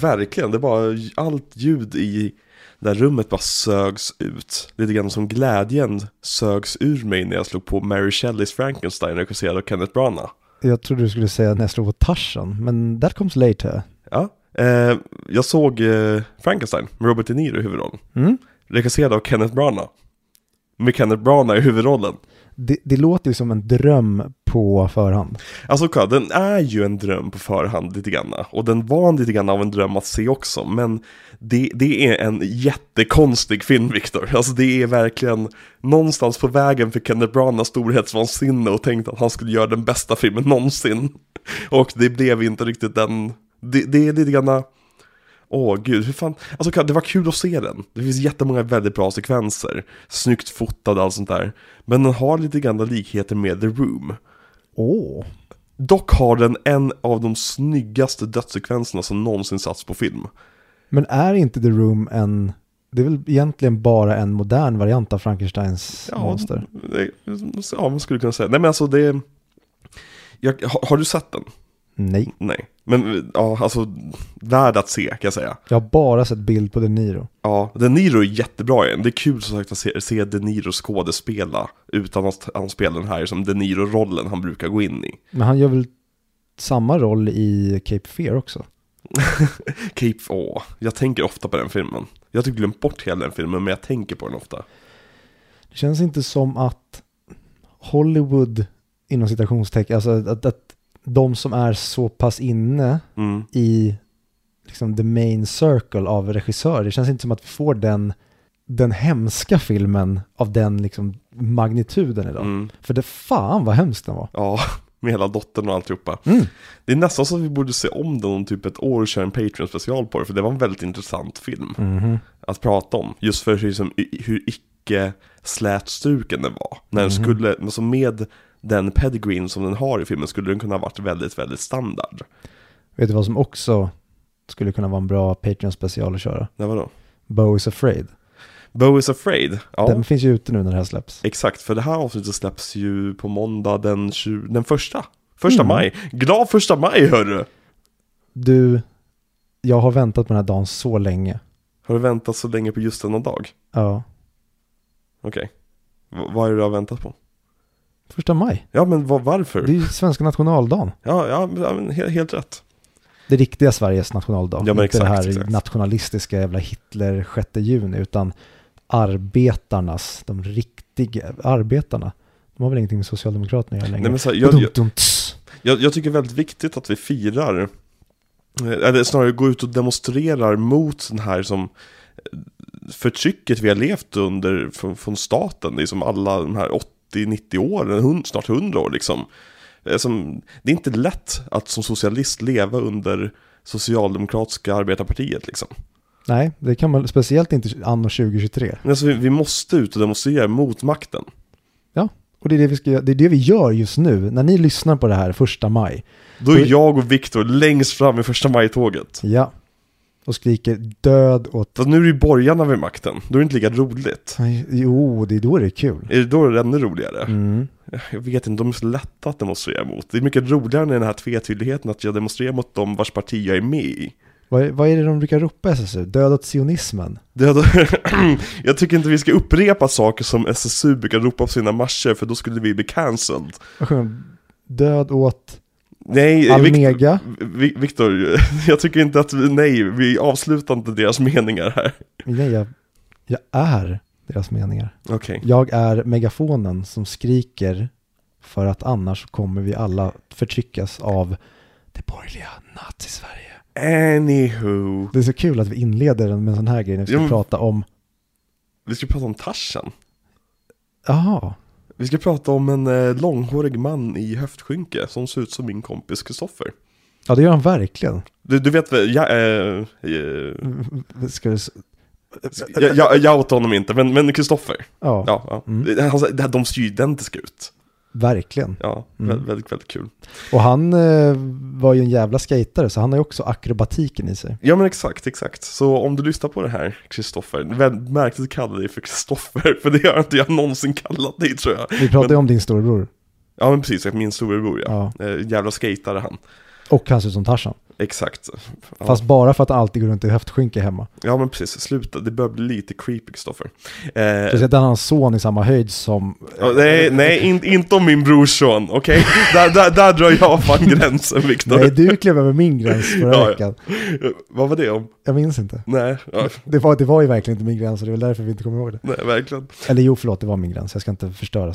Verkligen, det bara allt ljud i det här rummet bara sögs ut. Lite grann som glädjen sögs ur mig när jag slog på Mary Shelleys Frankenstein regisserad av Kenneth Branagh. Jag trodde du skulle säga när jag slog på Tarzan, men that comes later. Ja, eh, jag såg eh, Frankenstein med Robert De Niro i huvudrollen. Mm. Regisserad av Kenneth Branagh. Med Kenneth Branagh i huvudrollen. Det, det låter ju som en dröm på förhand. Alltså kolla, den är ju en dröm på förhand lite grann. Och den var lite grann av en dröm att se också. Men det, det är en jättekonstig film, Viktor. Alltså det är verkligen någonstans på vägen för Kenneth Branaghs storhetsvansinne och tänkte att han skulle göra den bästa filmen någonsin. Och det blev inte riktigt den... Det, det är lite grann... Åh gud, hur fan... Alltså kolla, det var kul att se den. Det finns jättemånga väldigt bra sekvenser. Snyggt fotad och allt sånt där. Men den har lite grann likheter med The Room. Åh, Dock har den en av de snyggaste dödssekvenserna som någonsin satts på film. men är inte The Room en, det är väl egentligen bara en modern variant av Frankensteins monster? det- Ja, man skulle kunna säga. Nej men alltså det... Jag, har, har du sett den? Nej, Nej. Men ja, alltså värd att se kan jag säga. jag har bara sett bild på De Niro. Ja, De Niro är jättebra i den. Det är kul som sagt att se, se De Niro skådespela utan att han spelar den här som De Niro-rollen han brukar gå in i. Men han gör väl samma roll i Cape Fear också? Cape, åh, jag tänker ofta på den filmen. Jag har typ glömt bort hela den filmen, men jag tänker på den ofta. Det känns inte som att Hollywood, inom citationstecken, alltså att, att de som är så pass inne Mm. i liksom the main circle av regissörer. Det känns inte som att vi får den, den hemska filmen av den liksom magnituden idag. Mm. För det fan vad hemskt den var. Ja, med hela dottern och alltihopa. Mm. Det är nästan så att vi borde se om den om typ ett år och köra en Patreon-special på det, för det var en väldigt intressant film att prata om. Just för hur, liksom, i- hur icke slätstruken den var. När den Mhm. skulle, alltså med den pedigreen som den har i filmen skulle den kunna ha varit väldigt, väldigt standard. Vet du vad som också skulle kunna vara en bra Patreon-special att köra? Nej, vadå? Bo is afraid. Bo is afraid. Ja, Den finns ju ute nu när det här släpps. exakt. För det här avsnittet släpps ju på måndag den, 20, den första. Första Mm. maj. Glad första maj, hörru! Du, jag har väntat på den här dagen så länge. Har du väntat så länge på just denna dag? Ja, Okej. V- vad är det du har väntat på? första maj. Ja men vad, varför? Det är ju svenska nationaldagen. Ja, ja, men- ja men helt, helt rätt. det riktiga Sveriges nationaldag. Ja, men inte det exakt, här exakt. nationalistiska jävla Hitler 6 juni, utan arbetarnas, de riktiga arbetarna. De har väl ingenting med Socialdemokraterna att göra längre. Nej, men så här, jag- Badum, jag- dum, tss. Jag, jag tycker det är väldigt viktigt att vi firar, eh, eller snarare går ut och demonstrerar mot den här som eh, förtrycket vi har levt under från, från staten, liksom alla de här 80-90 åren, hun- snart 100 år liksom. Eh, Som, det är inte lätt att som socialist leva under socialdemokratiska arbetarpartiet liksom. Nej, det kan man speciellt inte anno 2023. Men Alltså, vi, vi måste ut och demonstrera mot makten. Ja, och det är det, vi ska, göra- det är det vi gör just nu. När ni lyssnar på det här första maj, Då är jag och Viktor längst fram i första maj-tåget. ja, och skriker död åt... Fast nu är det ju borgarna vid makten, då är det inte lika roligt. Nej, Jo, det är då det är kul. Är det då det är ännu roligare? Mm. Jag vet inte, de är så lätta att demonstrera mot. Det är mycket roligare när den här tvetydigheten att jag demonstrerar mot dem vars parti jag är med i. Vad, är- vad är det de brukar ropa i SSU? Död åt sionismen. Det hade... jag tycker inte vi ska upprepa saker som SSU brukar ropa på sina marscher för då skulle vi bli cancelled. Vad sjunger de? Död åt... Nej, eh, Vikt- Almega. Vi- Viktor, jag tycker inte att vi, nej, vi avslutar inte deras meningar här. Nej, jag, jag är deras meningar. Okej. Jag är megafonen som skriker för att annars kommer vi alla förtryckas av det borgerliga nazi-Sverige. Anywho. Det är så kul att vi inleder med en sån här grej när vi ska Jo, men- prata om, Vi ska prata om Tarzan. jaha, Vi ska prata om en eh, långhårig man i höftskynke som ser ut som min kompis Kristoffer. ja det gör han verkligen. Du, du vet väl, jag, eh, eh, Ska du, s- jag, jag, jag outar honom inte, men men Kristoffer. ja, Ja, ja. Han sa, det här, de ser ju identiska ut. verkligen. Ja, vä- väldigt, väldigt kul. Och han eh, var ju en jävla skater så han har ju också akrobatiken i sig. Ja men exakt, exakt. Så om du lyssnar på det här, Kristoffer, väldigt märkligt att kalla dig för Kristoffer, för det har inte jag någonsin kallat dig tror jag. Vi pratade ju om din storebror. Ja men precis, min storebror ja. Ja. Eh, jävla skejtare han. Och han ser ut som Tarzan. Exakt. Ja. Fast bara för att han alltid går runt i höftskynke hemma. ja men precis, sluta. Det börjar bli lite creepy Kristoffer. Eh, Speciellt när han har en son i samma höjd som... Ja, nej, nej in, inte om min brorson, okej? Där, där, där drar jag fan gränsen Viktor. Nej, du klev över min gräns förra Ja, ja. veckan. Vad var det om? Jag minns inte. Nej, ja, Det var, det var ju verkligen inte min gräns och det är väl därför vi inte kommer ihåg det. nej, verkligen. Eller jo, förlåt, det var min gräns. Jag ska inte förstöra.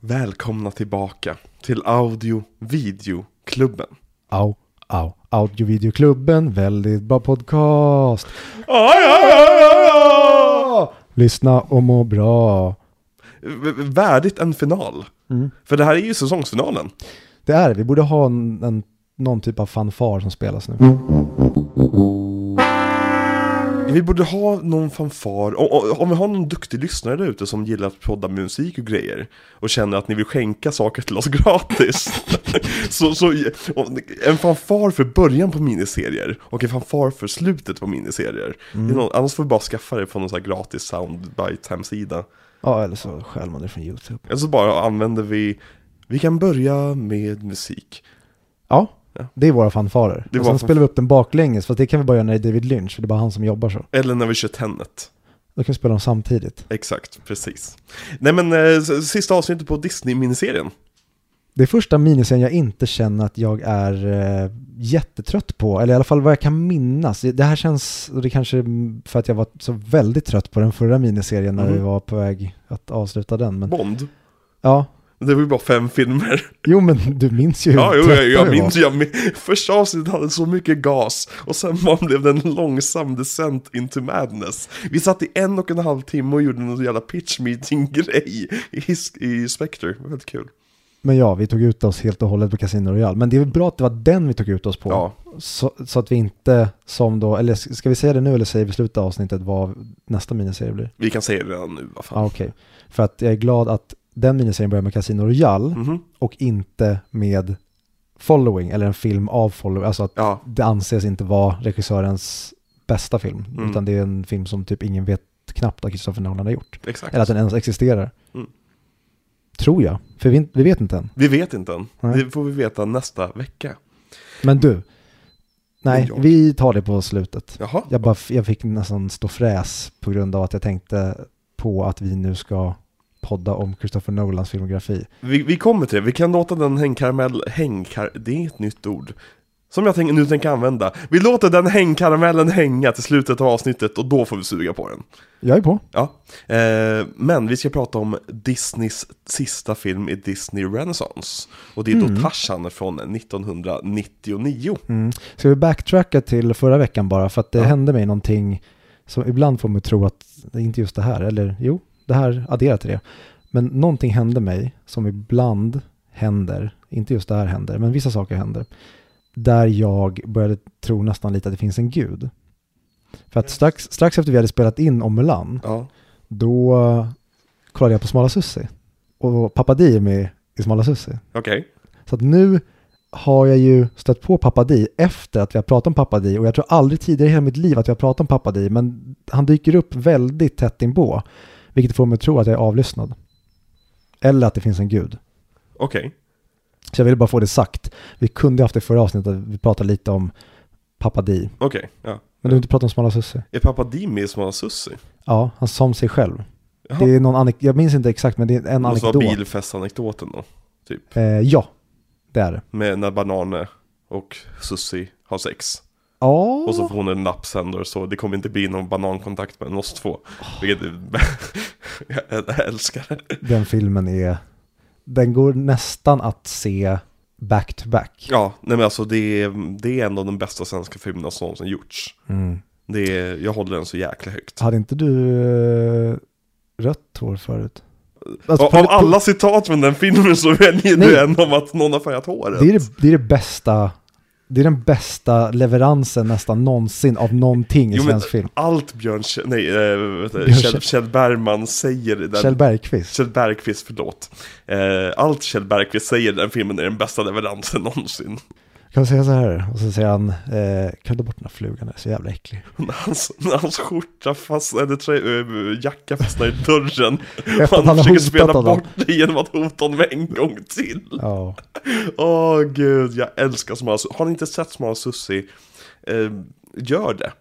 Välkomna tillbaka till Audio Video Klubben. Au, au. Audiovideoklubben, väldigt bra podcast. Aj, aj, aj, aj, aj. Lyssna och må bra. V- Värdigt en final. Mm. För det här är ju säsongsfinalen. Det är det. Vi borde ha en, en, någon typ av fanfar som spelas nu. Mm. Vi borde ha någon fanfar, o- o- om vi har någon duktig lyssnare där ute som gillar att podda musik och grejer och känner att ni vill skänka saker till oss gratis. så, så en fanfar för början på miniserier och en fanfar för slutet på miniserier. Det är någon, annars får vi bara skaffa det på någon sån här gratis soundbite-hemsida. Ja, eller så stjäl man det från YouTube. Eller så bara använder vi, vi kan börja med musik. Ja, Ja. det är våra fanfarer. Det är och våra sen fanf- spelar vi upp den baklänges, fast det kan vi bara göra när det är David Lynch, för det är bara han som jobbar så. Eller när vi kör Tenet. Då kan vi spela dem samtidigt. Exakt, precis. Nej men eh, s- sista avsnittet på Disney-miniserien. Det är första miniserien jag inte känner att jag är eh, jättetrött på, eller i alla fall vad jag kan minnas. Det här känns, och det kanske är för att jag var så väldigt trött på den förra miniserien när Mhm. vi var på väg att avsluta den. Men, Bond. ja, Det var ju bara fem filmer. jo men du minns ju hur Ja, jo, trötta jag, jag vi var. minns jag min, Första avsnittet hade så mycket gas och sen var- blev det en långsam descent into madness. Vi satt i en och en halv timme och gjorde någon jävla pitch meeting-grej i, his- i Spectre. Det var väldigt kul. Men ja, vi tog ut oss helt och hållet på Casino Royale. Men det är väl bra att det var den vi tog ut oss på. Ja, Så, så att vi inte som då, eller s- ska vi säga det nu eller säger vi i slutet av avsnittet vad nästa miniserie blir? vi kan säga det redan nu, vad Ja, fan. okej. För att jag är glad att den miniserien börjar med Casino Royale Mhm. och inte med Following eller en film av Following. Alltså att Ja, det anses inte vara regissörens bästa film, Mm. utan det är en film som typ ingen vet knappt att Christopher Nolan har gjort. exakt. Eller att den ens existerar. Mm. Tror jag, för vi, vi vet inte än. Vi vet inte än. Nej. Det får vi veta nästa vecka. Men du, nej, jag. vi tar det på slutet. Jaha, Jag, bara, jag fick nästan stå fräs på grund av att jag tänkte på att vi nu ska podda om Christopher Nolans filmografi. vi, vi kommer till det. Vi kan låta den hängkaramell... Hängkar... Det är ett nytt ord. Som jag tänk, nu tänker använda. Vi låter den hängkaramellen hänga till slutet av avsnittet och då får vi suga på den. Jag är på. Ja, eh, men vi ska prata om Disneys sista film i Disney Renaissance. Och det är då Tarzan från 1999. Mm. Ska vi backtracka till förra veckan bara för att det Ja. hände mig någonting som ibland får mig tro att det är inte just det här, eller jo, det här adderat till det. Men någonting hände mig som ibland händer, inte just det här händer, men vissa saker händer. Där jag började tro nästan lite att det finns en gud. För att strax, strax efter vi hade spelat in om Mulan, Ja, då eh, kollade jag på Smala Sussi. Och pappa Di är med i Smala Sussi. okej. Så att nu har jag ju stött på Pappa Di efter att vi har pratat om Pappa Di och jag tror aldrig tidigare i hela mitt liv att vi har pratat om Pappa Di men han dyker upp väldigt tätt inpå vilket får mig att tro att jag är avlyssnad. Eller att det finns en gud. Okej. Så jag ville bara få det sagt. Vi kunde haft det i förra avsnittet, vi pratade lite om Pappa Di. Okej, ja. Men du har inte pratat om Smala Sussie? Är pappa Dimi med i Smala Sussi? Ja, han som sig själv. Jaha. Det är någon anek- jag minns inte exakt men det är en Det måste vara anekdot. bilfestanekdoten då. Typ. Eh, ja, det är det. Med när Banane och Sussi har sex. Ja, Och så får hon en lapp sen då, så det kommer inte bli någon banankontakt mellan oss två. Vilket jag älskar. det. den filmen är, den går nästan att se back to back. Ja, nej men alltså det är, det är en av de bästa svenska filmerna som någonsin gjorts. Mm. Det är, jag håller den så jäkla högt. Hade inte du eh, rött hår förut? Alltså, Av- Av alla citat från den filmen så väljer Nej. du en om att någon har färgat håret. det, är det, det är det bästa, det är den bästa leveransen nästan någonsin av någonting i Jo, men- svensk film. Allt Björn, Kjell- nej, äh, vet du, Björn Kjell, Kjell- Kjell Bergman säger i den. Kjell Bergqvist. Kjell Bergqvist, förlåt. Eh, allt Kjell Bergqvist säger i den filmen är den bästa leveransen någonsin. Kan du säga så här? Och så säger han, eh, kan du ta bort den här flugan, den är så jävla äcklig. När hans, när hans skjorta fastnar, eller trö, eh, jacka fastnar i dörren. Efter att Han, han har försöker hotat spela honom. bort det genom att hota honom en gång till. Ja, Åh gud, jag älskar Smala Sussi. Har ni inte sett Smala Sussi, eh, gör det.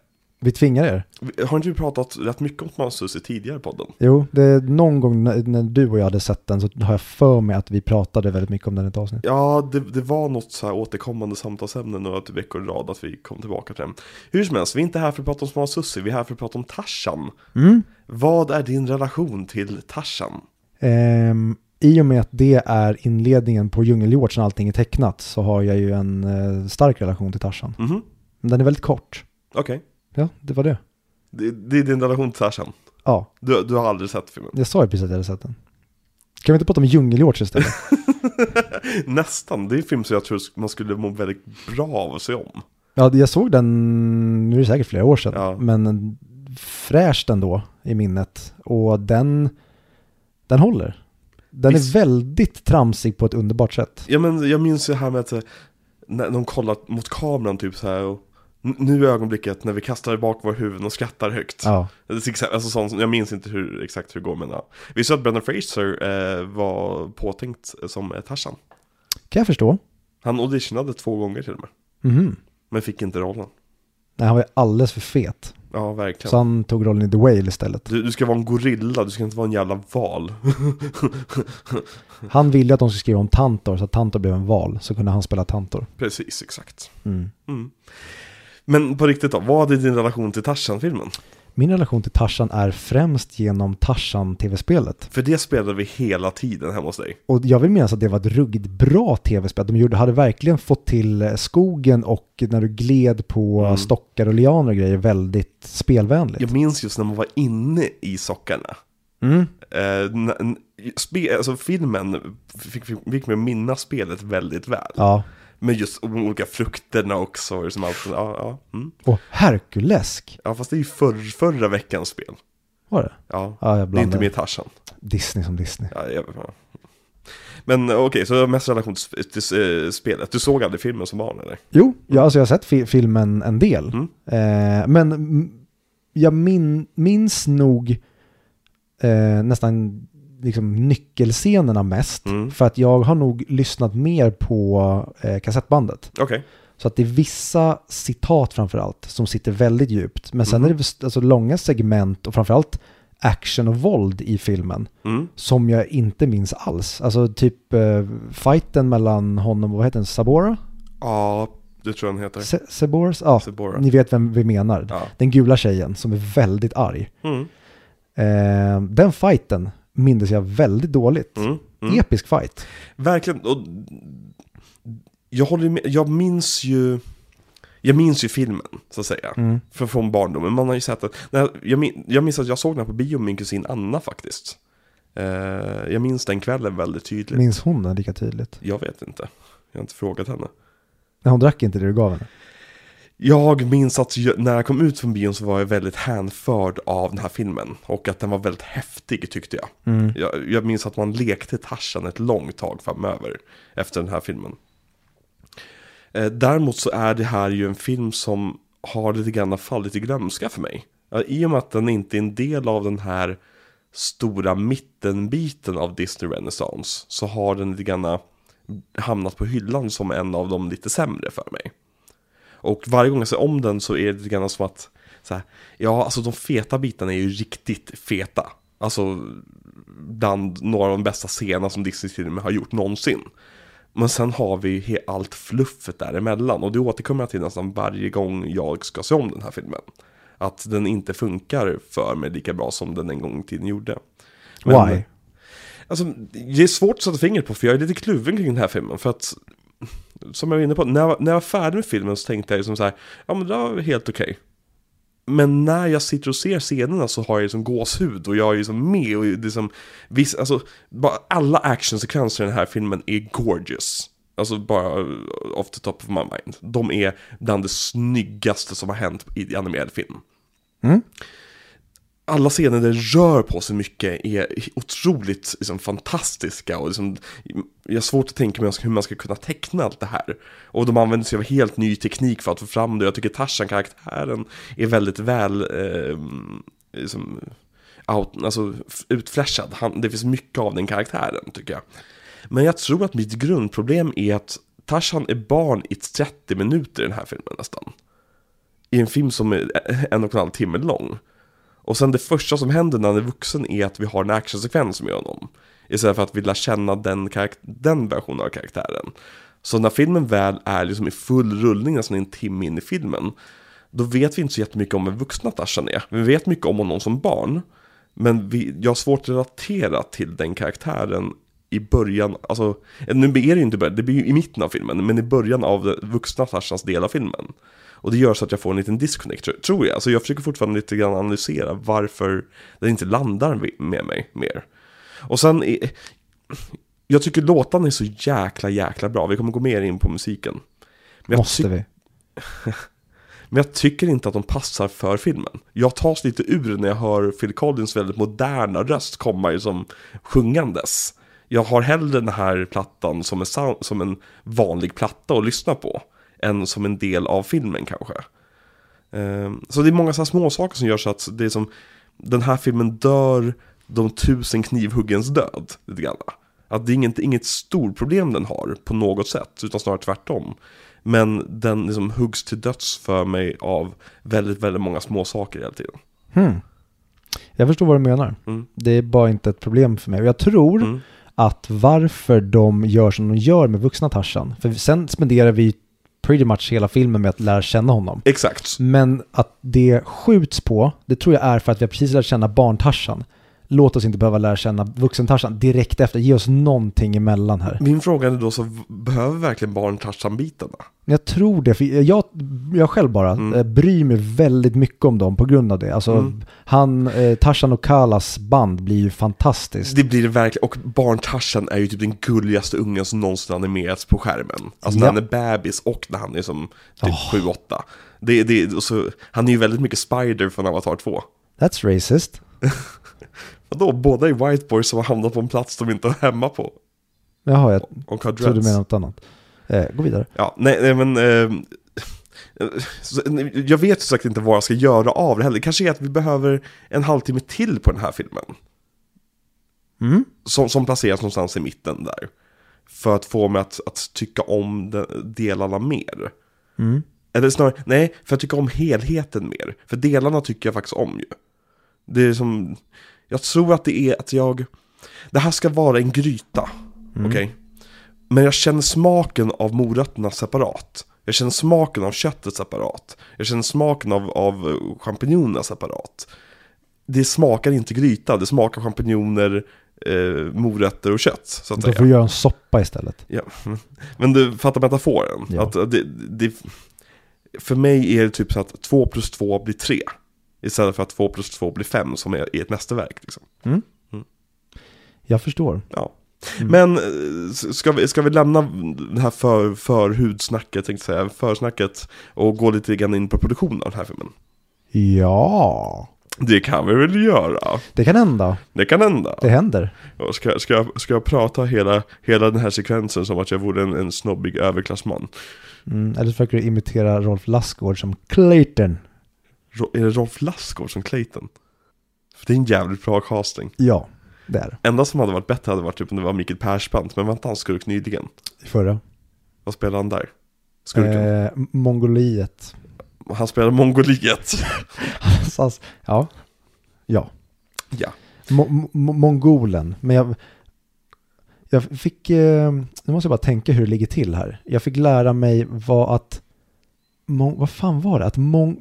vi tvingar er. Har inte vi pratat rätt mycket om Smala Sussi tidigare i podden? Jo, det är någon gång när, när du och jag hade sett den så har jag för mig att vi pratade väldigt mycket om den i ett avsnitt. Ja, det, det var något så här återkommande samtalsämne några till veckor i rad att vi kom tillbaka till den. Hur som helst, vi är inte här för att prata om Smala Sussi, vi är här för att prata om Tarzan. Vad är din relation till Tarzan? Ehm, I och med att det är inledningen på Djungelhjort när allting är tecknat så har jag ju en eh, stark relation till Tarzan. Mhm, Men den är väldigt kort. okej. Ja, det var det. Det, det är din relation till Tarzan. Ja, Du, du har aldrig sett filmen? jag sa ju precis att jag hade sett den. Kan vi inte prata om Djungelhjort istället? Nästan, det är en film som jag tror man skulle må väldigt bra av att se om. ja, jag såg den, nu är det säkert flera år sedan, Ja. men fräscht ändå i minnet. Och den, den håller. Den Visst. är väldigt tramsig på ett underbart sätt. Ja men jag minns ju här med att eh, när de kollar mot kameran typ så här och n- nu är ögonblicket när vi kastar bak våra huvuden och skrattar högt. Ja. Det är exa- Alltså sånt, som- jag minns inte hur, exakt hur det går men ja. Vi såg att Brendan Fraser eh, var påtänkt som eh, Tarzan. Kan jag förstå. Han auditionade två gånger till och med. Mhm. Men fick inte rollen. Nej, han var ju alldeles för fet. Ja verkligen. Så han tog rollen i The Whale istället. Du, du ska vara en gorilla, du ska inte vara en jävla val. Han ville att de skulle skriva om Tantor, så att Tantor blev en val. Så kunde han spela Tantor. Precis, exakt. Mm. Mm. Men på riktigt då, vad är din relation till Tarzan-filmen? Min relation till Tarzan är främst genom Tarzan-tv-spelet. För det spelade vi hela tiden hemma hos dig. Och jag vill minnas att det var ett ruggigt bra tv-spel. De gjorde, hade verkligen fått till eh, skogen och när du gled på Mm. stockar och lianer och grejer väldigt spelvänligt. Jag minns just när man var inne i sockarna. Mm. Eh, n- n- spe, alltså filmen fick, fick, fick mig att minnas spelet väldigt väl. Ja. Men just de olika frukterna också. Som allt, ja, ja, mm. Och Herkulesk ja, fast det är ju förr, förra veckans spel. var det. Ja, Ja, jag det är inte blandade. med Tarzan. Disney som Disney. Ja, jag, ja. Men okej, så du har mest relation till, sp- till eh, spelet. Du såg aldrig filmen som barn eller? Jo, jag, alltså jag har sett fi- filmen en del. Mm. Eh, men mm, jag min, minns nog eh, nästan liksom nyckelscenerna mest. Mm. För att jag har nog lyssnat mer på eh, kassettbandet. Okej, Så att det är vissa citat framför allt som sitter väldigt djupt. Men sen Mhm. är det väl- alltså, långa segment och framför allt action och våld i filmen mm. som jag inte minns alls. Alltså typ eh, fighten mellan honom och vad heter den? Sabora? ja, det tror jag den heter. Se- Seborus? Ja, Sebora. ni vet vem vi menar. Ja. Den gula tjejen som är väldigt arg. Mm. Eh, den fighten mindes jag väldigt dåligt. Mm. Mm. Episk fight. Verkligen, och jag håller med, jag minns ju, jag minns ju filmen, så att säga. Mm. För, från barndomen, man har ju sett att, när, jag, min, jag minns att jag såg den här på bio med min kusin Anna faktiskt. Eh, jag minns den kvällen väldigt tydligt. Minns hon den lika tydligt? Jag vet inte, jag har inte frågat henne. Nej, hon drack inte det du gav henne. Jag minns att jag, när jag kom ut från bion så var jag väldigt hänförd av den här filmen. Och att den var väldigt häftig tyckte jag. Jag, jag minns att man lekte Tarzan ett långt tag framöver efter den här filmen. Eh, däremot så är det här ju en film som har lite grann fallit i glömska för mig. Ja, I och med att den inte är en del av den här stora mittenbiten av Disney Renaissance så har den lite grann hamnat på hyllan som en av de lite sämre för mig. Och varje gång jag ser om den så är det lite grann som att så här, ja, alltså de feta bitarna är ju riktigt feta. Alltså bland några av de bästa scenerna som Disney till och med har gjort någonsin. Men sen har vi ju he- allt fluffet däremellan och det återkommer jag till nästan varje gång jag ska se om den här filmen. Att den inte funkar för mig lika bra som den en gång i tiden gjorde. Men- Why? Alltså, det är svårt att sätta fingret på för jag är lite kluven kring den här filmen för att Som jag var inne på, när jag, när jag var färdig med filmen så tänkte jag liksom så här, ja men det var helt okej Men när jag sitter och ser scenerna så har jag liksom gåshud och jag är liksom med och liksom viss, alltså, bara alla actionsekvenser i den här filmen är gorgeous Alltså bara uh, off the top of my mind De är bland det snyggaste som har hänt i animerad film alla scener där det rör på sig mycket är otroligt liksom, fantastiska och liksom, jag har svårt att tänka mig hur man ska kunna teckna allt det här. Och de använder sig av helt ny teknik för att få fram det. Jag tycker Tarzan-karaktären är väldigt väl eh, liksom, out, alltså, f- utflashad. Han, det finns mycket av den karaktären tycker jag. Men jag tror att mitt grundproblem är att Tarzan är barn i 30 minuter i den här filmen nästan. I en film som är en och en halv timme lång. Och sen det första som händer när han är vuxen är att vi har en actionsekvens med honom. Istället för att vi lär känna den, karak- den versionen av karaktären. Så när filmen väl är liksom i full rullning, nästan en timme in i filmen, då vet vi inte så jättemycket om vem vuxna Tarzan är. Vi vet mycket om honom som barn, men vi, jag har svårt att relatera till den karaktären i början, alltså, nu är det ju inte början, det blir ju i mitten av filmen, men i början av vuxna Tarzans del av filmen. Och det gör så att jag får en liten disconnect, tr- tror jag. Så jag försöker fortfarande lite grann analysera varför den inte landar med mig mer. Och sen, är- jag tycker låtarna är så jäkla, jäkla bra. Vi kommer gå mer in på musiken. Men jag Måste tyck- vi? men jag tycker inte att de passar för filmen. Jag tas lite ur när jag hör Phil Collins väldigt moderna röst komma ju som sjungandes. Jag har hellre den här plattan som en, sound, som en vanlig platta att lyssna på. Än som en del av filmen kanske. Ehm, Så det är många så här små saker som gör så att det är som den här filmen dör de tusen knivhuggens död. Lite grann. Att det är inget, inget stort problem den har på något sätt, utan snarare tvärtom. Men den liksom huggs till döds för mig av väldigt, väldigt många små saker hela tiden. Hmm. Jag förstår vad du menar. Mm. Det är bara inte ett problem för mig. Och Jag tror Mm. att varför de gör som de gör med vuxna Tarzan, för sen spenderar vi pretty much hela filmen med att lära känna honom. Exakt. Men att det skjuts på, det tror jag är för att vi har precis lärt känna barntarsan. Låt oss inte behöva lära känna vuxentarsan direkt efter. Ge oss någonting emellan här. Min fråga är då så, v- behöver verkligen barn Tarzan-bitarna? Men Jag tror det, för jag, jag själv bara Mm. eh, bryr mig väldigt mycket om dem på grund av det. Alltså, Mm. han, eh, Tarzan och Kalas band blir ju fantastiskt. Det blir det verkligen, och barn Tarzan är ju typ den gulligaste ungen som någonsin animerats på skärmen. Alltså när Ja. han är bebis och när han är som typ 7-8. Det, det, och så, han är ju väldigt mycket Spider från Avatar 2. That's racist. Vadå, båda är white boys som har hamnat på en plats de inte är hemma på. Jaha, jag Och har trodde du dreads. menade något annat. Eh, gå vidare. Ja, nej, nej men... ehm, så, nej, jag vet ju sagt inte vad jag ska göra av det heller. Det kanske är att vi behöver en halvtimme till på den här filmen. Som, som placeras någonstans i mitten där. För att få mig att, att tycka om de, delarna mer. Mm. Eller snarare, nej, för att tycka om helheten mer. För delarna tycker jag faktiskt om ju. Det är som, jag tror att det är att jag, det här ska vara en gryta, Mm. okej? Men jag känner smaken av morötterna separat. Jag känner smaken av köttet separat. Jag känner smaken av, av eh, champinjonerna separat. Det smakar inte gryta, det smakar champinjoner, eh, morötter och kött. Så att Då säga. får vi göra en soppa istället. Ja. Men du fattar metaforen. Ja. Att det, det, för mig är det typ så att 2 plus 2 blir 3. Istället för att 2 plus 2 blir 5 som är, är ett mästerverk. Liksom. Jag förstår. Ja. Mm. Men eh, s- ska vi, ska vi lämna det här för, förhudsnacket, tänkte jag säga, försnacket och gå lite grann in på produktionen av den här filmen? Ja, Det kan vi väl göra. det kan hända. Det kan hända. Det händer. Och Ska, ska, jag, ska jag prata hela, hela den här sekvensen som att jag vore en, en snobbig överklassman? Mm, eller så försöker du imitera Rolf Lassgård som Clayton. Ro- Är det Rolf Lassgård som Clayton? För det är en jävligt bra casting. Ja, det är det. Enda som hade varit bättre hade varit typ om det var Mikael Persbrandt, men var inte han skurk nyligen? I förra. Vad spelade han där? Skurken? Eh, Mongoliet. Eh. Han spelade Mongoliet. Så alltså, ja. Ja. ja. Mo- mo- mo- mongolen. Men jag, jag fick, eh, nu måste jag bara tänka hur det ligger till här. Jag fick lära mig vad att, mon, vad fan var det? Att mon,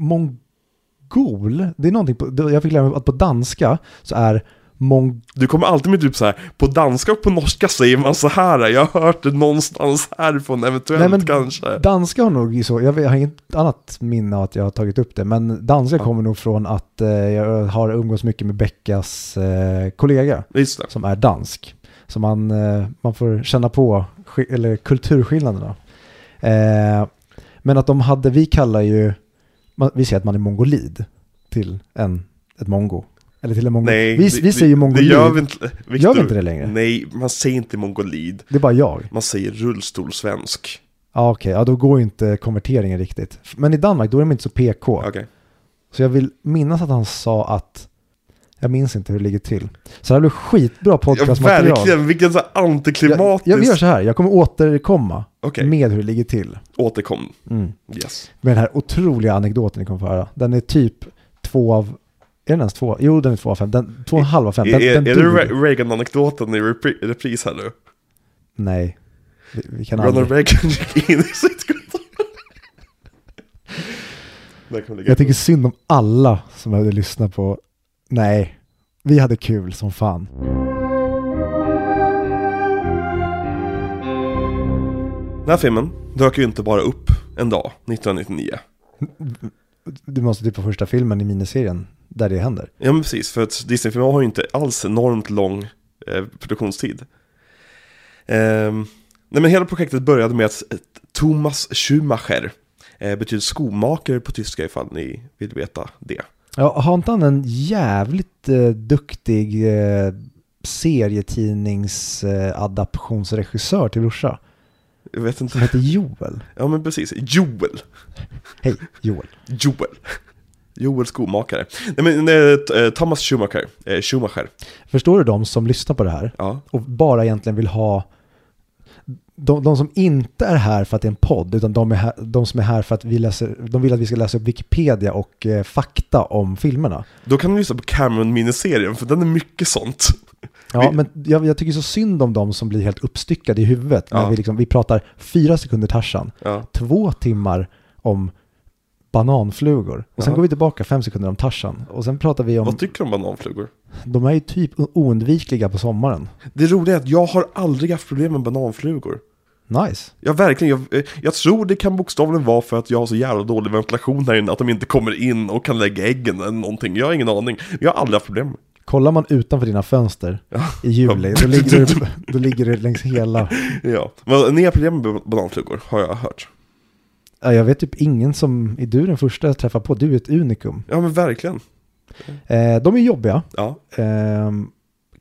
mongol, det är någonting på, det- jag fick lära mig att på danska så är mong, Du kommer alltid med typ så här, på danska och på norska säger man så här, jag har hört det någonstans härifrån eventuellt Nej, men- kanske. danska har nog så, jag, vet- jag har inget annat minne av att jag har tagit upp det, men danska Ja. kommer nog från att eh, jag har umgås mycket med Beckas eh, kollega. Just det. som är dansk. Så man, eh, man får känna på sk- eller kulturskillnaderna. Eh, men att de hade, vi kallar ju, man, vi säger att man är mongolid till en, ett mongo. Eller till en mongol. Nej, vi, det- vi säger ju mongolid. Det gör vi inte. Victor, Gör vi inte det längre? Nej, man säger inte mongolid. Det är bara jag. Man säger rullstolsvensk. Ja, okej. Ja, då går ju inte konverteringen riktigt. Men i Danmark, då är de inte så PK. Okej. Så jag vill minnas att han sa att... Jag minns inte hur det ligger till. Så det här blir skitbra Ja, podcastmaterial. verkligen, vilken så här Jag, antiklimatisk... jag gör så här, jag kommer återkomma Okej, med hur det ligger till. återkom. Mm. Yes. Med den här otroliga anekdoten ni kommer få höra. Den är typ två av... Är den ens två? Jo, den är två av fem. Den, två och en halv av fem. Den, är den är det duger. Re- Reagan-anekdoten i repri- repris här nu? Nej. Vi, vi kan Ronald aldrig. Reagan gick in i sitt kontor. Där kan vi lägga Jag upp. tycker synd om alla som hade lyssnat på... Nej. Vi hade kul som fan. Den här filmen dök ju inte bara upp en dag 1999. Du måste titta på första filmen i miniserien där det händer. Ja men precis, för att Disney-filmer har ju inte alls enormt lång eh, produktionstid. Ehm, nej men hela projektet började med att eh, Thomas Schumacher eh, betyder skomakare på tyska ifall ni vill veta det. Ja, har inte han en jävligt eh, duktig eh, serietidningsadaptionsregissör till brorsa? Jag vet Som inte. heter Joel. Ja men precis, Joel. Hej, Joel. Joel. Joel skomakare. Nej men eh, t- eh, Thomas Schumacher. Eh, Schumacher. Förstår du de som lyssnar på det här Ja. och bara egentligen vill ha de, de som inte är här för att det är en podd, utan de, är här, de som är här för att vi läser, de vill att vi ska läsa upp Wikipedia och eh, fakta om filmerna. Då kan du lyssna på Cameron-miniserien för den är mycket sånt. Vi- Ja, men jag, jag tycker så synd om de som blir helt uppstyckade i huvudet. Ja. När vi, liksom, vi pratar fyra sekunder Tarzan, Ja. två timmar om bananflugor. Och sen Ja. går vi tillbaka fem sekunder om Tarzan. Och sen pratar vi om, Vad tycker du om bananflugor? de är ju typ oundvikliga på sommaren. Det roliga är att jag har aldrig haft problem med bananflugor. Nice. Ja, verkligen. Jag, eh, jag tror det kan bokstavligen vara för att jag har så jävla dålig ventilation här inne, att de inte kommer in och kan lägga äggen eller någonting. Jag har ingen aning. Jag har aldrig haft problem. Kollar man utanför dina fönster Ja. i juli, då ligger, det, då ligger det längs hela... Ja, men eh, ni har problem med bananflugor, har jag hört. Ja, jag vet typ ingen som, är du den första jag träffar på, du är ett unikum. Ja, men verkligen. Eh, de är jobbiga, Ja, Ehm,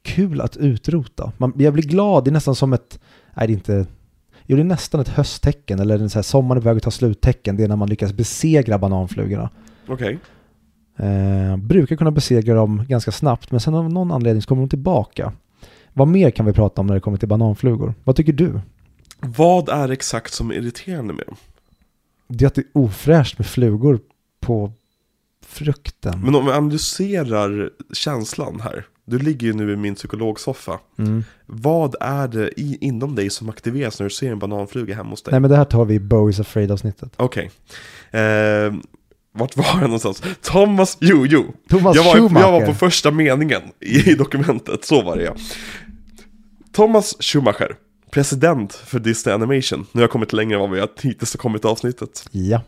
kul att utrota. Man, jag blir glad, det är nästan som ett, nej det är inte, jo det är nästan ett hösttecken eller en så här sommaren är på väg att ta sluttecken, det är när man lyckas besegra bananflugorna. okej. Eh, brukar kunna besegra dem ganska snabbt men sen av någon anledning så kommer de tillbaka. Vad mer kan vi prata om när det kommer till bananflugor? Vad tycker du? Vad är exakt som är irriterande med dem? Det är att det är ofräscht med flugor på frukten. Men om vi analyserar känslan här. Du ligger ju nu i min psykologsoffa. Mm. Vad är det i, inom dig som aktiveras när du ser en bananfluga hemma hos dig? Nej men det här tar vi i Bowie's Afraid-avsnittet. Okej. Eh, vart var jag någonstans? Thomas, jo, jo. Thomas jag, var, Schumacher. jag var på första meningen i, i dokumentet, så var det ja. Thomas Schumacher, president för Disney Animation. Nu har jag kommit längre än vad vi har hittills har kommit i avsnittet. Ja.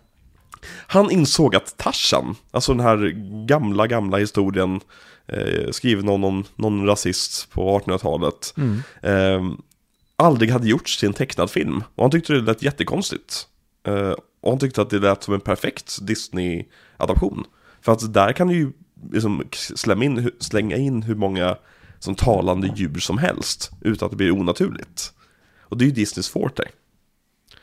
Han insåg att Tarzan, alltså den här gamla, gamla historien eh, skriven av någon, någon rasist på 1800-talet, eh, aldrig hade gjorts till en tecknad film. Och han tyckte det lät jättekonstigt. Eh, och han tyckte att det lät som en perfekt Disney-adaption. För att där kan du ju liksom slänga in, hu- slänga in hur många som talande djur som helst utan att det blir onaturligt. Och det är ju Disneys forte.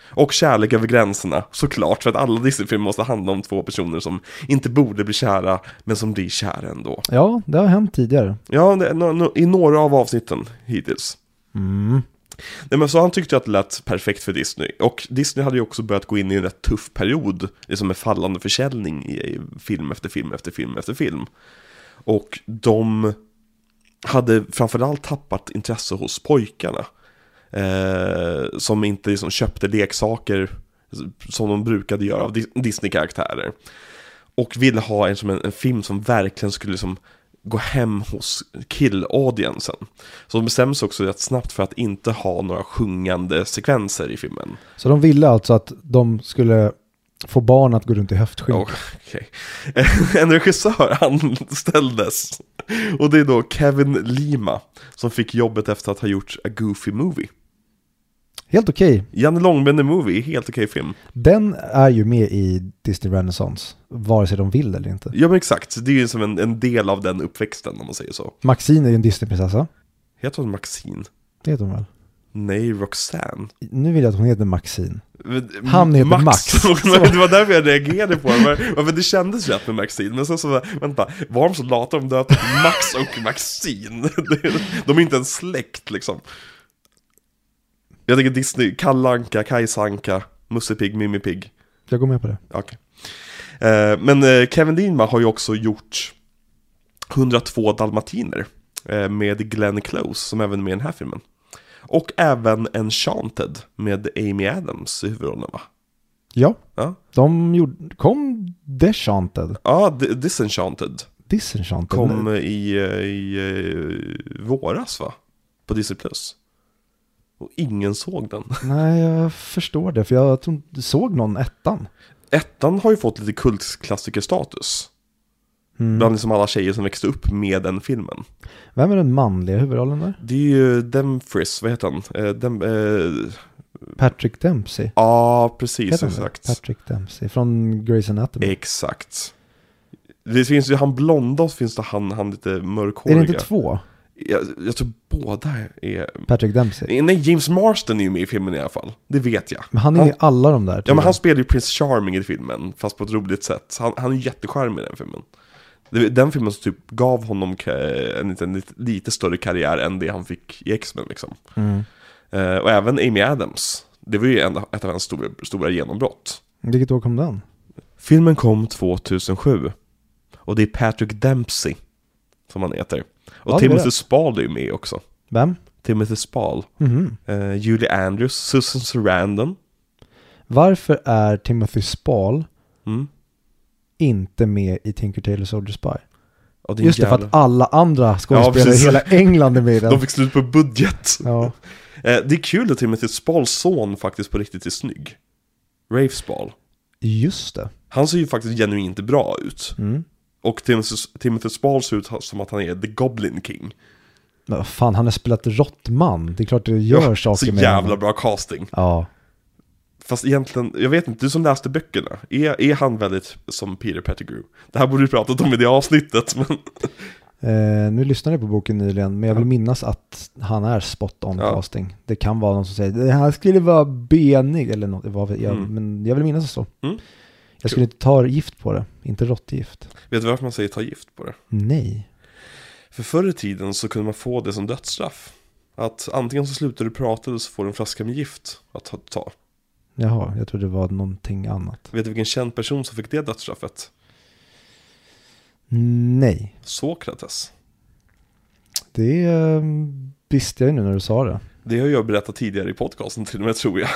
Och kärlek över gränserna, såklart, för att alla Disney-filmer måste handla om två personer som inte borde bli kära, men som blir kära ändå. ja, det har hänt tidigare. Ja, det, no, no, i några av avsnitten hittills. Mm. Nej, men så han tyckte att det lät perfekt för Disney. Och Disney hade ju också börjat gå in i en rätt tuff period, liksom med fallande försäljning i i film efter film efter film efter film. Och de hade framförallt tappat intresse hos pojkarna. Eh, som inte liksom köpte leksaker som de brukade göra av Dis- Disney-karaktärer. Och ville ha en, som en, en film som verkligen skulle liksom gå hem hos kill-audiencen. Så de bestämde sig också rätt snabbt för att inte ha några sjungande sekvenser i filmen. Så de ville alltså att de skulle få barn att gå runt i höftskynk. Och, okej. En regissör anställdes. Och det är då Kevin Lima som fick jobbet efter att ha gjort A Goofy Movie. Helt okej. Janne Långben The Movie, helt okej film. Den är ju med i Disney Renaissance, vare sig de vill eller inte. Ja men exakt, det är ju som en, en del av den uppväxten om man säger så. Maxine är ju en Disneyprinsessa. Heter hon Maxine? Det heter hon väl? Nej, Roxanne. Nu vill jag att hon heter Maxine. Men- Han heter Max. det var därför jag reagerade på det. Men- Men, det kändes rätt med Maxine. Men sen så, var- vänta, var de så lata de döpte till Max och Maxine? De är inte ens släkt liksom. Jag tänker Disney, Kalle Anka, Kajsa Anka, Musse Pigg, Mimmi Pigg. Jag går med på det. Okej. Eh, men eh, Kevin Dinma har ju också gjort 102 dalmatiner eh, med Glenn Close som även är med i den här filmen. Och även Enchanted med Amy Adams i huvudrollen va? Ja, Ja, de gjorde, kom Deschanted. ja D- Disenchanted Disenchanted. kom eh, i, eh, i eh, våras va? På Disney Plus. Och ingen såg den. Nej, jag förstår det. För jag tror inte- såg någon ettan. Ettan har ju fått lite kultklassikerstatus. Mm. Bland liksom alla tjejer som växte upp med den filmen. Vem är den manliga huvudrollen där? Det är ju Demfris, vad heter han? Eh, Dem, eh, Patrick Dempsey. ja, precis, Heter han det? exakt. Patrick Dempsey från Grey's Anatomy. Exakt. Det finns ju han blonda och så finns det han, han lite är mörkhåriga. det inte två? jag, jag tror båda är... Patrick Dempsey. Nej, James Marston är ju med i filmen i alla fall. Det vet jag. Men han är Han- ju i alla de där. Ja, men tror han jag. spelar ju Prince Charming i filmen, fast på ett roligt sätt. Han, han är ju jättecharmig i den filmen. Det- Den filmen som typ gav honom ka- en liten, lite, lite större karriär än det han fick i X-Men liksom. Mm. Eh, och även Amy Adams. Det var ju en, ett av hans stora, stora genombrott. Vilket år kom den? Filmen kom 2007. Och det är Patrick Dempsey som han heter. Och Ja, det är Timothy rätt. Spall är ju med också. Vem? Timothy Spall, Mhm. eh, Julie Andrews, Susan Sarandon. Varför är Timothy Spall Mm. inte med i Tinker Tailor Soldier Spy? Och det är en Just det, för jävla- att alla andra skådespelare i precis. hela England är med i den. De fick slut på budget. Ja. Eh, det är kul att Timothy Spalls son faktiskt på riktigt är snygg. Rafe Spall. Just det. Han ser ju faktiskt genuint bra ut. Mm. Och Timothy, Timothy Spall ser ut som att han är The Goblin King. Men vad fan, han har spelat råttman. Det är klart det gör Så saker med jävla honom. bra casting. Ja. Fast egentligen, jag vet inte, du som läste böckerna, är, är han väldigt som Peter Pettigrew? Det här borde vi pratat om i det avsnittet, men Eh, nu lyssnade jag på boken nyligen, men jag vill minnas att han är spot on Ja. casting. Det kan vara någon som säger det här skulle vara benig eller något. Vad vet jag, Mm. Men jag vill minnas det så. Mm. Jag skulle inte ta gift på det, inte råttgift. vet du varför man säger ta gift på det? Nej. För förr i tiden så kunde man få det som dödsstraff. Att antingen så slutar du prata eller så får du en flaska med gift att ta- ta. Jaha, jag trodde det var någonting annat. Vet du vilken känd person som fick det dödsstraffet? Nej, Sokrates. det eh, visste jag ju nu när du sa det. Det har jag berättat tidigare i podcasten till och med tror jag.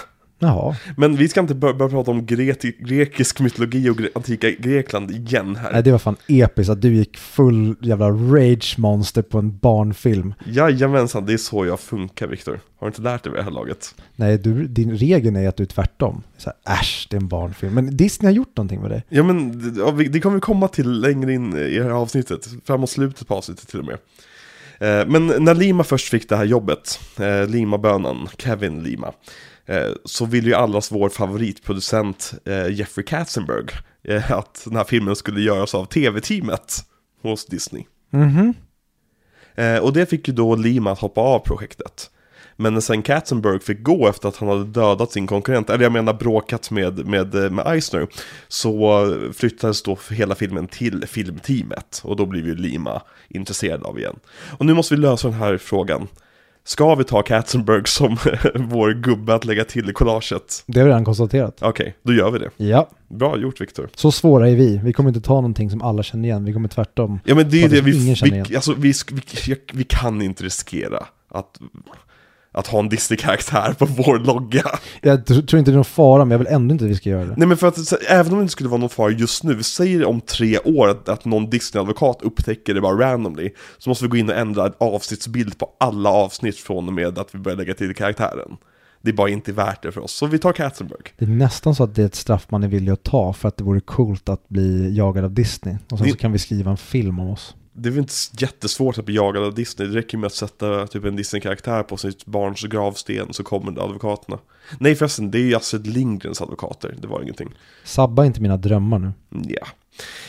Jaha, Men vi ska inte bör- börja prata om greti- grekisk mytologi och gre- antika Grekland igen Nej, här. det var fan episkt att du gick full jävla rage monster på en barnfilm. Jajamensan, det är så jag funkar Viktor. Har du inte lärt dig vid det här laget? Nej, du, din regel är att du är tvärtom. Så här, Äsch, det är en barnfilm. Men Disney har gjort någonting med det. Ja men det- ja, vi- det kommer vi komma till längre in i det här avsnittet, framåt slutet på avsnittet till och med. Eh, Men när Lima först fick det här jobbet, eh, Lima-bönan, Kevin Lima, eh, så ville ju allas vår favoritproducent eh, Jeffrey Katzenberg eh, att den här filmen skulle göras av tv-teamet hos Disney. Mhm. Eh, Och det fick ju då Lima att hoppa av projektet. Men när sen Katzenberg fick gå efter att han hade dödat sin konkurrent, eller jag menar bråkat med, med, eh, med Eisner, så eh, flyttades då hela filmen till filmteamet. Och då blev ju Lima intresserad av igen. Och nu måste vi lösa den här frågan. Ska vi ta Katzenberg som vår gubbe att lägga till i collaget? Det har vi redan konstaterat. Okej, då gör vi det. Ja, Bra gjort Viktor. så svåra är vi. Vi kommer inte ta någonting som alla känner igen. Vi kommer tvärtom. Ja men det är ju Faktiskt det, vi, ingen känner vi, igen. alltså, vi, sk- vi, jag- vi kan inte riskera att, att ha en Disney-karaktär på vår logga. Jag tr- tror inte det är någon fara, men jag vill ändå inte att vi ska göra det. Nej men för att så, även om det inte skulle vara någon fara just nu, vi säger om tre år att, att någon Disney-advokat upptäcker det bara randomly, så måste vi gå in och ändra en avsnittsbild på alla avsnitt från och med att vi börjar lägga till karaktären. Det är bara inte värt det för oss, så vi tar Katzenberg. Det är nästan så att det är ett straff man är villig att ta för att det vore coolt att bli jagad av Disney. Och sen Det- så kan vi skriva en film om oss. det är väl inte s- jättesvårt att bli jagad av Disney. Det räcker ju med att sätta typ en Disney-karaktär på sitt barns gravsten så kommer det advokaterna. Nej förresten, det är ju Astrid Lindgrens advokater. Det var ingenting. Sabba inte mina drömmar nu. Ja.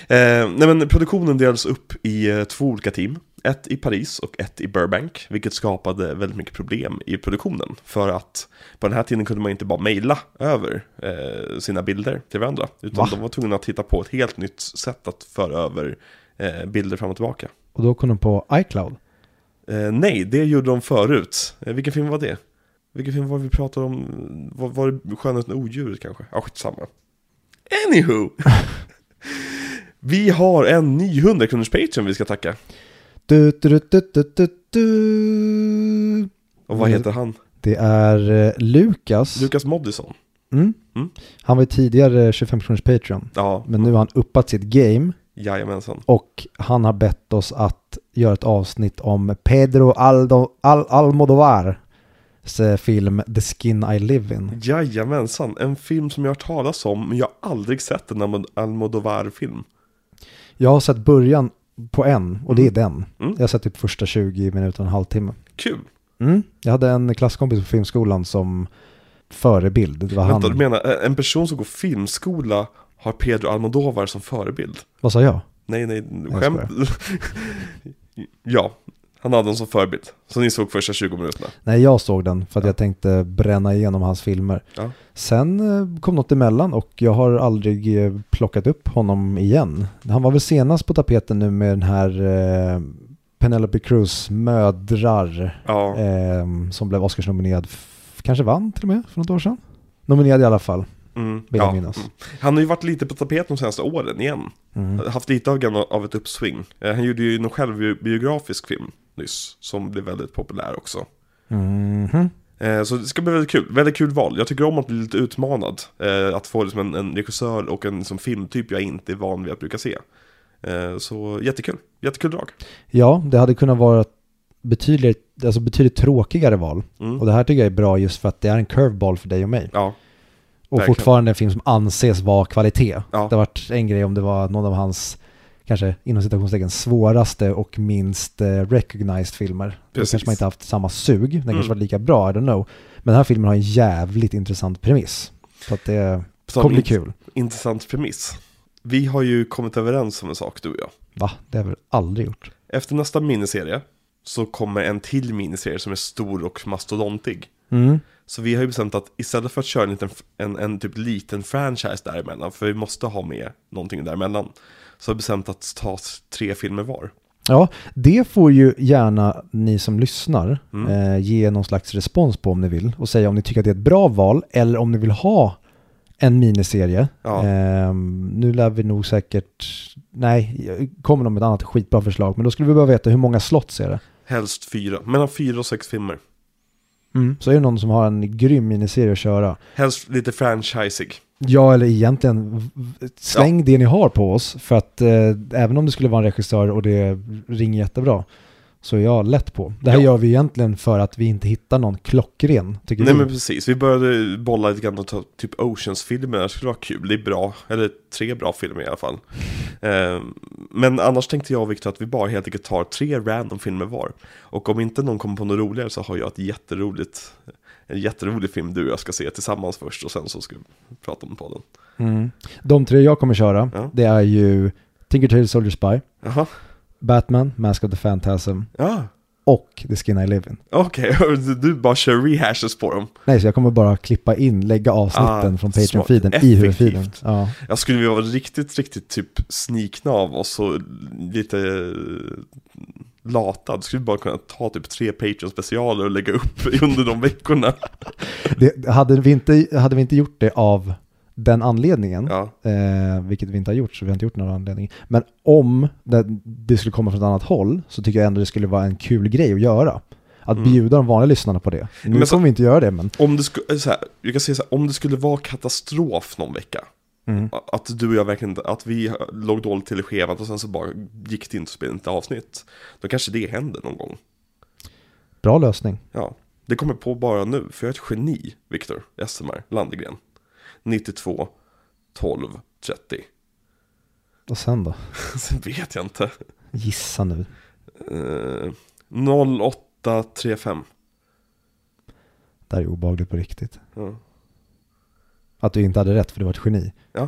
Eh, nej men produktionen delades upp i eh, två olika team. Ett i Paris och ett i Burbank, vilket skapade väldigt mycket problem i produktionen. För att på den här tiden kunde man inte bara mejla över eh, sina bilder till varandra. Utan Va? de var tvungna att hitta på ett helt nytt sätt att föra över eh, bilder fram och tillbaka. Och då kom de på iCloud. Eh, nej, det gjorde de förut. Eh, vilken film var det? Vilken film var det vi pratade om? Var, var det Skönheten och odjuret kanske? Ja, ah, skitsamma. Anywho! vi har en ny 100 kronors Patreon vi ska tacka. Du, du, du, du, du, du, du. Och vad Mm. heter han? Det är eh, Lukas. Lukas Moodysson. Mm. Mm. Han var ju tidigare 25 kronors Patreon. Ja, Men nu har han uppat sitt game jajamensan. och han har bett oss att göra ett avsnitt om Pedro Aldo, Al, Almodovars eh, film The Skin I Live In. Jajamensan, en film som jag har hört talas om men jag har aldrig sett en Almod- Almodovar-film. Jag har sett början på en och det är den. Mm. Jag har sett typ första 20 minuter och en halvtimme. Kul! Mm. Jag hade en klasskompis på filmskolan som förebild. Det var Vänta, han. du menar eh, en person som går filmskola har Pedro Almodovar som förebild? Vad sa jag? Nej, nej, Jag skämt. ja, han hade dem som förebild. Så ni såg första 20 minuterna. Nej, jag såg den för att jag tänkte bränna igenom hans filmer. Ja. Sen eh, kom något emellan och jag har aldrig eh, plockat upp honom igen. Han var väl senast på tapeten nu med den här eh, Penelope Cruz mödrar Ja, eh, som blev Oscarsnominerad, f- kanske vann till och med för något år sedan. Nominerad i alla fall, mm, Eh, vill jag ja. minnas. Han har ju varit lite på tapeten de senaste åren igen. Mm. Haft lite av, gamla- av ett uppsving. Eh, Han gjorde ju en självbiografisk film nyss, som blev väldigt populär också. Mhm. Eh, Så det ska bli väldigt kul, väldigt kul val. Jag tycker om att bli lite utmanad. eh, Att få liksom en, en regissör och en liksom, filmtyp jag inte är van vid att brukar se. Eh, Så jättekul, jättekul drag. Ja, det hade kunnat vara ett betydligt, alltså betydligt tråkigare val. Och Mm. det här tycker jag är bra just för att det är en curveball för dig och mig. Ja, Och Verkligen. fortfarande en film som anses vara kvalitet. Ja. Det har varit en grej om det var någon av hans, kanske inom citationstecken, svåraste och minst eh, recognized filmer. Då Precis. kanske man inte haft samma sug, den Mm. kanske var lika bra, I don't know. Men den här filmen har en jävligt intressant premiss. Så att det Som kommer bli in- kul. intressant premiss. Vi har ju kommit överens om en sak, du och jag. Va? Det har jag väl aldrig gjort? Efter nästa miniserie så kommer en till miniserie som är stor och mastodontig. Mm. Så vi har ju bestämt att istället för att köra en, liten, en, en typ liten franchise däremellan, för vi måste ha med någonting däremellan, så har vi bestämt att ta s- tre filmer var. Ja, det får ju gärna ni som lyssnar Mm. eh, ge någon slags respons på om ni vill och säga om ni tycker att det är ett bra val eller om ni vill ha en miniserie. Ja. Ehm, nu lär vi nog säkert, nej, jag kommer de med ett annat skitbra förslag, men då skulle vi behöva veta hur många slots är det. Helst fyra, mellan fyra och sex filmer. Mm. Så är det någon som har en grym miniserie att köra. Helst lite franchisig. Ja, eller egentligen, v- v- släng det ni har på oss, för att eh, även om det skulle vara en regissör och det ringer jättebra, så är jag lätt på. Det här Ja. gör vi egentligen för att vi inte hittar någon klockren, tycker Nej vi. men precis, vi började bolla lite grann och ta typ Oceans-filmer, det skulle vara kul, det är bra, eller tre bra filmer i alla fall. Ehm, men annars tänkte jag och Victor att vi bara helt enkelt tar tre random filmer var. Och om inte någon kommer på något roligare så har jag ett jätteroligt, en jätterolig film du och jag ska se tillsammans först och sen så ska vi prata om podden. Mm. De tre jag kommer köra, Ja. det är ju Tinker Tailor Soldier Spy, Jaha, Batman, Mask of the Phantasm ja, och The Skin I Live In. okej, Du- du bara kör rehashes på dem. Nej, så jag kommer bara klippa in, lägga avsnitten Ah, från smart. Patreon-feeden i huvudfilen. Effektivt. Ja. Jag skulle vilja vara riktigt, riktigt typ snikna av oss och lite eh, latad. Skulle vi bara kunna ta typ tre Patreon-specialer och lägga upp under de veckorna. Det, hade, vi inte, hade vi inte gjort det av den anledningen, Ja, eh, vilket vi inte har gjort, så vi har inte gjort någon anledning. Men om det, det skulle komma från ett annat håll så tycker jag ändå det skulle vara en kul grej att göra. Att Mm. bjuda de vanliga lyssnarna på det. Nu Men så- kommer vi inte göra det, men... om det, sku- eh, så här, jag kan säga så här, om det skulle vara katastrof någon vecka, a- att du och jag verkligen inte- att vi låg dåligt till i schemat och sen så bara gick det inte att spela inte avsnitt, då kanske det händer någon gång. Bra lösning. Ja, det kommer jag på bara nu, för jag är ett geni, Viktor SMR Landegren. 92, 12, 30. Och sen då? Sen vet jag inte. Gissa nu. Eh, 0835. Det här är obehagligt på riktigt. Ja. Att du inte hade rätt för du var ett geni. Ja.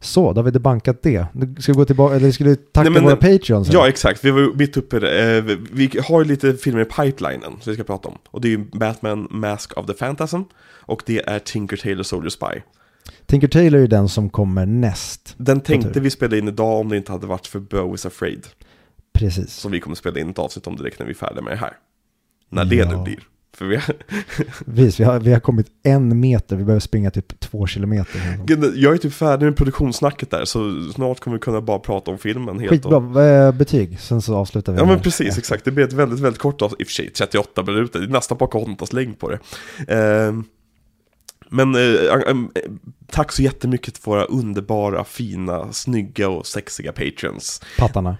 Så, då har vi debankat det. Nu ska vi gå tillbaka, eller ska du tacka Nej, men- våra patreons? eller? Ja, exakt. Vi var ju mitt uppe i det. Eh, vi- Vi har ju lite filmer i pipelinen som vi ska prata om. Och det är ju Batman Mask of the Phantasm. Och det är Tinker Tailor Soldier Spy. Tinker Tailor är ju den som kommer näst. Den tänkte tur. vi spela in idag om det inte hade varit för Bo is afraid. Precis. Som vi kommer spela in ett avsnitt om direkt när vi är färdiga med det här. När det nu Ja. blir. För vi, Precis, vi har, vi har kommit en meter, vi behöver springa typ två kilometer. jag är typ färdig med produktionssnacket där, så snart kommer vi kunna bara prata om filmen helt. och- Skitbra, eh, betyg, sen så avslutar vi. Ja med- men precis, exakt. Det blir ett väldigt, väldigt kort avsnitt. I och för sig 38 minuter, det är nästan Pocahontas längd på det. Ehm, men eh, eh, eh, tack så jättemycket till våra underbara, fina, snygga och sexiga patrons. Pattarna.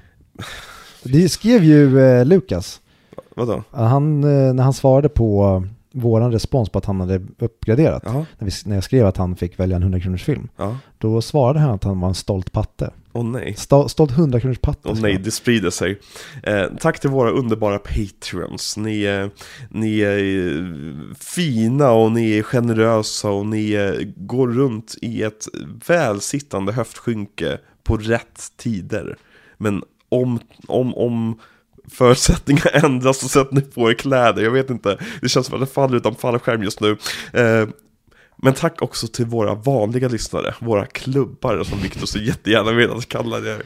Det skrev ju eh, Lukas. Vadå? Han, eh, när han svarade på våran respons på att han hade uppgraderat, Ja, när, vi, när jag skrev att han fick välja en 100 kronors film, ja. då svarade han att han var en stolt patte. Åh nej. Sto- stolt 100 kronors patte. Åh sa nej, han. det sprider sig. Eh, tack till våra underbara patrons. Ni, eh, ni är eh, fina och ni är generösa och ni eh, går runt i ett välsittande höftskynke på rätt tider. Men om, om, om förutsättningar ändras så sätter ni på er kläder. Jag vet inte, det känns som att det faller utan fallskärm just nu. Eh, men tack också till våra vanliga lyssnare, våra klubbar som Viktor så jättegärna vill att kalla det.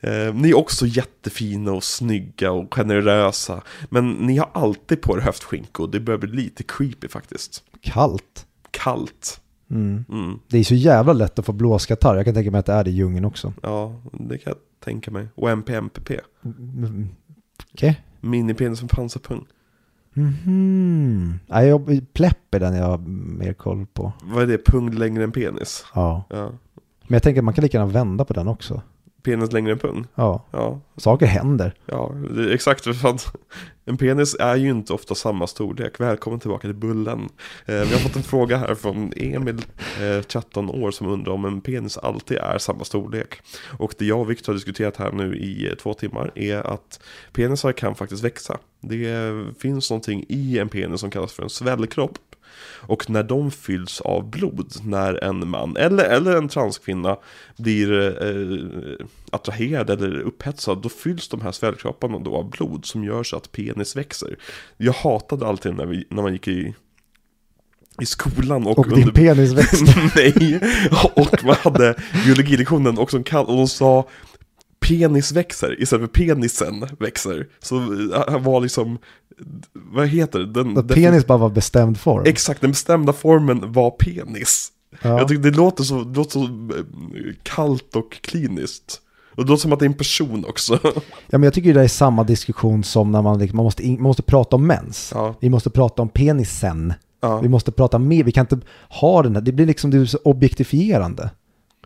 Eh, ni är också jättefina och snygga och generösa. Men ni har alltid på er höftskynke och det börjar bli lite creepy faktiskt. Kallt. Kallt. Mm. Mm, Det är så jävla lätt att få blåskatarr. Jag kan tänka mig att det är det i djungeln också. ja, det kan jag tänka mig. Och MPMPP. Mm. Okej. Minipenis med pansarpung. Mhm. Nej, jag Plepp är den jag har mer koll på. Vad är det? Pung längre än penis? Ja. Ja. Men jag tänker att man kan lika gärna vända på den också. Penis längre än pung? Ja, Ja, saker händer. ja, det är exakt. för fan. En penis är ju inte ofta samma storlek. Välkommen tillbaka till Bullen. Eh, vi har fått en fråga här från Emil, eh, 13 år, som undrar om en penis alltid är samma storlek. Och det jag och Viktor har diskuterat här nu i eh, två timmar är att penisar kan faktiskt växa. Det eh, finns någonting i en penis som kallas för en svällkropp. Och när de fylls av blod, när en man eller, eller en transkvinna blir eh, attraherad eller upphetsad, då fylls de här svällkropparna då av blod som gör så att penis växer. Jag hatade alltid när, vi, när man gick i, i skolan och, Och din penis växte. Nej, och man hade biologilektionen och, som kall- och de sa penis växer istället för penisen växer. Så eh, han var liksom, vad heter det? Den, Att den- penis bara var bestämd form. Exakt, den bestämda formen var penis. Ja. Jag tycker det låter så, det låter så eh, kallt och kliniskt. Och det låter som att det är en person också. ja, men jag tycker det är samma diskussion som när man, liksom, man, måste, in, man måste prata om mens. Ja. Vi måste prata om penisen. Ja. Vi måste prata mer. Vi kan inte ha den här. Det blir liksom det blir så objektifierande.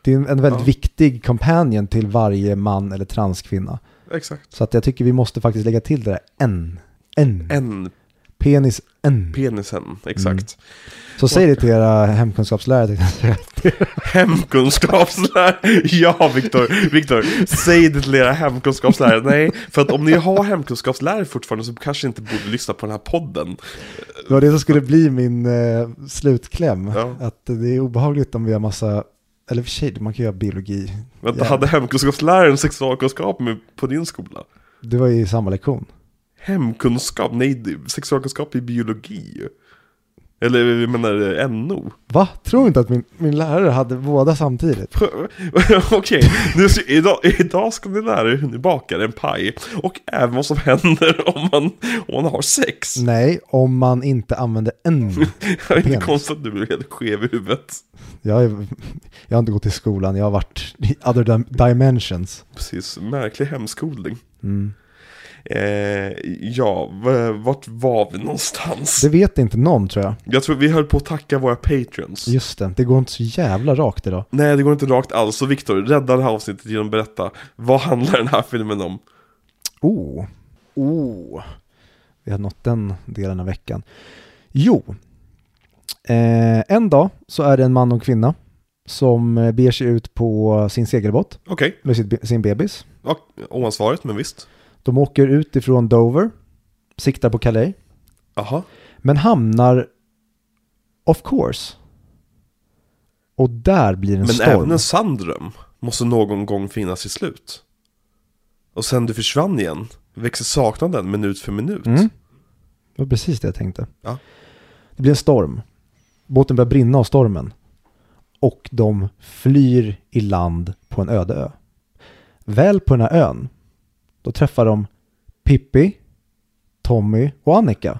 Det är en, en väldigt Ja. viktig companion till varje man eller transkvinna. Exakt. Så att jag tycker vi måste faktiskt lägga till det där en. En. En Penis en. penisen, exakt. Så säg det till era hemkunskapslärare. tänkte jag säga. Hemkunskapslärare, ja Viktor, Viktor, säg det till era hemkunskapslärare. Nej, för att om ni har hemkunskapslärare fortfarande så kanske ni inte borde lyssna på den här podden. Det var det som skulle bli min eh, slutkläm. Ja. Att det är obehagligt om vi har massa, eller för sig, man kan göra biologi. Vänta, Jävlar. hade hemkunskapsläraren sexualkunskap med, på din skola? Det var ju samma lektion. Hemkunskap? Nej, det- sexualkunskap i biologi. Eller jag menar eh, NO. Va? Tror du inte att min, min lärare hade båda samtidigt? Prö- Okej, nu ska- idag, idag ska ni lära er hur ni bakar en paj. Och även vad som händer om man, om man har sex. Nej, om man inte använder en. Det är inte Mm. Penis. konstigt att du blir helt skev i huvudet. Jag, är, jag har inte gått i skolan, jag har varit i other dim- dimensions. Precis, märklig hemskolning. Mm. Eh, ja, v- vart var vi någonstans? Det vet inte någon tror jag. Jag tror vi höll på att tacka våra patrons. Just det, det går inte så jävla rakt idag. Nej, det går inte rakt alls. Så Viktor, rädda det här avsnittet genom att berätta. Vad handlar den här filmen om? Oh. Oh. Vi har nått den delen av veckan. Jo. Eh, en dag så är det en man och en kvinna som eh, beger sig ut på sin segelbåt Okej, med sitt, be- sin bebis. ja, oansvarigt men visst. De åker ut ifrån Dover, siktar på Calais, Jaha, men hamnar off course. Och där blir en men storm. även en sann dröm måste någon gång finnas i slut. Och sen du försvann igen växer saknaden minut för minut. Mm. Det var precis det jag tänkte. Ja. Det blir en storm. Båten börjar brinna av stormen. Och de flyr i land på en öde ö. Väl på den här ön, då träffar de Pippi, Tommy och Annika.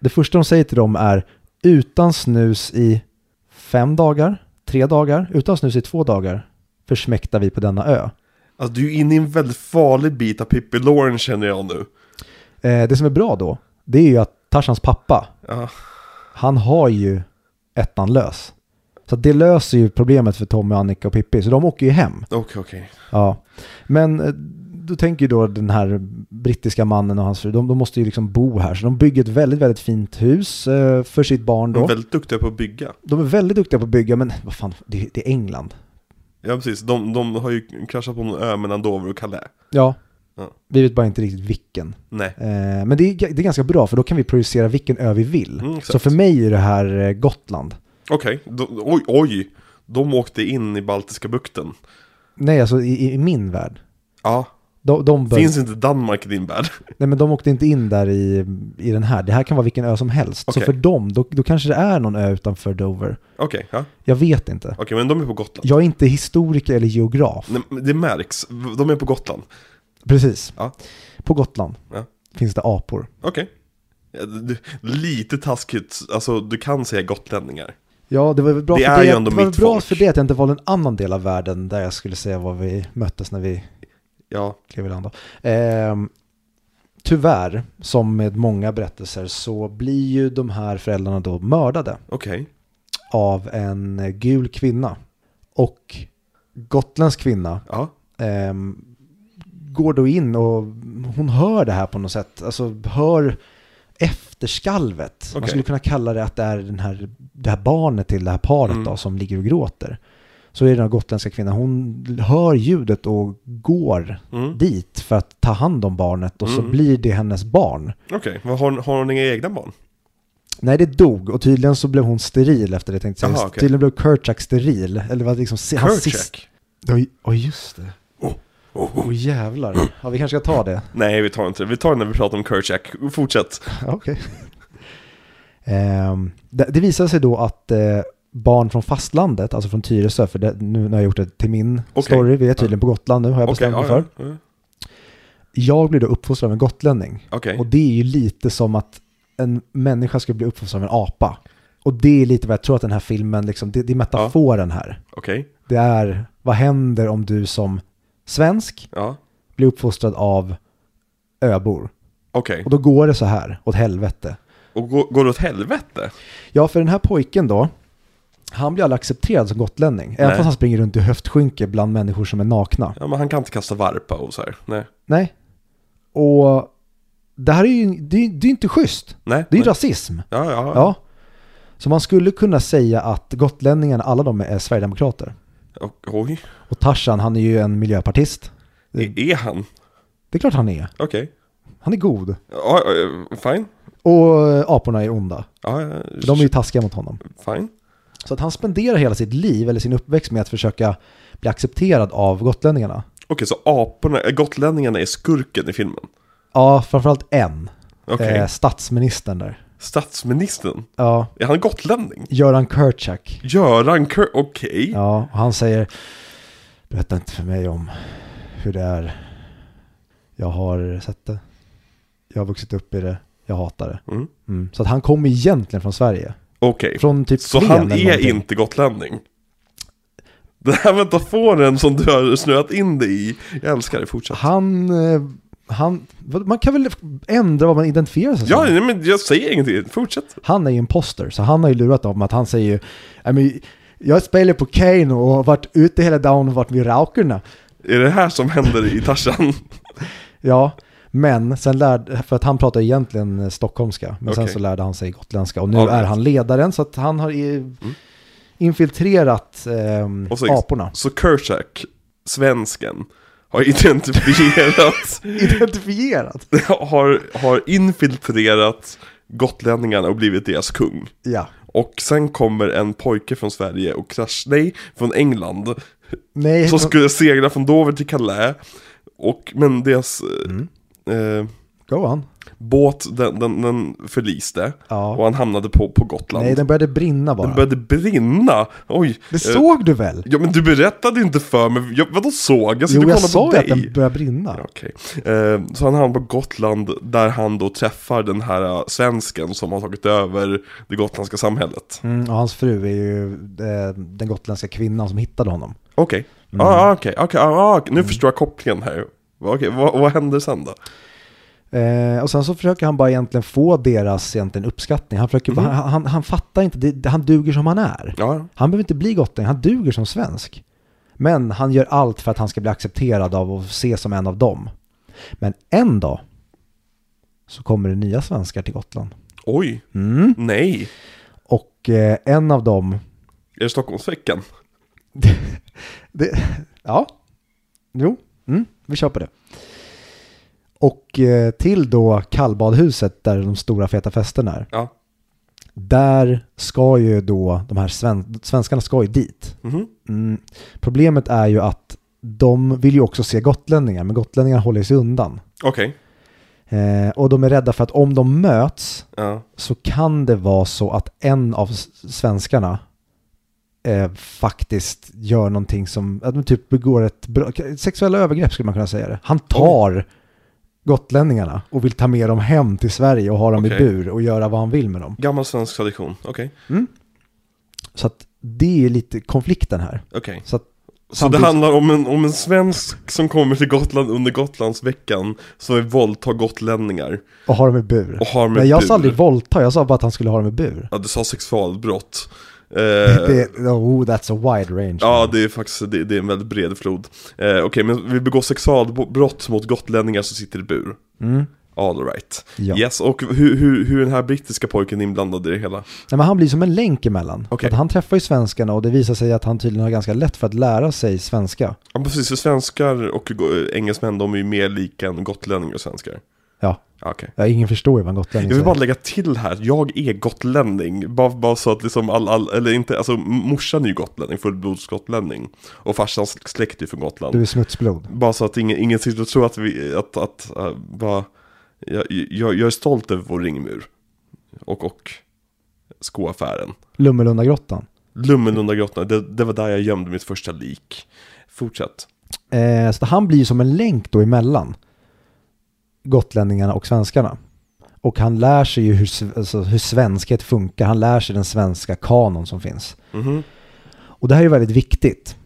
Det första de säger till dem är utan snus i fem dagar, tre dagar, utan snus i två dagar försmäktar vi på denna ö. Alltså du är inne i en väldigt farlig bit av Pippi Lauren känner jag nu. Eh, det som är bra då, det är ju att Tarsans pappa, Ja, han har ju ettan lös. Så att det löser ju problemet för Tommy, Annika och Pippi, så de åker ju hem. okej okej. Ja. Men eh, då tänker ju då den här brittiska mannen och hans fru, de, de måste ju liksom bo här. Så de bygger ett väldigt, väldigt fint hus eh, för sitt barn De är då. väldigt duktiga på att bygga. De är väldigt duktiga på att bygga, men vad fan, det, det är England. Ja precis, de, de har ju kraschat på en ö mellan Dover och Calais. Ja, Ja. vi vet bara inte riktigt vilken. Nej. Eh, men det är, det är ganska bra, för då kan vi projicera vilken ö vi vill. Mm, exakt. så för mig är det här eh, Gotland. Okej, då- oj, oj. De åkte in i Baltiska bukten. Nej, alltså i, i- i min värld. Ja, De, de bör- finns inte Danmark i din värld? Nej men de åkte inte in där i, i den här. Det här kan vara vilken ö som helst. Okej. Så för dem, då, då kanske det är någon ö utanför Dover. Okej, ja. Jag vet inte. Okej, men de är på Gotland. Jag är inte historiker eller geograf. Nej, men det märks, de är på Gotland. Precis. Ja. På Gotland Ja. finns det apor. Okej. Ja, du- du- Lite taskigt, alltså du kan säga gotlänningar. Ja, det var väl bra, Det för, är det, ju att- ändå det, var väl mitt bra folk. för det att jag inte valde en annan del av världen där jag skulle säga var vi möttes när vi Ja, klev i land. då. Ehm, tyvärr, som med många berättelser, så blir ju de här föräldrarna då mördade. okej. av en gul kvinna. Och gotländsk kvinna Ja, ehm, går då in och hon hör det här på något sätt. Alltså hör efterskalvet. Man Okej. skulle kunna kalla det att det är den här, det här barnet till det här paret Mm. då, som ligger och gråter. Så är det den här gotländska kvinnan, hon hör ljudet och går mm. dit för att ta hand om barnet och så Mm. blir det hennes barn. okej. Vad Har, har hon inga egna barn? Nej, det dog och tydligen så blev hon steril efter det tänkte jag. Jaha, säga. okej. Tydligen blev Kurchak steril. Eller vad liksom, se- hans sista... Kerchak? Ja, ju- ja, just det. Åh oh, jävlar. Ja, vi kanske ska ta det. Nej, vi tar inte det. Vi tar det när vi pratar om Kerchak. Fortsätt. Ja, Okej. Ehm, det, det visade sig då att eh, barn från fastlandet, alltså från Tyresö, för det, nu, nu har jag gjort det till min Okej. story, vi är tydligen på Gotland nu har jag bestämt mig för. ja, ja. Mm. Jag blev då uppfostrad av en gotlänning. Okej. Och det är ju lite som att en människa skulle bli uppfostrad av en apa. Och det är lite vad jag tror att den här filmen, liksom, det, det är metaforen här. Okej, Det är, vad händer om du som svensk ja. blir uppfostrad av öbor? Okej. Och då går det så här, åt helvete. Och går, går det åt helvete? Ja, för den här pojken då, han blir aldrig accepterad som gotlänning. Även Nej. fast han springer runt i höftskynke bland människor som är nakna. Ja, men han kan inte kasta varpa och så här. Nej. Nej. Och det här är ju det är, det är inte schysst. Nej. Det är ju nej. rasism. Ja, ja. ja. Ja. Så man skulle kunna säga att gotlänningarna, alla de är sverigedemokrater. Och, oj. Och Tarzan, han är ju en miljöpartist. Är, är han? Det är klart han är. Okej. Han är god. Ja, ja, fine. Och eh, aporna är onda. Ja, ja, För de är ju taskiga mot honom. fine. Så att han spenderar hela sitt liv, eller sin uppväxt, med att försöka bli accepterad av gotlänningarna. Okej, så aporna, äh, gotlänningarna är skurken i filmen? Ja, framförallt en. Okej. Eh, statsministern där. Statsministern? Ja, Är han gotlänning? Göran Kurchak. Göran Kör... Okej. Ja, och han säger Berätta inte för mig om hur det är. Jag har sett det. Jag har vuxit upp i det. Jag hatar det. Mm. Mm. Så att han kommer egentligen från Sverige. Okej. Från typ Så Flen han eller är någonting. inte gotlänning? Den här metaforen som du har snöat in dig i, jag älskar det, fortsätt. Han, eh, han, vad- man kan väl ändra vad man identifierar sig Ja, som. nej, men jag säger ingenting, fortsätt. Han är ju imposter, så han har ju lurat dem att han säger ju, "Nej, men jag spelar på Kane och har varit ute hela dagen och varit med raukerna. Är det här som händer i Tarzan? Ja, men sen lärde, för att han pratar egentligen stockholmska, men sen Okej. så lärde han sig gotländska och nu All right. är han ledaren så att han har i, infiltrerat ehm, Mm. Och så- aporna. Så Kershak, svensken, har identifierat, Identifierat. har, har infiltrerat gotlänningarna och blivit deras kung. Ja. Och sen kommer en pojke från Sverige och krasch, nej, från England. Nej, Som de- skulle segla från Dover till Calais. Och, men deras Mm. eh, eh, go on. båt, den, den, den förliste. Och Ja. han hamnade på, på Gotland. Nej, den började brinna bara. Den började brinna. Oj. Det eh, såg du väl? Ja men du berättade inte för mig, jag, vadå såg? Jag Jo, sitter och jag kollar på sa ju att dig. den började brinna. Ja, Okej. Eh, så han hamnar på Gotland där han då träffar den här eh, svensken som har tagit över det gotländska samhället. Mm, och hans fru är ju eh, den gotländska kvinnan som hittade honom. Okej, Mm. ah, okej, okej, ah, okej. nu förstår jag kopplingen här. Okej, vad, vad händer sen då? Eh, och sen så försöker han bara egentligen få deras egentligen uppskattning. Han, försöker bara, Mhm. han, han, han fattar inte, det, han duger som han är. Ja, Han behöver inte bli gottning, han duger som svensk. Men han gör allt för att han ska bli accepterad av och ses som en av dem. Men en dag så kommer det nya svenskar till Gotland. oj, Mm. nej. Och eh, en av dem, Är det Stockholmsveckan? det, ja, jo, mm, vi kör på det. Och eh, till då kallbadhuset där de stora feta festerna är. Ja. Där ska ju då de här sven, svenskarna ska ju dit. Mhm. Mm. Problemet är ju att de vill ju också se gotlänningar, men gotlänningar håller sig undan. Okej, Eh, och de är rädda för att om de möts ja. så kan det vara så att en av s- svenskarna eh, faktiskt gör någonting som, att de typ begår ett bra, sexuella övergrepp skulle man kunna säga det. Han tar gotlänningarna och vill ta med dem hem till Sverige och ha dem i Okej. bur och göra vad han vill med dem. gammal svensk tradition. Okej, Så att det är lite konflikten här. okej. Så att Så det handlar om en, om en svensk som kommer till Gotland under Gotlandsveckan som vill våldta gotlänningar och ha dem i bur. och har med Nej, jag sa bur. aldrig våldta, jag sa bara att han skulle ha dem i bur. Ja, du sa sexualbrott. Eh, Det, oh, that's a wide range. Ja, det är faktiskt det, det är en väldigt bred flod. Eh, Okej, men vi begår sexualbrott mot gotlänningar som sitter i bur. Mm. All right. Ja. Yes, och hur, hur, hur är den här brittiska pojken inblandad i det hela? Nej, men han blir som en länk emellan. Okej. Att han träffar ju svenskarna och det visar sig att han tydligen har ganska lätt för att lära sig svenska. Ja, precis, för svenskar och go- engelsmän, de är ju mer lika än gotlänningar och svenskar. Ja, Ja, Okej. ja ingen förstår ju vad en gotlänning Jag vill säger. bara lägga till här, jag är gotlänning. Bara, bara så att liksom all, all, eller inte, alltså m- morsan är ju gotlänning, fullblodsgotlänning. Och farsans släkt är från Gotland. Du är smutsblod. Bara så att ingen, ingen sitter och tror att vi, att, att, äh, bara, jag, jag, jag är stolt över vår ringmur. Och, och skoaffären. Lummelundagrottan. Lummelundagrottan, det, det var där jag gömde mitt första lik. Fortsätt. Eh, så han blir ju som en länk då emellan gotlänningarna och svenskarna. Och han lär sig ju hur, sv- alltså, hur svenskhet funkar. Han lär sig den svenska kanon som finns. Mhm. Och det här är ju väldigt viktigt.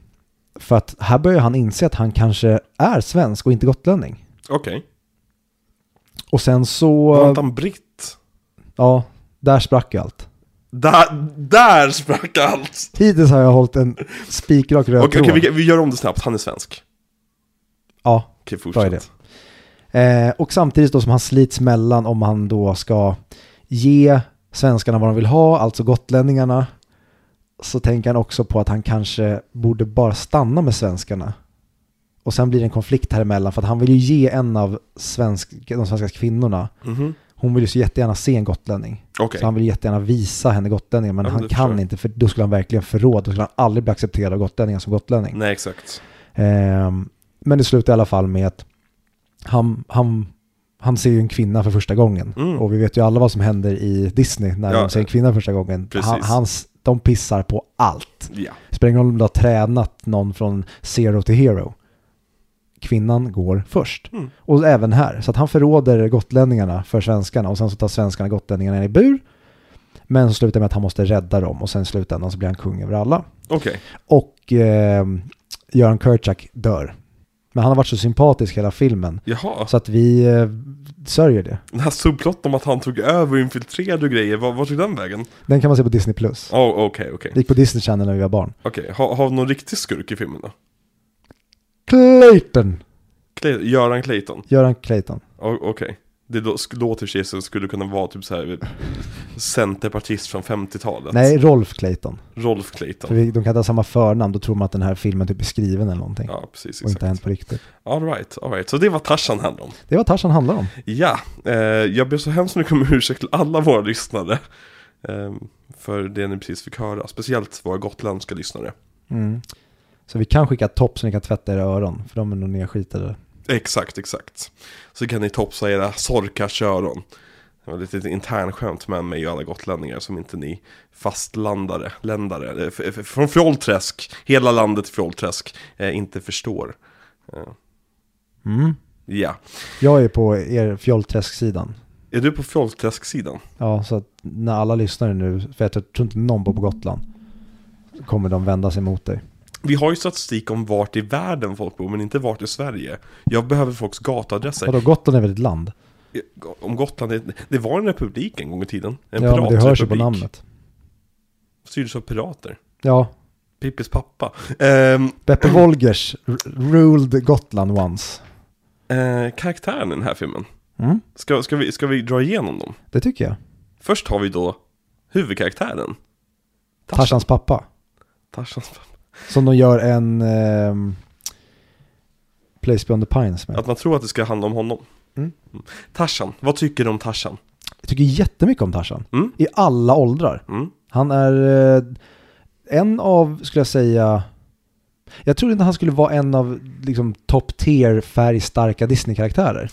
För att här börjar han inse att han kanske är svensk och inte gotlänning. Okej. Och sen så... Var inte han britt? Ja, där sprack ju allt. Där, där sprack allt! Hittills har jag hållit en spikrak röd Okej, tråd. okej, vi, vi gör om det snabbt, han är svensk. Ja. Okej, Bra fortsätt. idé. Eh, och samtidigt då som han slits mellan om han då ska ge svenskarna vad de vill ha, alltså gotlänningarna, så tänker han också på att han kanske borde bara stanna med svenskarna. Och sen blir det en konflikt här emellan för att han vill ju ge en av svensk, de svenska kvinnorna, Mhm. hon vill ju så jättegärna se en gotlänning. Okej, Så han vill jättegärna visa henne gotlänningar men Ja, men han det kan förstår jag. inte för då skulle han verkligen förråda, då skulle han aldrig bli accepterad av gotlänningar som gotlänning. nej exakt. Ehm, men det slutar i alla fall med att han, han, han ser ju en kvinna för första gången. Mm. Och vi vet ju alla vad som händer i Disney när Ja, de ser en kvinna första gången. precis. Han, hans, de pissar på allt. Ja. Spelar ingen roll om du har tränat någon från zero till hero. Kvinnan går först. Mm. Och även här. Så att han förråder gotlänningarna för svenskarna och sen så tar svenskarna gotlänningarna i bur. Men så slutar det med att han måste rädda dem och sen i slutändan så blir han kung över alla. Okej, Och eh, Göran Kerchak dör. Men han har varit så sympatisk hela filmen. jaha. Så att vi eh, sörjer det. Den här subplotten om att han tog över och infiltrerade och grejer, vad, vad tog den vägen? Den kan man se på Disney+. Plus. Oh, Okej, okej. Det gick på Disney Channel när vi var barn. Okej, har, har vi någon riktig skurk i filmen då? Clayton! Clay, Göran Clayton? Göran Clayton. O- Okej. Det lå- sk- låter sig som skulle kunna vara typ så här centerpartist från 50-talet. Nej, Rolf Clayton. Rolf För Clayton. vi, de kan inte ha samma förnamn, då tror man att den här filmen typ är skriven eller någonting. Ja, precis. och inte hänt Exakt. på riktigt. All right, all right. Så det var Tarzan handlade om. Det var Tarzan handlar om. Ja, eh, jag ber så hemskt mycket om ursäkt till alla våra lyssnare. Eh, för det ni precis fick höra, speciellt våra gotländska lyssnare. Mm. Så vi kan skicka topp så ni kan tvätta era öron, för de är nog nedskitade. Exakt, exakt. Så kan ni topsa era sorkars öron. Det var lite internskämt med mig och alla gotlänningar som inte ni fastlandare, ländare, eh, f- f- från Fjollträsk, hela landet Fjollträsk, eh, inte förstår. Mm. Ja, Jag är på er fjollträsk-sidan. är du på Fjollträsk-sidan? Ja, så att när alla lyssnar nu, för jag tror inte någon bor på Gotland, kommer de vända sig mot dig. Vi har ju statistik om vart i världen folk bor, men inte vart i Sverige. Jag behöver folks gatuadresser. Vadå, Gotland är väl ett land? Om Gotland, är- det var en republik en gång i tiden. En ja, men det hörs ju på piratrepublik. namnet. Styrdes av pirater. Ja, Pippis pappa. Ehm, Beppe Wolgers r- ruled Gotland once. eh, karaktären i den här filmen. Mm, Ska, ska, vi, ska vi dra igenom dem? det tycker jag. Först har vi då huvudkaraktären. Tarzan. Tarzans pappa. Tarzans pappa. Som de gör en ehm, Place Beyond the Pines med. Att man tror att det ska handla om honom. Mm. Tarzan, vad tycker du om Tarzan? Jag tycker jättemycket om Tarzan. Mm. I alla åldrar. Mm. Han är eh, en av, skulle jag säga, jag tror inte han skulle vara en av liksom top tier färgstarka Disney-karaktärer.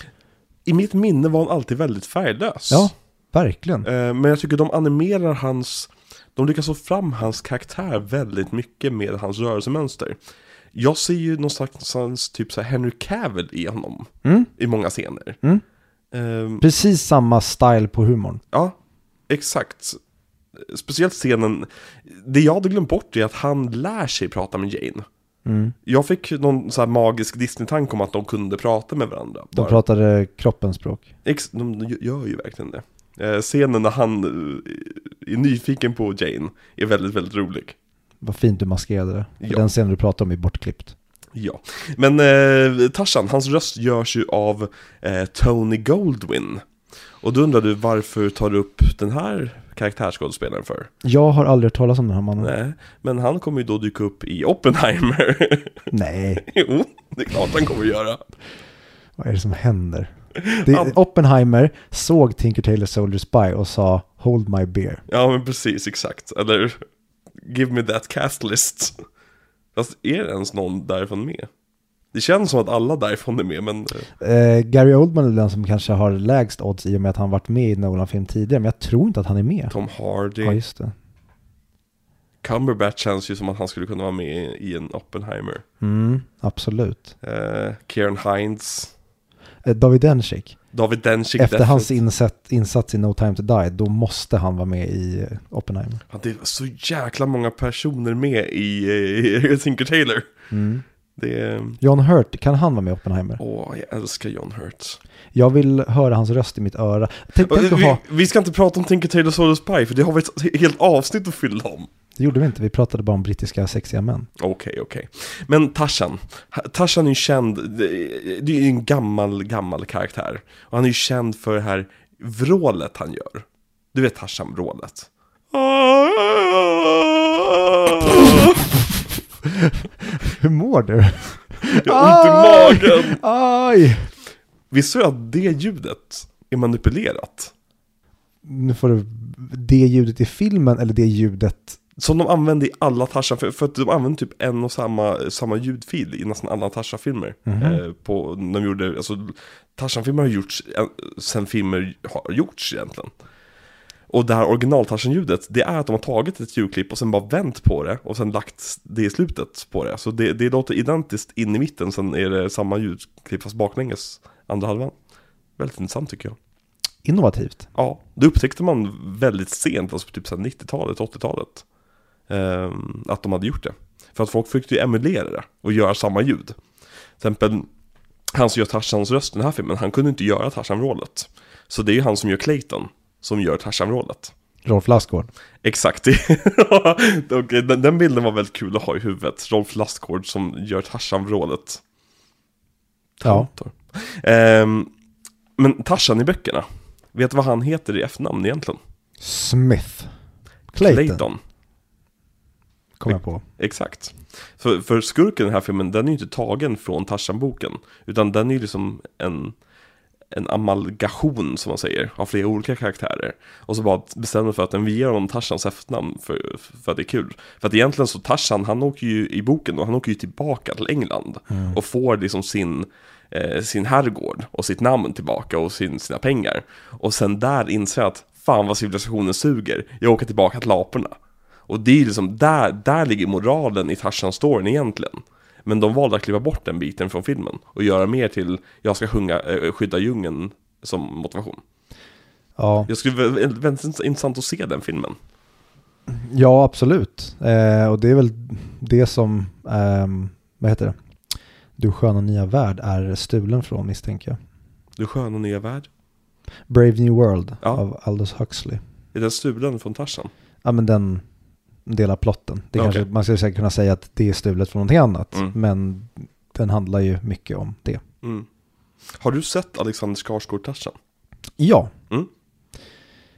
I mitt minne var han alltid väldigt färglös. Ja, verkligen. Eh, Men jag tycker de animerar hans, de lyckas få fram hans karaktär väldigt mycket med hans rörelsemönster. Jag ser ju någonstans typ så här Henry Cavill i honom Mm. i många scener. Mm. Eh, Precis samma style på humorn. ja, exakt. Speciellt scenen, det jag hade glömt bort är att han lär sig prata med Jane. Mm. Jag fick någon så här magisk Disney-tanke om att de kunde prata med varandra. De bara. pratade kroppens språk. Ex- de de gör ju verkligen det. Eh, scenen när han eh, är nyfiken på Jane är väldigt, väldigt rolig. Vad fint du maskerade det. För Ja. Den scenen du pratade om är bortklippt. Ja, men eh, Tarzan, hans röst görs ju av eh, Tony Goldwyn. Och då undrar du varför tar du upp den här karaktärsskådespelaren för? Jag har aldrig hört talas om den här mannen. Nej, Nej, men han kommer ju då dyka upp i Oppenheimer. jo, det är klart han kommer göra. vad är det som händer? Det, Ja. Oppenheimer såg Tinker Tailor Soldier Spy och sa Hold my beer. Ja, men precis, exakt. Eller, give me that cast list. Fast är det ens någon därifrån med? Det känns som att alla därifrån är med, men... eh, Eh, Gary Oldman är den som kanske har lägst odds i och med att han varit med i Nolan-film tidigare, men jag tror inte att han är med. Tom Hardy, Ja, just det. Cumberbatch känns ju som att han skulle kunna vara med i- i en Oppenheimer. Mm, absolut. Eh, Kieran Hines, Eh, David Dencik, David Dencik. efter hans definitivt. insett, insats i No Time To Die, då måste han vara med i eh, Oppenheimer. Ja, det är så jäkla många personer med i eh, Tinker Taylor. Mm. Det är... John Hurt, kan han vara med i Oppenheimer? Åh, jag älskar John Hurt. Jag vill höra hans röst i mitt öra. Tänk, Och, Typ, tänk att eh, Vi, ha... vi ska inte prata om Tinker Taylor Soldier Spy, för det har vi ett helt avsnitt att fylla om. Det gjorde vi inte, vi pratade bara om brittiska sexiga män. Okej, okej. Men Tarzan. Ha- Tarzan är ju känd, det- det är ju en gammal, gammal karaktär. Och han är ju känd för det här vrålet han gör. Du vet Tarzan-vrålet. Hur mår du? Jag Ah! har ont i magen. Aj! Visste du att det ljudet är manipulerat? Nu får du det ljudet i filmen eller det ljudet. Som de använde i alla Tarzan, för, för att de använde typ en och samma, samma ljudfil i nästan alla Tarzan-filmer. Eh, på, när de gjorde, alltså Tarzan-filmer har gjorts eh, sen filmer har gjorts egentligen. Och det här original ljudet det är att de har tagit ett ljudklipp och sen bara vänt på det och sen lagt det i slutet på det. Så det, det låter identiskt in i mitten, sen är det samma ljudklipp fast baklänges, andra halvan. Väldigt intressant tycker jag. Innovativt. Ja, det upptäckte man väldigt sent, alltså på typ så här 90-talet, 80-talet. ehm, att de hade gjort det. För att folk försökte ju emulera det och göra samma ljud. Till exempel, han som gör Tarzans röst i den här filmen, han kunde inte göra Tarzan-rollet. Så det är ju han som gör Clayton, som gör Tarzan-rollet. Rolf Lassgård. Exakt, det. Okej, den, den bilden var väldigt kul att ha i huvudet. Rolf Lassgård som gör Tarzan-rollet. Ja. Ehm, men Tarzan i böckerna, vet du vad han heter i efternamn egentligen? Smith. Clayton, Clayton. kom jag på. Exakt. För, för skurken i den här filmen, den är ju inte tagen från Tarzan-boken. Utan den är ju liksom en, en amalgation, som man säger, av flera olika karaktärer. Och så bara bestämmer för att den vi ger honom Tarzans efternamn för, för att det är kul. För att egentligen så Tarzan, han åker ju i boken och han åker ju tillbaka till England. Och får liksom sin, eh, sin herrgård och sitt namn tillbaka och sin, sina pengar. Och sen där inser jag att fan vad civilisationen suger, jag åker tillbaka till aporna. Och det är liksom, där, där ligger moralen i Tarzan-storyn egentligen. Men de valde att kliva bort den biten från filmen och göra mer till jag ska sjunga, eh, skydda djungeln som motivation. Ja, Jag skulle vä- vä- väldigt intressant att se den filmen. ja absolut. Eh, och det är väl det som, ehm, vad heter det? Du sköna nya värld är stulen från misstänker jag. Du sköna nya värld. Brave New World Ja. av Aldous Huxley. Är den stulen från Tarzan? Ja men den delar plotten. Det Okej. kanske, man skulle säkert kunna säga att det är stulet från någonting annat. Mm. Men den handlar ju mycket om det. Mm. Har du sett Alexander Skarsgård Tarzan? Ja. Mm.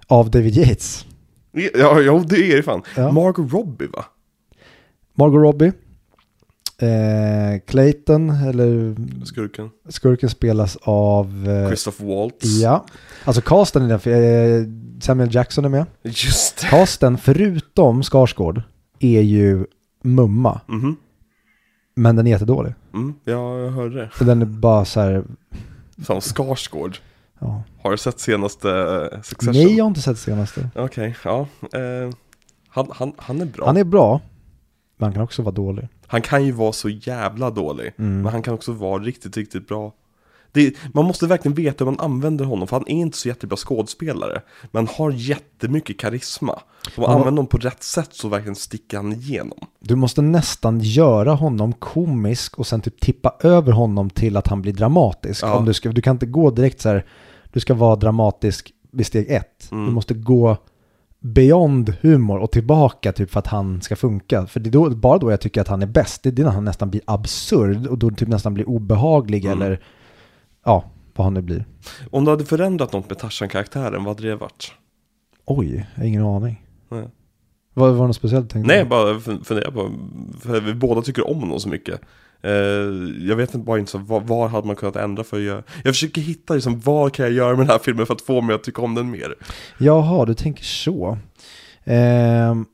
Av David Yates. Ja, ja, det är det fan. Ja. Margot Robbie va? Margot Robbie. Eh, Clayton, eller Skurken. skurken spelas av... Eh, Christoph Waltz. ja. Alltså casten i den, eh, Samuel Jackson är med. Just det. Casten, förutom Skarsgård, är ju mumma. Mhm. Men den är jättedålig. Mm, ja, jag hörde det. Så den är bara så här... Fan, Skarsgård. Ja. Har du sett senaste eh, Succession? Nej, jag har inte sett senaste. Okej, ja. Eh, han, han, han är bra. Han Han, är bra, men han kan också vara dålig. kan ju vara så jävla dålig. Mm. Men han kan också vara riktigt, riktigt bra. Det, man måste verkligen veta hur man använder honom, för han är inte så jättebra skådespelare. Men han har jättemycket karisma. Om man Han har- använder honom på rätt sätt så verkligen sticker han igenom. Du måste nästan göra honom komisk och sen typ tippa över honom till att han blir dramatisk. Ja. Om du, ska, du kan inte gå direkt så här, du ska vara dramatisk vid steg ett. Mm. Du måste gå beyond humor och tillbaka typ för att han ska funka. För det är då, bara då jag tycker att han är bäst, det är när han nästan blir absurd och då typ nästan blir obehaglig Mm. eller ja, vad han nu blir. Om du hade förändrat något med Tarzan-karaktären, vad hade det varit? Oj, jag har ingen aning. Nej. Vad var det något speciellt du tänkte? Nej, på? bara fun- fundera på, för vi båda tycker om honom så mycket. Eh, jag vet inte, bara inte så, vad, vad hade man kunnat ändra för att göra? Jag försöker hitta liksom, vad kan jag göra med den här filmen för att få mig att tycka om den mer? Jaha, du tänker så. Ehm,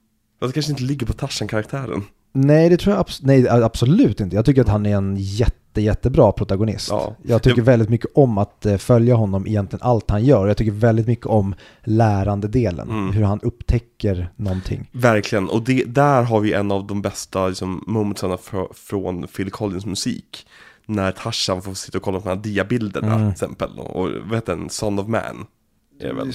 Jag kanske inte ligger på Tarzan-karaktären. nej, det tror jag abs- nej, a- absolut inte. Jag tycker att han är en jätte, jättebra protagonist. Ja. Jag tycker Det- väldigt mycket om att eh, följa honom i egentligen allt han gör. Jag tycker väldigt mycket om lärandedelen, Mm. hur han upptäcker någonting. Verkligen, och det, där har vi en av de bästa liksom, momentsen fr- från Phil Collins musik. När Tarzan får sitta och kolla på de här diabilderna Mm. till exempel. Och vad heter den? Son of Man. Är det väl?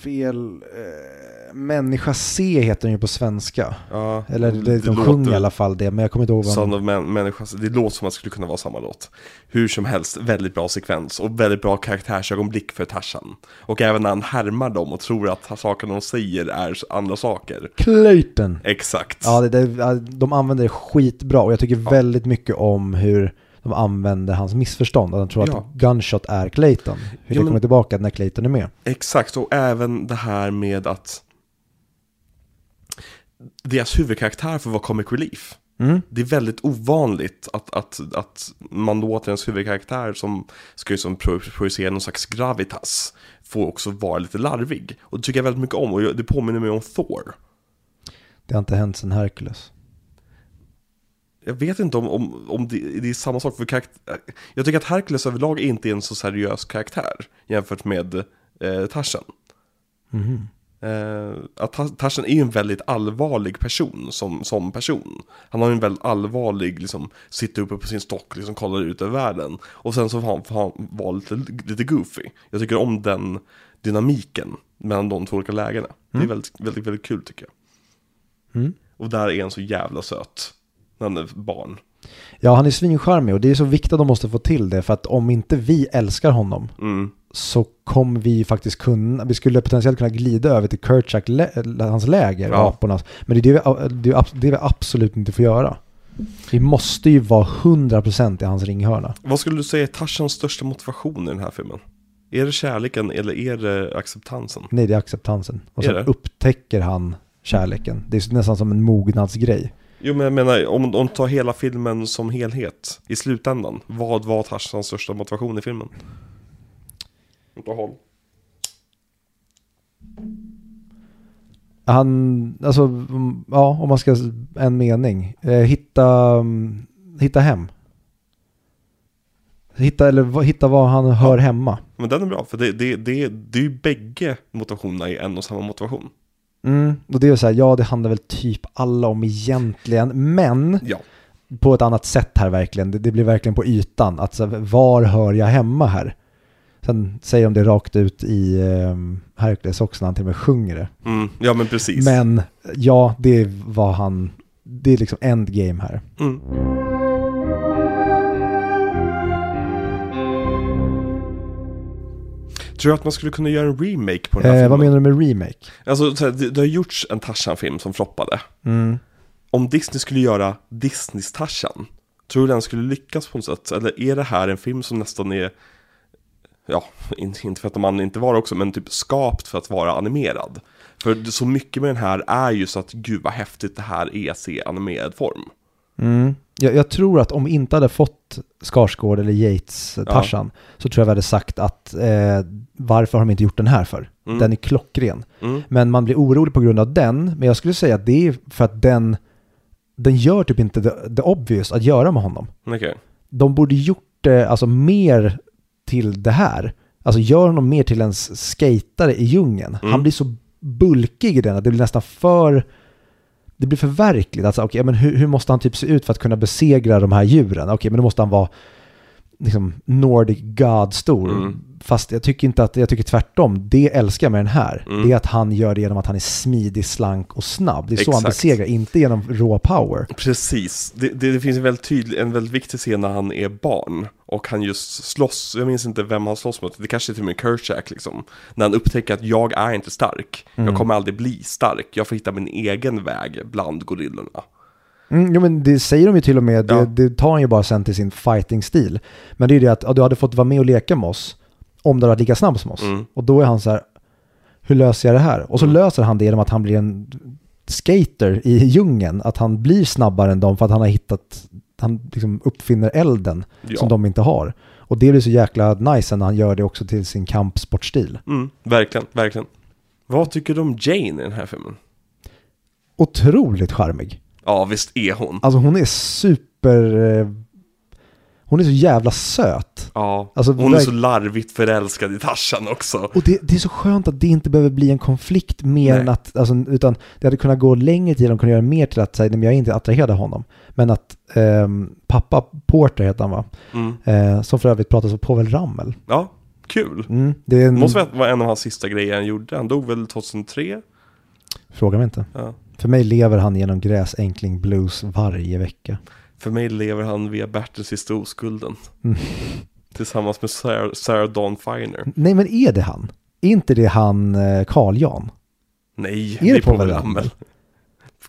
Fel eh, människa C heter den ju på svenska. Ja, Eller det, de Mm, låter- sjunger i alla fall det, men jag kommer inte ihåg vad Son de... of man, människa, det låter som att det skulle kunna vara samma låt. Hur som helst, väldigt bra sekvens och väldigt bra karaktärsögonblick för Tarzan. Och även när han härmar dem och tror att sakerna de säger är andra saker. Clayton! Exakt. Ja, det, det, ja, de använder det skitbra och jag tycker väldigt mycket om hur de använder hans missförstånd. Att de tror Ja. att Gunshot är Clayton. Hur Ja, det men- kommer tillbaka när Clayton är med. Exakt, och även det här med att deras huvudkaraktär får vara comic relief. Mm. Det är väldigt ovanligt att, att, att man låter ens huvudkaraktär som ska ju som pro- projicera någon slags gravitas få också vara lite larvig. Och det tycker jag väldigt mycket om och jag- det påminner mig om Thor. Det har inte hänt sedan Hercules. Jag vet inte om, om, om det, det är samma sak för karaktär. Jag tycker att Hercules överlag inte är en så seriös karaktär jämfört med eh, Tarzan. Eh, att Ta- Tarzan är ju en väldigt allvarlig person som, som person. Han har ju en väldigt allvarlig, liksom, sitter uppe på sin stock, liksom kollar ut över världen. Och sen så får han, får han vara lite, lite goofy. Jag tycker om den dynamiken mellan de två olika lägena. Det är väldigt, väldigt, väldigt kul tycker jag. Mm. Och där är han så jävla söt. När han är barn. Ja, han är svincharmig och det är så viktigt att de måste få till det för att om inte vi älskar honom Mm. så kommer vi faktiskt kunna, vi skulle potentiellt kunna glida över till Kurchak, lä, hans läger, Ja. apornas. Men det är det, vi, det, är abs- det vi absolut inte får göra. Vi måste ju vara 100% i hans ringhörna. Vad skulle du säga är Tarzans största motivation i den här filmen? Är det kärleken eller är det acceptansen? Nej, det är acceptansen. Och Är sen det? upptäcker han kärleken. Det är nästan som en mognadsgrej. Jo men jag menar, om om du tar hela filmen som helhet i slutändan. Vad var Tarzans största motivation i filmen? Inte håll. Han, alltså, mm, ja, om man ska, s- en mening. Eh, hitta, mm, hitta hem. Hitta, eller vad- hitta var han hör hemma. Men den är bra, för det, det, det, det är ju bägge motivationerna i en och samma motivation. Mm, och det är ju så här, ja det handlar väl typ alla om egentligen, men Ja. på ett annat sätt här verkligen. Det, det blir verkligen på ytan, att så här, var hör jag hemma här? Sen säger de det rakt ut i eh, Hercules också när han till och med sjunger det. Mm, ja men precis. Men ja, det var han, det är liksom endgame här. Mm. Tror du att man skulle kunna göra en remake på den här Eh, vad filmen? menar du med remake? Alltså, så här, det, det har gjorts en Tarzan-film som floppade. Mm. Om Disney skulle göra Disneys Tarzan, tror du den skulle lyckas på något sätt? Eller är det här en film som nästan är, ja, in- inte för att de andra inte var det också, men typ skapt för att vara animerad? För det- så mycket med den här är ju så att gud vad häftigt det här är att se animerad form. Mm. Jag, jag tror att om vi inte hade fått Skarsgård eller Yates eh, Tarzan så tror jag vi hade sagt att eh, varför har de inte gjort den här för? Den är klockren. Mm. Men man blir orolig på grund av den. Men jag skulle säga att det är för att den, den gör typ inte the, the obvious att göra med honom. Okej. De borde gjort det alltså, mer till det här. Alltså gör honom mer till en s- skatare i djungeln. Mm. Han blir så bulkig i den att det blir nästan för... Det blir för verkligt. Alltså, okay, men hur, hur måste han typ se ut för att kunna besegra de här djuren? Okej, men då måste han vara liksom, Nordic God-stor. Mm. Fast jag tycker inte att, jag tycker tvärtom. Det älskar jag med den här. Mm. Det är att han gör det genom att han är smidig, slank och snabb. Det är så han Exakt. besegrar, inte genom raw power. Precis, det, det, det finns en väldigt tydlig, en väldigt viktig scen när han är barn och han just slåss, jag minns inte vem han slåss mot, det kanske är till och med Kerchak liksom. När han upptäcker att jag är inte stark, Mm. jag kommer aldrig bli stark, jag får hitta min egen väg bland gorillorna. Mm, jo, men det säger de ju till och med, Ja. det, det tar han ju bara sen till sin fighting-stil. Men det är ju det att ja, du hade fått vara med och leka med oss om du hade varit lika snabb som oss. Mm. Och då är han så här, hur löser jag det här? Och så löser han det genom att han blir en skater i djungeln, att han blir snabbare än dem för att han har hittat, han liksom uppfinner elden Ja. som de inte har. Och det blir så jäkla nice när han gör det också till sin kampsportstil. Mm, verkligen, verkligen. Vad tycker du om Jane i den här filmen? Otroligt charmig. Ja, visst är hon. Alltså hon är super... eh, Hon är så jävla söt. Ja, Alltså, hon är verk- så larvigt förälskad i Tarzan också. Och det, det är så skönt att det inte behöver bli en konflikt mer Nej. än att, alltså, utan det hade kunnat gå längre tid, de kunde göra mer till att säga, nej men jag är inte attraherad av honom. Men att ehm, pappa Porter heter han va? Mm. Eh, som för övrigt pratas av Povel Ramel. Ja, kul. Mm, det är en, Måste väl vara en av hans sista grejer han gjorde, han dog väl 2003? fråga mig inte. Ja. För mig lever han genom Gräs Enkling Blues varje vecka. För mig lever han via Bertils sista oskulden. Mm. Tillsammans med Sarah, Sarah Dawn Finer. Nej men är det han? Är inte det han eh, Carl Jan? Nej, Är det Povel Ramel. Ramel?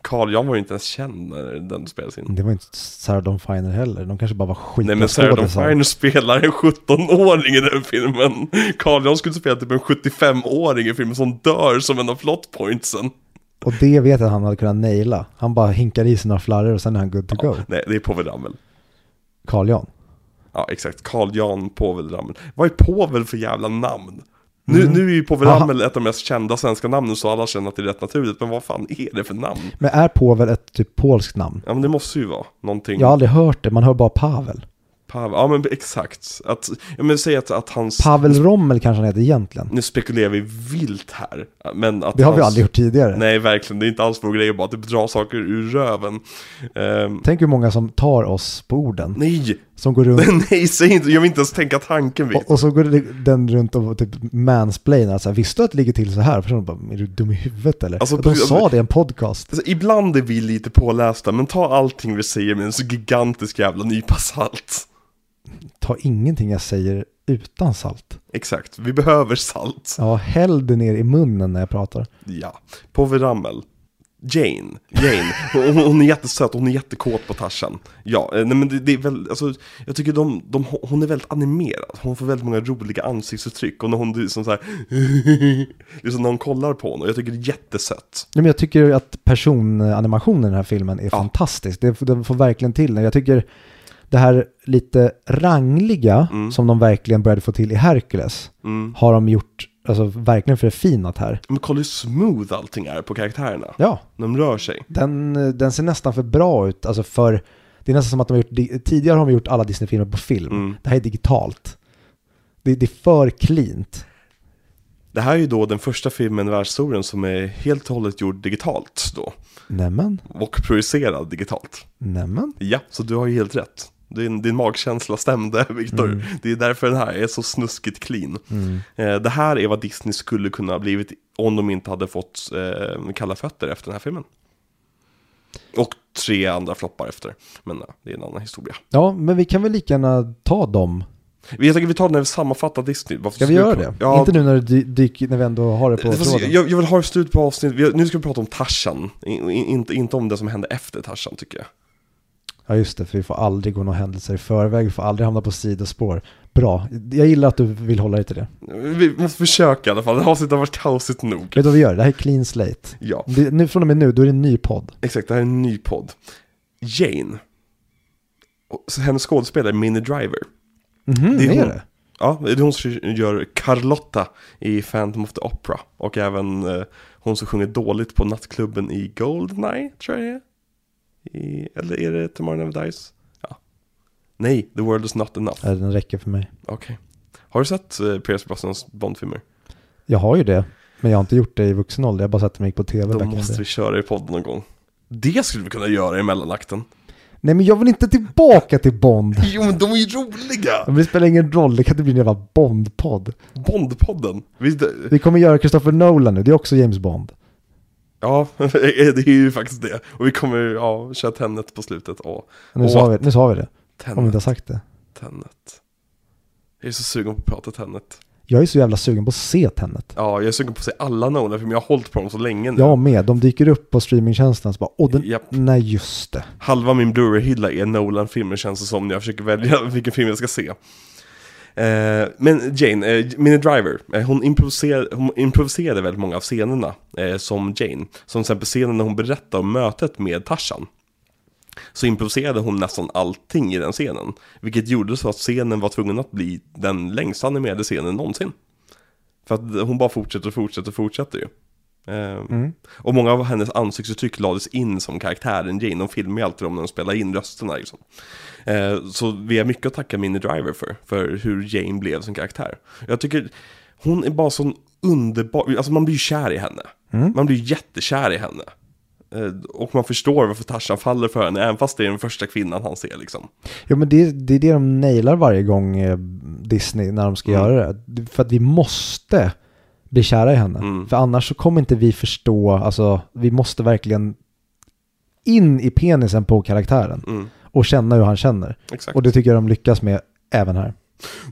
Carl Jan var ju inte ens känd när den spelades in. Det var inte Sarah Dawn Finer heller, de kanske bara var Nej skitbra men Sarah Dawn skådisar. Finer spelar en 17-åring i den filmen. Carl Jan skulle spela typ en 75-åring i filmen som dör som en av plotpointsen. Och det vet jag att han hade kunnat naila. Han bara hinkar i sina flarror och sen är han good to go. Nej, det är Povel Ramel. Carl Jan. Ja, exakt. Carl Jan Povel Ramel. Vad är Povel för jävla namn? Nu, nu är ju Povel Mm. Aha. Ramel ett av de mest kända svenska namnen så alla känner att det är rätt naturligt. Men vad fan är det för namn? Men är Povel ett typ polskt namn? Ja men det måste ju vara någonting. Jag har aldrig hört det, man hör bara Pavel. Pavel, ja men exakt. Att, ja men säg att, att hans... Pavel Rommel kanske han heter egentligen. nu spekulerar vi vilt här. Men att Det har vi hans- aldrig gjort tidigare. Nej verkligen, det är inte alls vår grej att bara typ dra saker ur röven. Ehm, Tänk hur många som tar oss på orden. nej, Som går runt nej säg inte, jag vill inte ens tänka tanken vid. och, och så går det- den runt och typ mansplainar. Så här, Visste du att det ligger till så här? Personen bara, är du dum i huvudet eller? Alltså, de precis- sa det i en podcast. Alltså, ibland är vi lite pålästa, men ta allting vi säger med en så gigantisk jävla nypa salt. Ta ingenting jag säger utan salt. Exakt, vi behöver salt. Ja, häll det ner i munnen när jag pratar. Ja, Povel Ramel. Jane, Jane. Hon, hon är jättesöt, hon är jättekåt på Tarzan. Ja, eh, nej men det, det är väl, alltså, jag tycker de, de, hon är väldigt animerad. Hon får väldigt många roliga ansiktsuttryck och när hon liksom så här, liksom när hon kollar på honom, jag tycker det är jättesött. Nej, men jag tycker att personanimationen i den här filmen är fantastisk. Det, den får verkligen till den. Jag tycker det här lite rangliga som de verkligen började få till i Hercules har de gjort, alltså verkligen förfinat här. Mm. Men kolla hur smooth allting är på karaktärerna. Ja, När de rör sig. den, den ser nästan för bra ut. Alltså för, det är nästan som att de har gjort, di- tidigare har de gjort alla Disney-filmer på film. Det här är digitalt. Det, det är för cleant. Det här är ju då den första filmen i världshistorien som är helt och hållet gjord digitalt då. Nämen, Och projicerad digitalt. nämen. Ja, så du har ju helt rätt. Din, din magkänsla stämde, Viktor. Mm. Det är därför den här är så snuskigt clean. Eh, det här är vad Disney skulle kunna ha blivit om de inte hade fått eh, kalla fötter efter den här filmen. Och tre andra floppar efter. Men eh, det är en annan historia. Ja, men vi kan väl lika gärna ta dem. Jag tänker vi tar den när vi sammanfattar Disney. Varför Ska vi skulle göra vi- det? Ja, Inte nu när, det dy- dyker, när vi ändå har det på Fast tråden. jag, jag vill ha ett slut på avsnitt, Vi- nu ska vi prata om Tarzan, I- i- inte, inte om det som hände efter Tarzan tycker jag. Ja just det, för vi får aldrig gå några händelser i förväg, vi får aldrig hamna på sidospår. Bra, jag gillar att du vill hålla dig till det. Vi måste försöka i alla fall, det här avsnittet har varit kaosigt nog. Vet du vad vi gör? Det här är clean slate. Ja, Det, nu, från och med nu, då är det en ny podd. exakt, det här är en ny podd. Jane, Och så hennes skådespelare Minnie Driver, Det Mhm, det är är, hon. det. ja, det är hon som gör Carlotta i Phantom of the Opera och även eh, hon som sjunger dåligt på nattklubben i Goldeneye, tror jag det är. I, eller är det Tomorrow Never Dies? Ja. Nej, The World Is Not Enough. Ja, den räcker för mig. Okej. Har du sett eh, Pierce Brosnans Bondfilmer? Jag har ju det, men jag har inte gjort det i vuxen ålder. Jag har bara sett att de gick på tv. Då back in måste the- vi köra i podden någon gång. Det skulle vi kunna göra i mellanakten. Nej men jag vill inte tillbaka till Bond. Jo men de är ju roliga! Men det spelar ingen roll, det kan inte bli en jävla Bond-podd. Bondpodden. Visst, Vi kommer göra Christopher Nolan nu, det är också James Bond. ja, det är ju faktiskt det. Och vi kommer ja, köra Tenet på slutet. Åh, Nu, Åh, sa vi, nu sa vi det, om vi Tenet, inte har sagt det. Tenet. Jag är så sugen på att prata Tenet. Jag är så jävla sugen på att se Tenet. Ja, jag är sugen på att se alla Nolan, för jag har hållit på dem så länge nu. Jag med, de dyker upp på streamingtjänsten och så bara, åh den, Japp. nej just det. Halva min Blu-ray-hylla är Nolan-filmer känns det som när jag försöker välja vilken film jag ska se. Eh, men Jane, eh, Minnie Driver, eh, hon, improviserade, hon improviserade väldigt många av scenerna eh, som Jane. Som till exempel scenen när hon berättar om mötet med Tarzan. Så improviserade hon nästan allting i den scenen. Vilket gjorde så att scenen var tvungen att bli den längsta animerade scenen någonsin. För att hon bara fortsätter och fortsätter och fortsätter ju. Eh, Och många av hennes ansiktsuttryck lades in som karaktären Jane. De filmar ju alltid dem när de spelar in rösterna liksom. Eh, så vi har mycket att tacka Minnie Driver för, för hur Jane blev som karaktär. Jag tycker hon är bara sån underbar, alltså man blir ju kär i henne. Man blir ju jättekär i henne. Eh, och man förstår varför Tarzan faller för henne, även fast det är den första kvinnan han ser liksom. Jo men det, det är det de nailar varje gång eh, Disney när de ska Mm. göra det. För att vi måste bli kära i henne. Mm. För annars så kommer inte vi förstå, alltså vi måste verkligen in i penisen på karaktären Mm, och känna hur han känner. exakt. Och det tycker jag de lyckas med även här.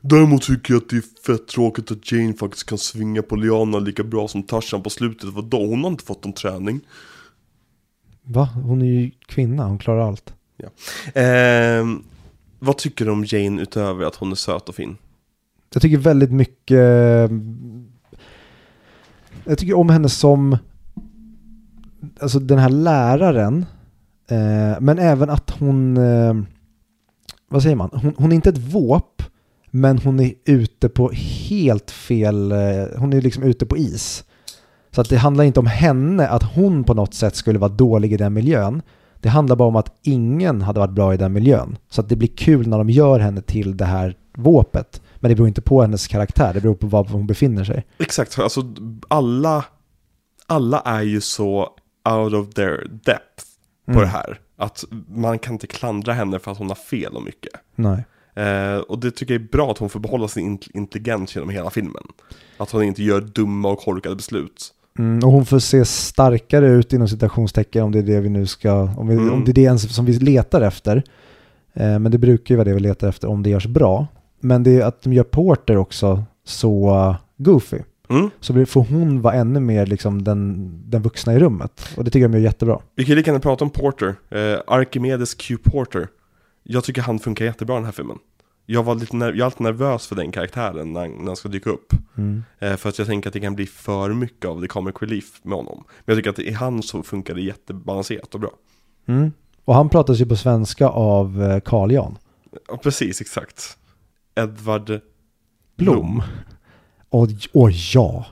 Däremot tycker jag att det är fett tråkigt att Jane faktiskt kan svinga på Liana lika bra som Tarzan på slutet. Vadå, hon har inte fått någon träning. Va? Hon är ju kvinna, hon klarar allt. Ehm, vad tycker du om Jane utöver att hon är söt och fin? Jag tycker väldigt mycket... eh, Jag tycker om henne som... Alltså den här läraren. Eh, men även att hon... Eh, vad säger man? Hon, hon är inte ett våp. Men hon är ute på helt fel... Eh, hon är liksom ute på is. Så att det handlar inte om henne, att hon på något sätt skulle vara dålig i den miljön. Det handlar bara om att ingen hade varit bra i den miljön. Så att det blir kul när de gör henne till det här våpet. Men det beror inte på hennes karaktär, det beror på var hon befinner sig. Exakt, alltså alla, alla är ju så out of their depth på Mm. det här. Att man kan inte klandra henne för att hon har fel och mycket. Mm. Nej. Eh, och det tycker jag är bra att hon får behålla sin int- intelligens genom hela filmen. Att hon inte gör dumma och korkade beslut. Mm, och hon får se starkare ut inom citationstecken om det är det vi nu ska, om, vi, Mm. om det är det ens som vi letar efter. Eh, men det brukar ju vara det vi letar efter om det görs bra. Men det är att de gör Porter också så eh, goofy. Mm. Så blir- får hon vara ännu mer liksom den, den vuxna i rummet. Och det tycker jag de gör jättebra. Vi kan lika gärna prata om Porter, eh, Archimedes Q Porter. Jag tycker han funkar jättebra i den här filmen. Jag var lite ner- jag är alltid nervös för den karaktären när, han- när han ska dyka upp. Mm. Eh, för att jag tänker att det kan bli för mycket av the comic relief med honom. Men jag tycker att i han så funkar det jättebalanserat och bra. Mm. Och han pratas ju på svenska av eh, Carl Jan Ja, precis, exakt. Edvard Blom. Och, och ja,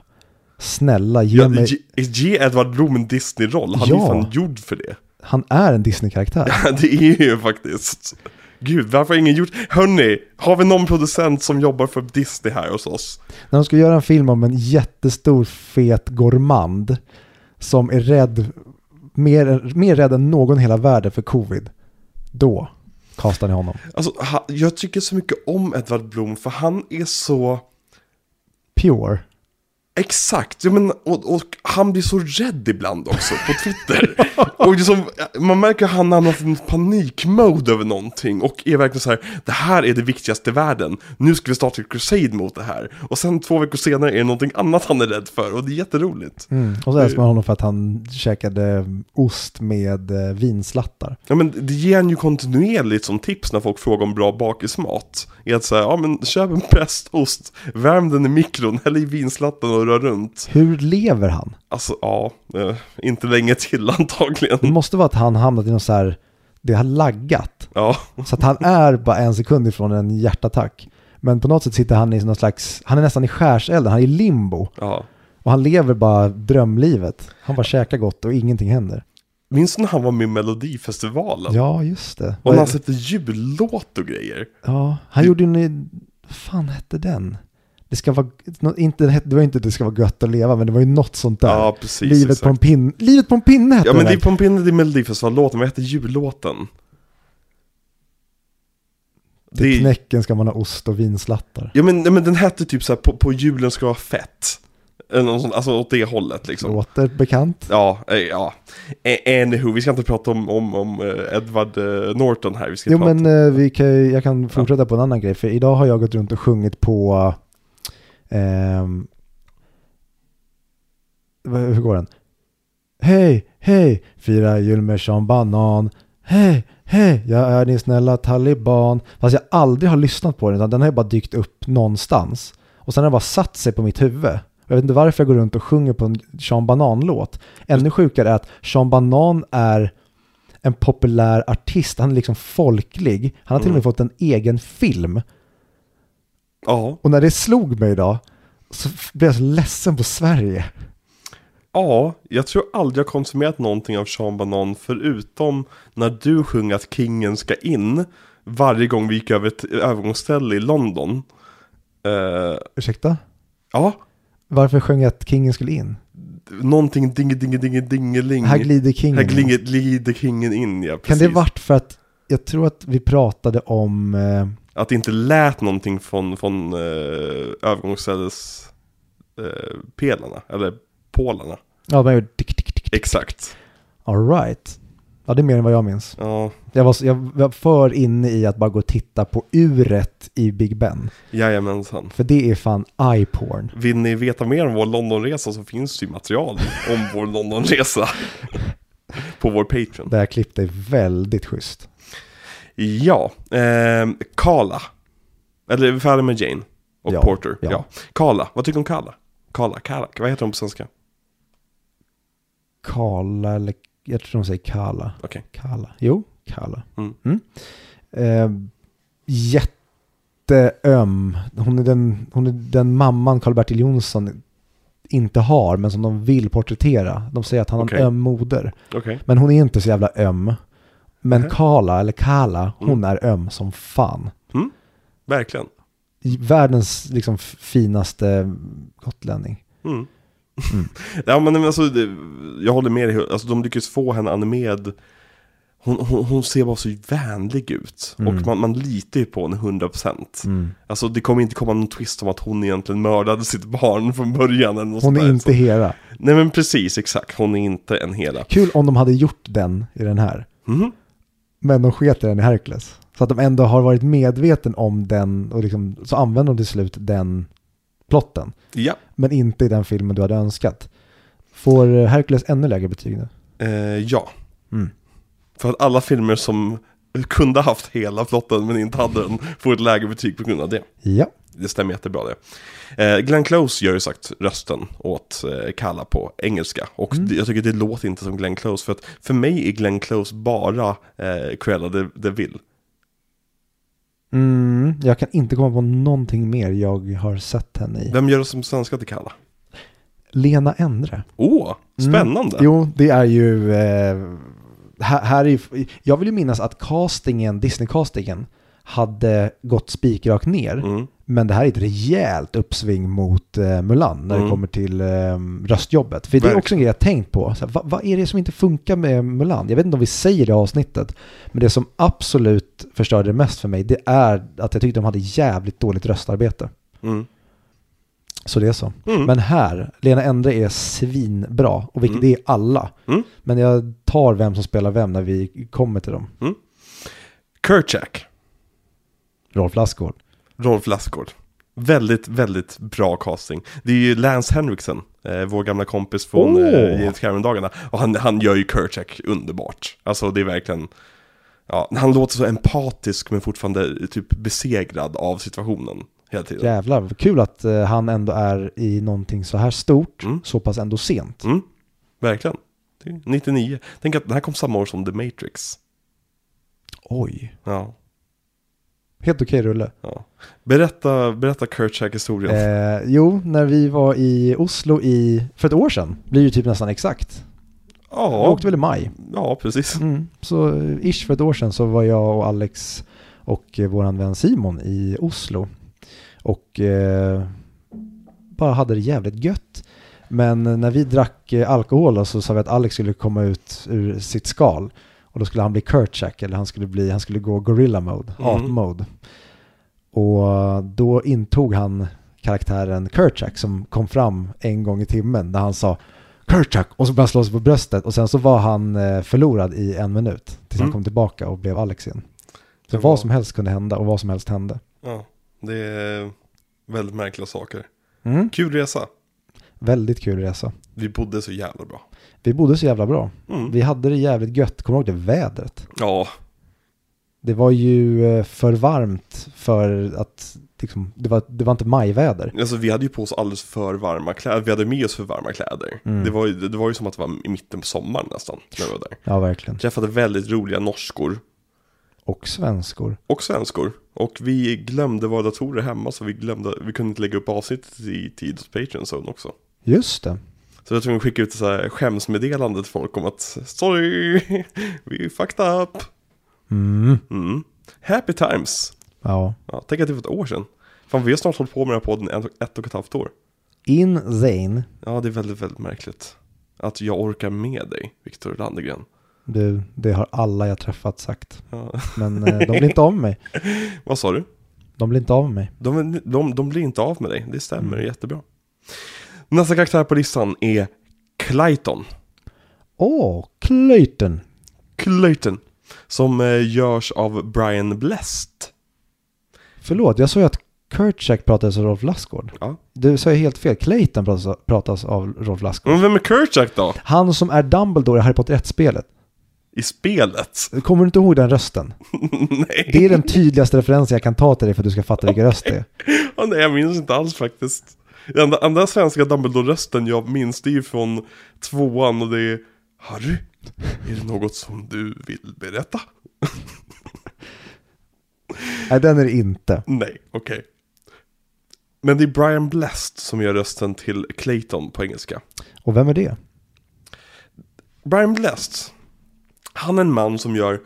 snälla ge Ja, mig. ge, ge Edvard Blom en Disney-roll, han är Ja. ju fan gjord för det. Han är en Disney-karaktär. det är ju faktiskt. Gud, varför har ingen gjort... Hörni, har vi någon producent som jobbar för Disney här hos oss? När de ska göra en film om en jättestor fet gourmand som är rädd, mer, mer rädd än någon i hela världen för covid, då kastar ni honom. Alltså, ha, jag tycker så mycket om Edvard Blom för han är så... Pure. Exakt, jag men, och, och han blir så rädd ibland också på Twitter. och liksom, man märker att han har hamnat i en panikmode över någonting och är verkligen så här, det här är det viktigaste i världen, nu ska vi starta ett crusade mot det här. Och sen två veckor senare är det någonting annat han är rädd för och det är jätteroligt. Mm. Och så älskar man honom för att han käkade ost med eh, vinslattar. Ja men det ger han ju kontinuerligt som tips när folk frågar om bra bakismat. Är att säga, ja men köp en prästost, värm den i mikron, häll i vinslatten och rör runt. Hur lever han? Alltså ja, eh, inte länge till antagligen. Det måste vara att han hamnat i någon så här, det har laggat. Ja. Så att han är bara en sekund ifrån en hjärtattack. Men på något sätt sitter han i någon slags, han är nästan i skärselden, han är i limbo. Ja. Och han lever bara drömlivet. Han bara käkar gott och ingenting händer. Minns du när han var med i Melodifestivalen? Ja, just det. Och Vad- när han släppte jullåt och grejer. ja, han gjorde ju en... Vad fan hette den? Det, ska vara, nå- inte, det var inte det ska vara gött att leva, men det var ju något sånt där. Ja, precis. Livet, exakt. på en pinne, livet på en pinne hette Ja, men det är den. på en pinne i Melodifestivalen-låten. Vad hette jullåten? Till Det, knäcken ska man ha ost och vinslattar. ja, men, nej, men den hette typ så här på, på julen ska vara fett. Eller någon sån, alltså åt det hållet liksom. Låter bekant. Ja, eh, ja. Eh, Anywho, vi ska inte prata om, om, om eh, Edward eh, Norton här. Vi ska Jo, prata. men eh, vi kan, ju- jag kan fortsätta på en annan grej, för idag har jag gått runt och sjungit på... ehm, vad- hur går den? Hej, hej, fira jul med Sean Banan. Hej, hej, jag är din snälla taliban. Fast jag aldrig har lyssnat på den, utan den har ju bara dykt upp någonstans. Och sen har den bara satt sig på mitt huvud. Jag vet inte varför jag går runt och sjunger på en Sean Banan-låt. Ännu sjukare är att Sean Banan är en populär artist. Han är liksom folklig. Han har till och Mm. med fått en egen film. Ja, Och när det slog mig idag så f- blev jag så ledsen på Sverige. ja, jag tror aldrig jag konsumerat någonting av Sean Banan förutom när du sjöng att kingen ska in varje gång vi gick över ett övergångsställe i London. Eh, Ursäkta? ja, Varför sjöng jag att kingen skulle in? någonting dinge dinge dinge dingeling. Här glider kingen. Mm. Här in. glider, glider kingen in, ja kan precis. det varit för att jag tror att vi pratade om... Eh, Att det inte lät någonting från, från uh, övergångsställes eh, pelarna, eller pålarna. ja, man gjorde tick, tick, tick. Exakt. All right. Ja, det är mer än vad jag minns. Ja, Jag var, så- jag var för inne i att bara gå och titta på uret i Big Ben. jajamensan. För det är fan eye-porn. Vill ni veta mer om vår Londonresa så finns det ju material om vår Londonresa. På vår Patreon. Det här klippet är väldigt schysst. Ja, ehm, Kala. Eller är vi färdiga med Jane? Och Ja, Porter. ja. Ja. Kala, vad tycker du om Kala? Kala, Kalak, vad heter hon på svenska? Kala eller jag tror de säger Kala. Okej. Kala. Jo, Kala. Mm. Eh, jätteöm. Hon är, den, hon är den mamman Karl-Bertil Jonsson inte har, men som de vill porträttera. De säger att han har Okej. en öm moder. Okej. Men hon är inte så jävla öm. Men Nej. Kala, eller Kala, Mm. hon är öm som fan. Verkligen. Världens liksom f- finaste gotlänning. Mm. Mm. ja men alltså, det, jag håller med dig. Alltså de lyckas få henne animerad. Hon, hon, hon ser bara så vänlig ut. Mm. Och man, man litar ju på henne 100%. Alltså det kommer inte komma någon twist om att hon egentligen mördade sitt barn från början eller något Hon sånt är där. inte Så, hela. nej men precis, exakt. Hon är inte en hela. Kul om de hade gjort den i den här. Mhm. Men de sket i den i Hercules. Så att de ändå har varit medveten om den och liksom, så använder de till slut den plotten, Ja, men inte i den filmen du hade önskat. Får Hercules ännu lägre betyg nu? eh, ja. Mm. För att alla filmer som kunde haft hela plotten men inte hade den får ett lägre betyg på grund av det. Ja, Det stämmer jättebra det. Eh, Glenn Close gör ju sagt rösten åt eh, Kalla på engelska. Och Mm. det- jag tycker det låter inte som Glenn Close. För att för mig är Glenn Close bara eh, Cruella de, de Vil. mm, jag kan inte komma på någonting mer jag har sett henne i. Vem gör det som svenska till Kalla? Lena Endre. Åh, Mm. spännande! Jo, det är ju... Eh, här, här är, ju- jag vill ju minnas att castingen, Disney-castingen, hade gått spikrakt ner. Mm. Men det här är ett rejält uppsving mot eh, Mulan när Mm. det kommer till eh, röstjobbet. För det är Verkligen. också en grej jag tänkt på. Så här, vad, vad är det som inte funkar med Mulan? Jag vet inte om vi säger det i avsnittet. Men det som absolut förstörde det mest för mig det är att jag tyckte de hade jävligt dåligt röstarbete. Mm. Så det är så. Mm. Men här, Lena Endre är svinbra, och vilket Mm. är alla. Mm. Men jag tar vem som spelar vem när vi kommer till dem. Kerchak, Rolf Lassgård. Rolf Lassgård. Väldigt, väldigt bra casting. Det är ju Lance Henriksen, eh, vår gamla kompis från Åh. eh, James Cameron-dagarna. Och han, han gör ju Kerchak underbart. Alltså det är verkligen... Ja, han låter så empatisk men fortfarande typ besegrad av situationen hela tiden. Jävlar, vad kul att eh, han ändå är i någonting så här stort, Mm. så pass ändå sent. Mm, verkligen. Det är 99. Tänk att den här kom samma år som The Matrix. Oj. Ja, Helt okej rulle. ja. Berätta, berätta Kerchak-historien. Eh, jo, när vi var i Oslo i, för ett år sedan, blir ju typ nästan exakt. Jag ja, åkte väl i maj. ja, precis. Mm. Så eh, ish för ett år sedan så var jag och Alex och eh, våran vän Simon i Oslo. Och eh, bara hade det jävligt gött. Men när vi drack eh, alkohol då, så sa vi att Alex skulle komma ut ur sitt skal. Och då skulle han bli Kurtjack, eller han skulle, bli, han skulle gå gorilla mode, Mm. art mode. Och då intog han karaktären Kurtjack som kom fram en gång i timmen när han sa Kurtjack och så började han slå sig på bröstet och sen så var han eh, förlorad i en minut tills Mm. han kom tillbaka och blev Alex igen. Så Det var- vad som helst kunde hända och vad som helst hände. Ja, det är väldigt märkliga saker. Mm. Kul resa. Väldigt kul resa. Vi bodde så jävla bra. Vi bodde så jävla bra. Mm. Vi hade det jävligt gött. Kommer du ihåg det vädret? Ja, Det var ju eh, för varmt för att liksom, det, var, det var inte majväder. alltså vi hade ju på oss alldeles för varma kläder. Vi hade med oss för varma kläder. Mm. Det, var ju, det var ju som att det var i mitten på sommaren nästan, när vi var där. Ja, verkligen. Träffade väldigt roliga norskor Och svenskor. och svenskor. Och vi glömde våra datorer hemma, så vi, glömde, vi kunde inte lägga upp avsnittet i tid hos Patreon Zone också. Just det. Så jag tror vi skickade ut ett så här skämsmeddelande till folk om att sorry, vi är fucked up. Mm. Mm. Happy times. Ja. Ja, tänk att det var ett år sedan. Fan, vi har snart hållit på med den här podden ett, ett och ett halvt år. Insane. Ja, det är väldigt, väldigt märkligt. Att jag orkar med dig, Viktor Landegren. Du, det har alla jag träffat sagt. Ja. Men eh, de blir inte av med mig. Vad sa du? De blir inte av med mig. De, de, de blir inte av med dig, det stämmer Mm. jättebra. Nästa karaktär på listan är Clayton. Åh, Clayton. Clayton. Som eh, görs av Brian Blessed. Förlåt, jag sa ju att Kurtjack pratades av Rolf Lassgård. Ja. Du sa ju helt fel. Clayton pratas, pratas av Rolf Lassgård. Men vem är Kurtjack då? Han som är Dumbledore i Harry Potter 1-spelet. I spelet? Kommer du inte ihåg den rösten? nej. Det är den tydligaste referensen jag kan ta till dig för att du ska fatta vilken röst det är. Ja, nej, jag minns inte alls faktiskt. Den enda, enda svenska Dumbledore-rösten jag minns det är ju från tvåan och det är Harry, är det något som du vill berätta? Nej, den är det inte. Nej, okej. Men det är Brian Blessed som gör rösten till Clayton på engelska. Och vem är det? Brian Blessed, han är en man som gör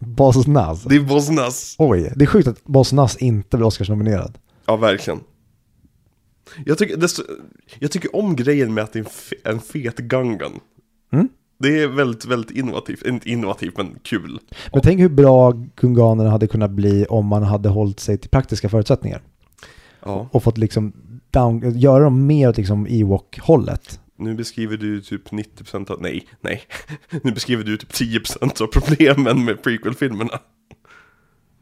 Boss Nass. Det är Bosnas. Oj, det är sjukt att Boss Nass inte blir Oscars-nominerad. Ja, verkligen. Jag tycker, desto, jag tycker om grejen med att det är en, fe, en fet gungan. Mm? Det är väldigt, väldigt innovativt. Inte innovativt, men kul. Men tänk hur bra Gunganerna hade kunnat bli om man hade hållit sig till praktiska förutsättningar. Ja. Och fått liksom down, göra dem mer åt liksom Ewok-hållet. Nu beskriver du typ 90% av... Nej, nej. Nu beskriver du typ 10% av problemen med prequel-filmerna.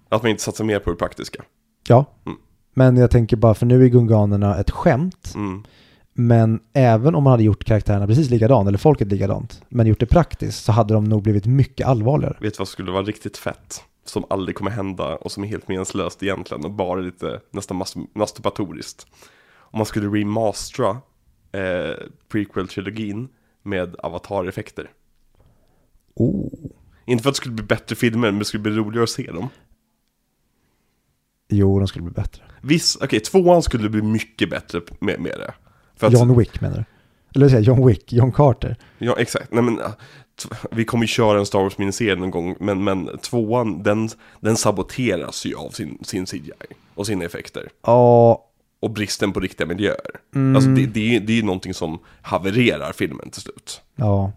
Att man inte satsar mer på det praktiska. Ja, Mm. men jag tänker bara för nu är Gunganerna ett skämt. Mm. Men även om man hade gjort karaktärerna precis likadant, eller folket likadant, men gjort det praktiskt så hade de nog blivit mycket allvarligare. Vet du vad skulle vara riktigt fett? Som aldrig kommer hända och som är helt meningslöst egentligen och bara lite nästan mas- masturbatoriskt. Om man skulle remastera eh, prequel-trilogin med avatar-effekter. Oh. Inte för att det skulle bli bättre filmer, men det skulle bli roligare att se dem. Jo, de skulle bli bättre. Viss, okej, tvåan skulle bli mycket bättre med, med det. För att, John Wick menar du? Eller säga John Wick, John Carter. ja, exakt. Nej, men, äh, t- vi kommer ju köra en Star Wars-miniserie någon gång, men, men tvåan, den, den saboteras ju av sin, sin CGI och sina effekter. Ja, och bristen på riktiga miljöer. Mm, Alltså det, det, är ju- det är ju någonting som havererar filmen till slut. ja.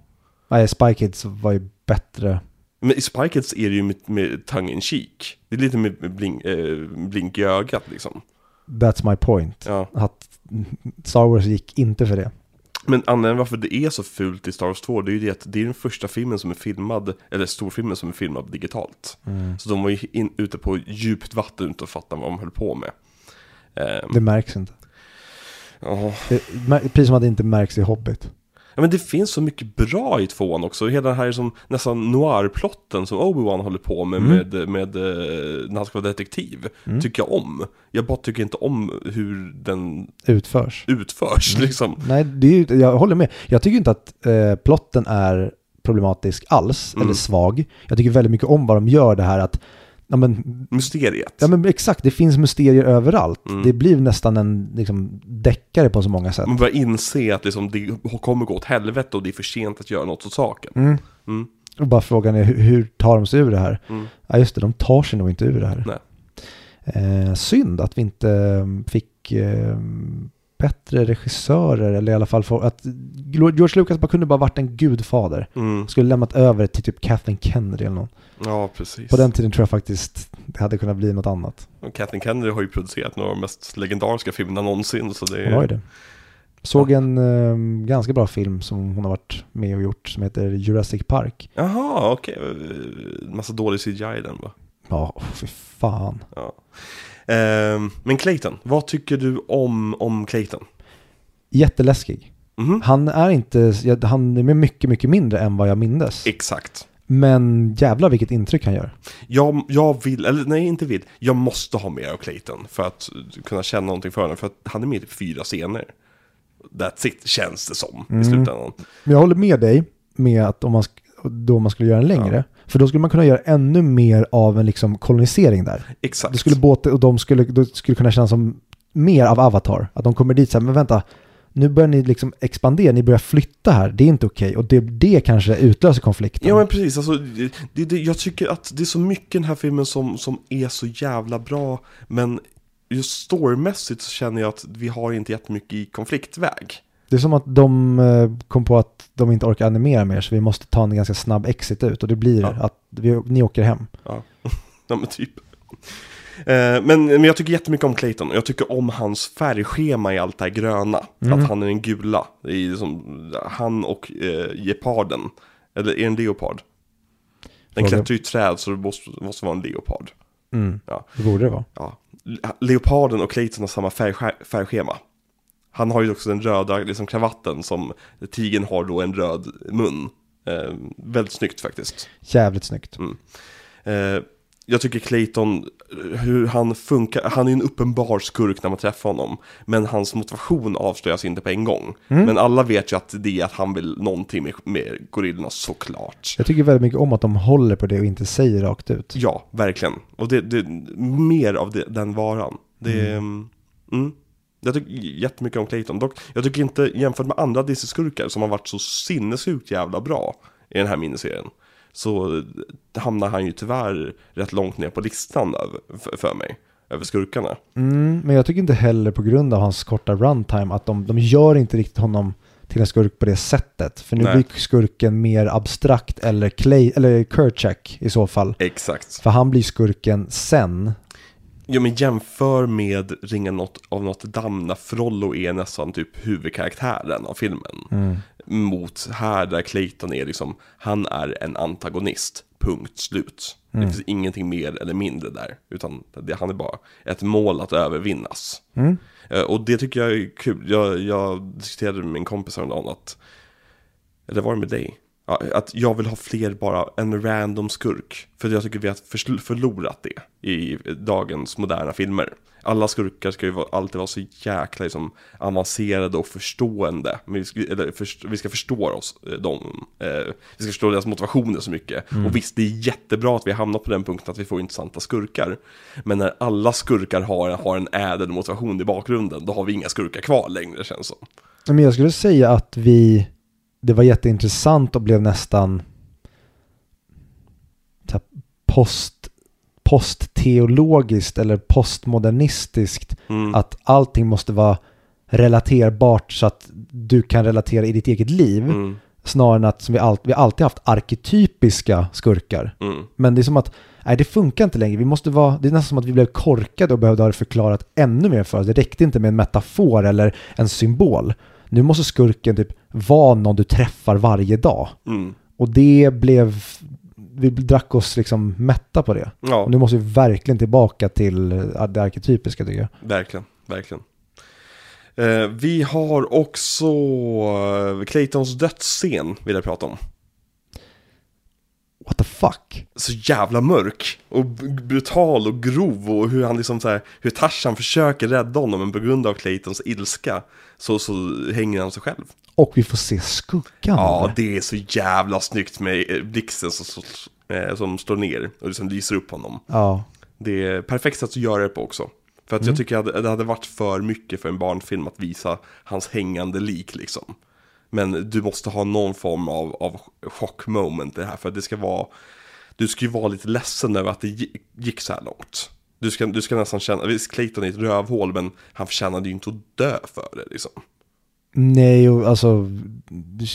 Nej, Spy Kids var ju bättre. Men i Spy Kids är det ju med, med tongue in cheek. Det är lite med, med blink, eh, blink i ögat liksom. That's my point. Ja. Att Star Wars gick inte för det. Men anledningen varför det är så fult i Star Wars 2, det är ju det att det är den första filmen som är filmad, eller storfilmen som är filmad digitalt. Så de var ju in, ute på djupt vatten utan att fatta vad de höll på med. Ehm, Det märks inte. ja. Det, mär- precis som att det inte märks i Hobbit. Ja men det finns så mycket bra i tvåan också. Hela den här som nästan noir-plotten som Obi-Wan håller på med, Mm. med, med eh, när han ska vara detektiv, tycker jag om. Jag bara tycker inte om hur den Utförs. utförs Mm. liksom. Nej, det är ju, jag håller med. Jag tycker inte att eh, plotten är problematisk alls, eller svag. Jag tycker väldigt mycket om vad de gör det här att, ja men, Mysteriet. ja, men exakt, det finns mysterier överallt. Det blir nästan en liksom, deckare på så många sätt. Man börjar inse att liksom, det kommer gå åt helvete och det är för sent att göra något åt saken. Mm. Och bara frågan är hur, hur tar de sig ur det här? Ja just det, de tar sig nog inte ur det här. Nej. Eh, synd att vi inte eh, fick eh, bättre regissörer eller i alla fall få, att George Lucas bara kunde bara varit en gudfader. Mm. Skulle lämnat över till typ Kathleen Kennedy eller någon. Ja, precis. På den tiden tror jag faktiskt det hade kunnat bli något annat. Och Kathleen Kennedy har ju producerat några av de mest legendariska filmerna någonsin. Så det Hon har ju är... det. Såg en eh, ganska bra film som hon har varit med och gjort som heter Jurassic Park. Jaha, okej. Massa dålig CGI i den va? Ja, oh, fy fan. Ja. Ehm, men Clayton, vad tycker du om, om Clayton? Jätteläskig. Mhm. Han är inte, jag- han är med mycket, mycket mindre än vad jag mindes. Exakt. Men jävlar vilket intryck han gör. Jag, jag vill, eller nej inte vill, jag måste ha mer av Clayton för att kunna känna någonting för honom. För att han är med i typ fyra scener. That's it, känns det som Mm. i slutändan. Men jag håller med dig med att om man, sk- då man skulle göra den längre, för då skulle man kunna göra ännu mer av en liksom kolonisering där. Exakt. Det skulle båt, och de skulle, då skulle kunna kännas som mer av Avatar. Att de kommer dit så här, men vänta, nu börjar ni liksom expandera, ni börjar flytta här, det är inte okej. Och det, det kanske utlöser konflikten. Ja men precis, alltså, det, det, jag tycker att det är så mycket i den här filmen som, som är så jävla bra. Men just storymässigt så känner jag att vi har inte jättemycket i konfliktväg. Det är som att de eh, kom på att de inte orkar animera mer, så vi måste ta en ganska snabb exit ut. Och det blir Ja. att vi, ni åker hem. Ja, ja men typ. Eh, Men, men jag tycker jättemycket om Clayton och jag tycker om hans färgschema i allt det här gröna. Att han är den gula. Det är liksom, han och eh, geparden. Eller är det en leopard? Den Fråga. klättrar ju i träd så det måste, måste vara en leopard. Mm. Ja. Det borde det vara. Ja. Le- Leoparden och Clayton har samma färgsche- färgschema. Han har ju också den röda liksom, kravatten som tigern har då en röd mun. Eh, väldigt snyggt faktiskt. Jävligt snyggt. Eh, jag tycker Clayton, eh, hur han funkar, han är ju en uppenbar skurk när man träffar honom. Men hans motivation avslöjas inte på en gång. Men alla vet ju att det är att han vill någonting med, med gorillorna såklart. Jag tycker väldigt mycket om att de håller på det och inte säger rakt ut. Ja, verkligen. Och det, det mer av det, den varan. Det, mm. Jag tycker jättemycket om Clayton. Dock, jag tycker inte, jämfört med andra DC-skurkar som har varit så sinnessjukt jävla bra i den här miniserien. Så eh, hamnar han ju tyvärr rätt långt ner på listan över, för, för mig. Över skurkarna. Mm, men jag tycker inte heller på grund av hans korta runtime att de, de gör inte riktigt honom till en skurk på det sättet. För nu Nej. blir skurken mer abstrakt eller, Clay, eller Kerchak i så fall. Exakt. För han blir skurken sen Ja men jämför med Ringen något, av något damm när Frollo är nästan typ huvudkaraktären av filmen. Mot här där Clayton är liksom, han är en antagonist, punkt slut. Det finns ingenting mer eller mindre där, utan det, han är bara ett mål att övervinnas. Eh, Och det tycker jag är kul, jag, jag diskuterade med min kompis häromdagen att eller var det med dig? Ja, att jag vill ha fler bara, en random skurk. För jag tycker vi har försl- förlorat det i dagens moderna filmer. Alla skurkar ska ju vara- alltid vara så jäkla liksom, avancerade och förstående. Men vi, ska, eller, först, vi ska förstå oss, eh, dem. Eh, vi ska förstå deras motivationer så mycket. Mm. Och visst, det är jättebra att vi hamnar på den punkten att vi får intressanta skurkar. Men när alla skurkar har, har en ädel motivation i bakgrunden, då har vi inga skurkar kvar längre känns det som. Men jag skulle säga att vi, det var jätteintressant och blev nästan så här post, postteologiskt eller postmodernistiskt. Mm. Att allting måste vara relaterbart så att du kan relatera i ditt eget liv. Mm, Snarare än att som vi, all, vi har alltid haft arketypiska skurkar. mm, Men det är som att, nej det funkar inte längre. Vi måste vara, det är nästan som att vi blev korkade och behövde ha det förklarat ännu mer för oss. Det räckte inte med en metafor eller en symbol. Nu måste skurken typ vara någon du träffar varje dag. mm. Och det blev, vi drack oss liksom mätta på det. Ja. Och nu måste vi verkligen tillbaka till eh, det arketypiska tycker jag. Verkligen, verkligen. Eh, vi har också eh, Claytons dödsscen vill jag prata om. What the fuck? Så jävla mörk och b- brutal och grov och hur han liksom så här, hur Tarzan försöker rädda honom men på grund av Claytons ilska så, så hänger han sig själv. Och vi får se skuggan. Ja, eller? det är så jävla snyggt med eh, blixten som, som, eh, som slår ner och liksom lyser upp honom. ja. Det är perfekt sätt att göra det på också. För att jag tycker att det hade varit för mycket för en barnfilm att visa hans hängande lik liksom. Men du måste ha någon form av, av chockmoment i det här. För att det ska vara, du ska ju vara lite ledsen över att det gi- gick så här långt. Du ska, du ska nästan känna, visst Clayton är ett rövhål men han förtjänade ju inte att dö för det liksom. Nej, och alltså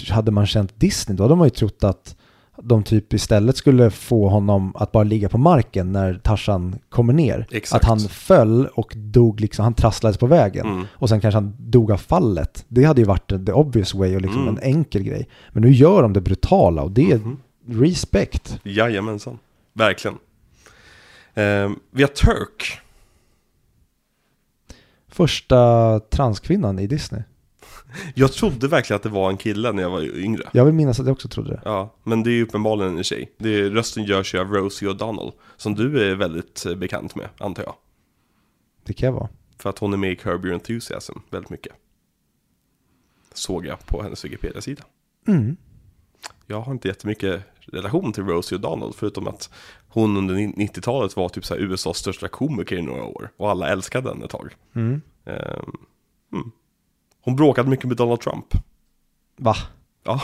hade man känt Disney då hade man ju trott att de typ istället skulle få honom att bara ligga på marken när Tarzan kommer ner. Exakt. Att han föll och dog liksom, han trasslades på vägen. Mm. Och sen kanske han dog av fallet. Det hade ju varit the obvious way och liksom en enkel grej. Men nu gör de det brutala och det är respekt. Jajamensan, verkligen. Eh, vi har Turk. Första transkvinnan i Disney. Jag trodde verkligen att det var en kille när jag var yngre. Jag vill minnas att jag också trodde det. Ja, men det är ju uppenbarligen en tjej. Det är, rösten görs ju av Rosie O'Donnell, som du är väldigt eh, bekant med, antar jag. Det kan jag vara. För att hon är med i Curb Your Enthusiasm väldigt mycket. Såg jag på hennes Wikipedia-sida. Mm. Jag har inte jättemycket relation till Rosie O'Donnell, förutom att hon under 90-talet var typ så här USAs största komiker i några år, och alla älskade henne ett tag. Mm. Ehm, mm. Hon bråkade mycket med Donald Trump. Va? Ja,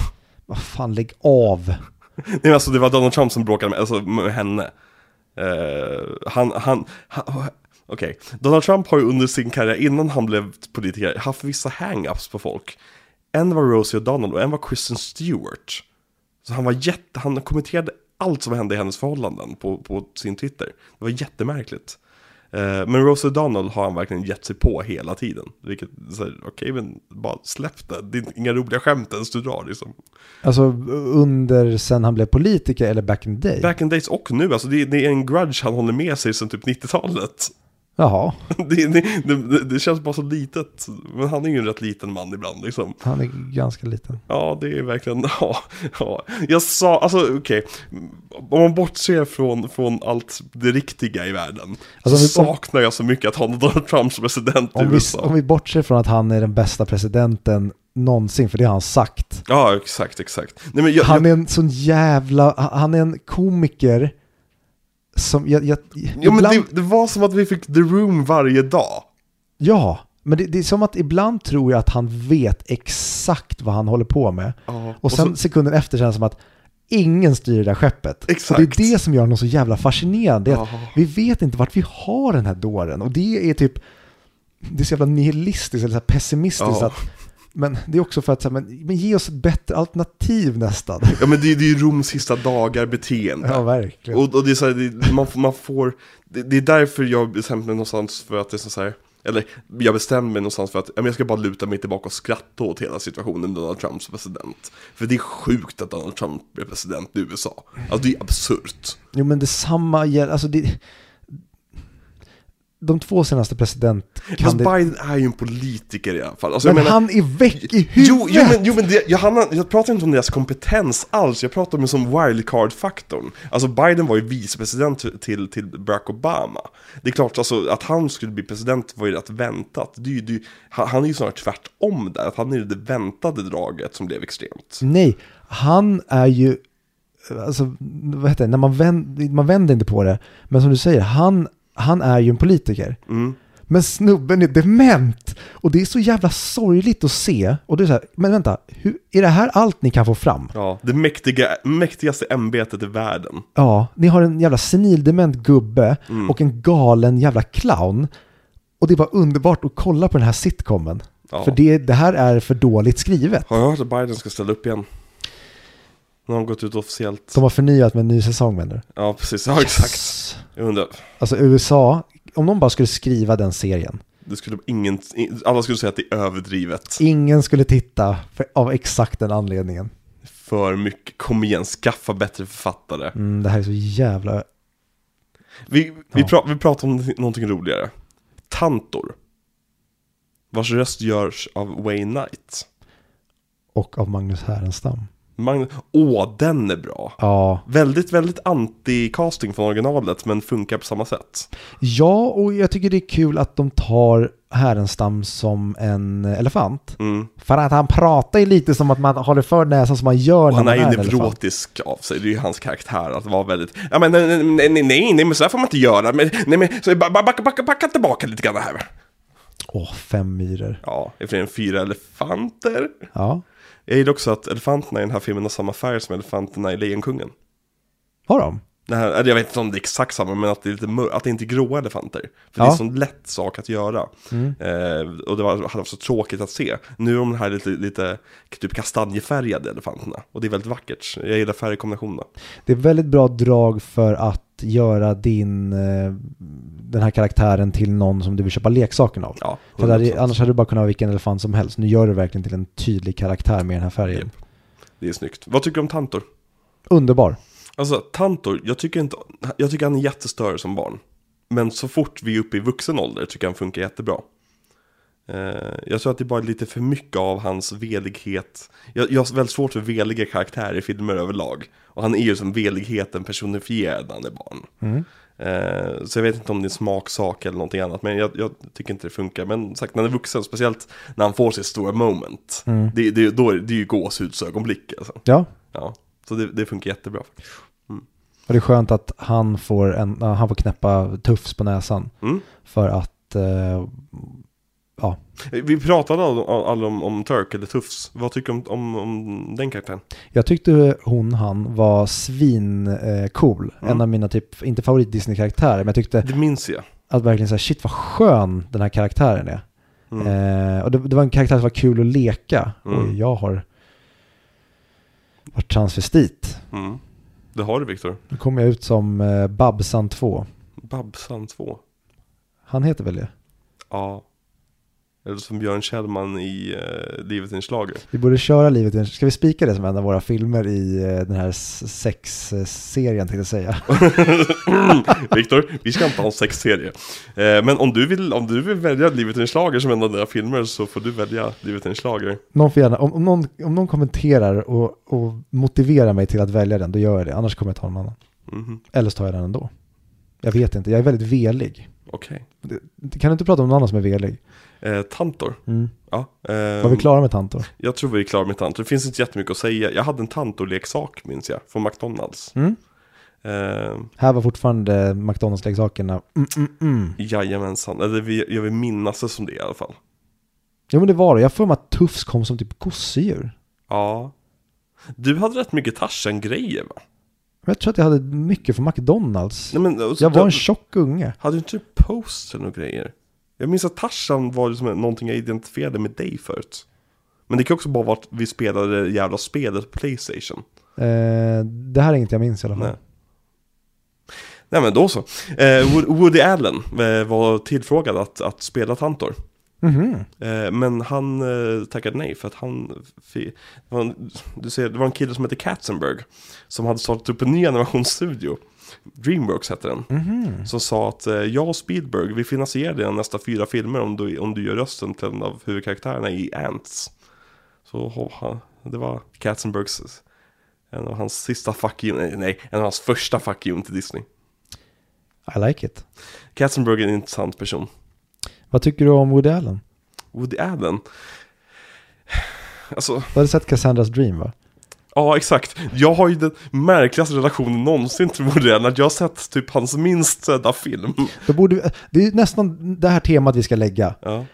Vad fan, lägg av. Nej men alltså det var Donald Trump som bråkade med, alltså, med henne. Eh, han, han, han okej. Donald Trump har ju under sin karriär, innan han blev politiker, haft vissa hang-ups på folk. En var Rosie O'Donnell och en var Kristen Stewart. Så han var jätte, han kommenterade allt som hände i hennes förhållanden på, på sin Twitter. Det var jättemärkligt. Eh, Men Rosie O'Donnell har han verkligen gett sig på hela tiden. Vilket, så här, okej men bara släpp det. Det är inga roliga skämt ens du drar liksom. Alltså under sen han blev politiker eller back in the day? Back in days och nu, alltså det, det är en grudge han håller med sig sedan typ 90-talet. Jaha, Det, det, det, det känns bara så litet, men han är ju en rätt liten man ibland liksom. han är ganska liten. Ja, det är verkligen, ja, ja. Jag sa, alltså okej, om man bortser från, från allt det riktiga i världen, Alltså, om så vi- om- saknar jag så mycket att ha Donald Trump som president i Om vi, USA. om vi bortser från att han är den bästa presidenten någonsin, för det har han sagt. Ja, exakt, exakt. Nej, men jag, Han är en sån jävla, han är en komiker som, jag, jag, jag, ja, men ibland, det, det var som att vi fick The Room varje dag. ja, men det, det är som att ibland tror jag att han vet exakt vad han håller på med. Ja, Och sen sekunden efter känns det som att ingen styr det där skeppet. Exakt. Och det är det som gör honom så jävla fascinerande. Det är att Ja. Vi vet inte vart vi har den här dåren. Och det är typ, det är så jävla nihilistiskt eller så här pessimistiskt Ja. att Men det är också för att så här, men, men ge oss ett bättre alternativ nästan. Ja men det, är- det är ju Roms sista dagar beteende. Ja, verkligen. Och, och det är så här, det, man, får- man får, det, det är därför jag bestämde mig någonstans för att det är så här, eller jag bestämde mig någonstans för att ja, men jag ska bara luta mig tillbaka och skratta åt hela situationen med Donald Trumps president. För det är sjukt att Donald Trump blir president i USA. Alltså det är absurt. Jo, men detsamma gäller, alltså det... De två senaste Fast presidentkandidaterna... Biden är ju en politiker i alla fall. Alltså, Men jag menar, han är väck i huvudet! Jo, jo men, jo, men det, jag, han, jag pratar inte om deras kompetens alls, jag pratar om det som wildcard-faktorn. Alltså Biden var ju vicepresident till, till Barack Obama. Det är klart, alltså, att han skulle bli president var ju rätt väntat. Det är ju, det är, ju- han, han är ju snarare tvärtom där, att han är ju det väntade draget som blev extremt. Nej, han är ju... Alltså, vad heter det? När man, vänd, man vänder inte på det. Men som du säger, han, han är ju en politiker. Mm. Men snubben är dement. Och det är så jävla sorgligt att se. Och det är så här, men vänta, hur, är det här allt ni kan få fram? Ja, det mäktiga, mäktigaste ämbetet i världen. Ja, ni har en jävla senildement gubbe Mm. och en galen jävla clown. Och det var underbart att kolla på den här sitcomen. Ja. För det, det här är för dåligt skrivet. Har jag hört att Biden ska ställa upp igen? Nu har han gått ut officiellt. De har förnyat med en ny säsong menar du? Ja, precis. Ja, exakt. Yes. Jag undrar, Alltså USA, om de bara skulle skriva den serien. det skulle ingen, alla skulle säga att det är överdrivet. Ingen skulle titta för, av exakt den anledningen. för mycket. Kom igen, skaffa bättre författare. Mm, det här är så jävla... Vi, vi, Ja. pra, vi pratar om någonting- någonting roligare. Tantor. Vars röst görs av Wayne Knight. Och av Magnus Härenstam. Magn- Åh, den är bra. Ja. Väldigt, väldigt anti-casting från originalet, men funkar på samma sätt. ja, och jag tycker det är kul att de tar Härenstam som en elefant. Mm. För att han pratar ju lite som att man håller för näsan som man gör när Han är man ju är en elefant. neurotisk av sig, det är ju hans karaktär att vara väldigt, ja men nej, nej, nej, nej, nej, nej men så här får man inte göra, men, nej men, så ba- ba- backa, backa, backa tillbaka lite grann här. Åh, fem myror. Ja, i och för sig en fyra elefanter. Ja. Jag gillar också att elefanterna i den här filmen har samma färg som elefanterna i Lejonkungen. Har de? Det här, eller jag vet inte om det är exakt samma, men att det, är lite mör- att det inte är gråa elefanter. För det är Ja. Mm. en sån lätt sak att göra. Eh, och det var, hade varit så tråkigt att se. Nu är de här lite, lite typ kastanjefärgade elefanterna. Och det är väldigt vackert. Jag gillar färgkombinationerna. Det är väldigt bra drag för att göra din, eh, den här karaktären till någon som du vill köpa leksaken av. Ja, För där, är- 100%. annars hade du bara kunnat vara vilken elefant som helst. Nu gör du verkligen till en tydlig karaktär med den här färgen. Japp. det är snyggt. Vad tycker du om Tantor? Underbar. Alltså, Tantor, jag tycker, inte, jag tycker han är jättestörig som barn. Men så fort vi är uppe i vuxen ålder tycker jag han funkar jättebra. Eh, jag tror att det är bara lite för mycket av hans velighet. Jag, jag har väldigt svårt för veliga karaktärer i filmer överlag. Och han är ju som veligheten personifierad när han är barn. Eh, så jag vet inte om det är en smaksak eller någonting annat. Men jag, jag tycker inte det funkar. Men sagt, när han är vuxen, speciellt när han får sitt stora moment. Det, det, då är det, det är ju gåshudsögonblick alltså. Mm. Ja, Ja, så det, det funkar jättebra. och det är skönt att han får, en, ja, han får knäppa tufs på näsan. Mm. För att, eh, ja. Vi pratade all- all- all om, om Turk eller Tufs. Vad tycker du om, om, om den karaktären? Jag tyckte hon, han var svin eh, cool. Mm. En av mina typ, inte favorit Disney-karaktärer, men jag tyckte Det minns jag. att verkligen så här, shit vad skön den här karaktären är. Mm. Eh, och det, det var en karaktär som var kul att leka. Mm. Oj, jag har varit transvestit. Mm. Det har du Viktor. Nu kom jag ut som eh, Babsan 2. Babsan 2. Han heter väl det? Ja. Eller som Björn Kjellman i eh, Livet i en schlager. Vi borde köra livet i en... Ska vi spika det som en av våra filmer i eh, den här s- sexserien tänkte jag säga. Viktor, vi ska inte ha en sexserie. Eh, men om du, vill, om du vill välja Livet i en schlager som en av dina filmer så får du välja Livet i en schlager. Någon får gärna, om, om, någon, om någon kommenterar och, och motiverar mig till att välja den, då gör jag det. Annars kommer jag ta någon annan. Mhm. Eller så tar jag den ändå. Jag vet inte, jag är väldigt velig. Okej. Det- Kan du inte prata om någon annan som är velig? Eh, tantor. Ja. ehm, Var vi klara med Tantor? Jag tror vi är klara med tantor. Det finns inte jättemycket att säga. Jag hade en tantorleksak minns jag. Från McDonalds. Mm. Eh, Här var fortfarande McDonalds-leksakerna. Mm, mm, mm. Jajamensan, eller vi, jag vill minnas det som det i alla fall. Jo men det var det, jag har för mig att Tufs kom som typ gosedjur. Ja. Du hade rätt mycket Tarzan-grejer va? Men jag tror att jag hade mycket från McDonalds. Nej, men, och så- Jag var en tjock unge. Hade du inte poster och grejer? Jag minns att Tarzan var liksom någonting jag identifierade med dig förut. Men det kan också bara vara att vi spelade det jävla spelet på Playstation. Eh, det här är inget jag minns i alla fall. Nej. Nej men då så. Eh, Wo- Woody Allen eh, var tillfrågad att, att spela Tantor. Mhm. Eh, men han eh, tackade nej för att han... fi- det var en- Du ser, det var en kille som hette Katzenberg. Som hade startat upp en ny animationsstudio. Dreamworks hette den. Mhm. Som sa att eh, jag och Spielberg, vi finansierar dina nästa fyra filmer om du, om du gör rösten till en av huvudkaraktärerna i Ants. Så ho- ha- det var Katzenbergs, en av hans sista fuck you, nej, nej en av hans första fuck you till Disney. I like it. Katzenberg är en intressant person. Vad tycker du om Woody Allen? Woody Allen. Alltså, Du hade sett Cassandras Dream va? ja exakt. Jag har ju den märkligaste relationen någonsin till Woody Allen. Att jag har sett typ hans minst sedda film. Då borde vi, det är ju nästan det här temat vi ska lägga. Ja,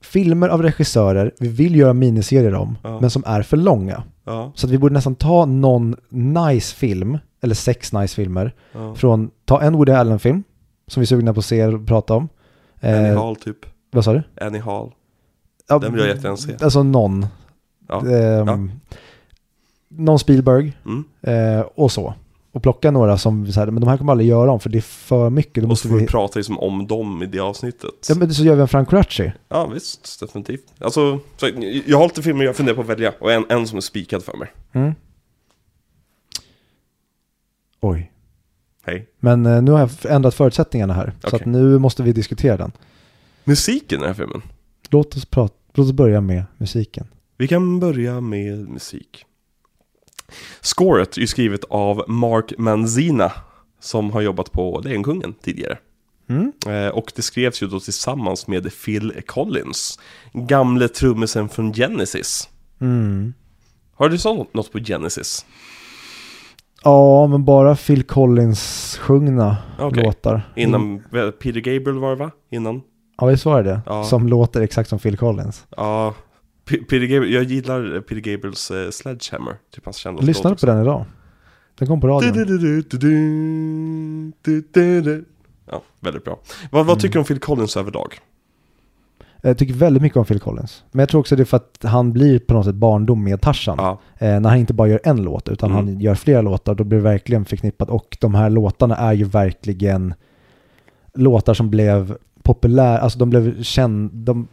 Filmer av regissörer vi vill göra miniserier om, Ja. men som är för långa. ja, Så att vi borde nästan ta någon nice film, eller sex nice filmer, ja. från, ta en Woody Allen-film, som vi är sugna på att se och prata om. Annie Eh, Hall typ. vad sa du? Annie Hall. Ja, Den vill jag jättegärna se. Alltså någon. Ja, Ehm, ja. Någon Spielberg Mm. eh, och så. Och plocka några som, vi så här, men de här kommer aldrig göra om för det är för mycket. Då Och så måste får vi vi, prata liksom om dem i det avsnittet. ja, men så gör vi en Frank Ratchi. Ja, visst, definitivt. Alltså, så, jag har lite filmer jag funderar på att välja och en, en som är spikad för mig. Oj. Hej. Men eh, nu har jag f- ändrat förutsättningarna här. Så Okej. att nu måste vi diskutera den. Musiken i den här filmen. Låt oss, prata, låt oss börja med musiken. Vi kan börja med musik. Scoret är ju skrivet av Mark Manzina som har jobbat på Lejonkungen tidigare. Mm. Eh, Och det skrevs ju då tillsammans med Phil Collins, gamle trummisen från Genesis. Mm. Har du sånt något på Genesis? Ja, men bara Phil Collins sjungna Okej. låtar. Innan, Peter Gabriel var det va? Innan? Ja, visst var det det? Ja. Som låter exakt som Phil Collins. Ja, P- Peter Gabriel, jag gillar Peter Gabriels eh, Sledgehammer, typ hans kända Lyssnade du på den idag? Den kom på radion. den? Ja, väldigt bra. Vad, Mm. vad tycker du om Phil Collins överlag? Jag tycker väldigt mycket om Phil Collins. Men jag tror också det är för att han blir på något sätt barndom med Tarzan. Ja, Eh, när han inte bara gör en låt utan Mm. han gör flera låtar då blir det verkligen förknippat. Och de här låtarna är ju verkligen låtar som blev populära, alltså de blev kända. De,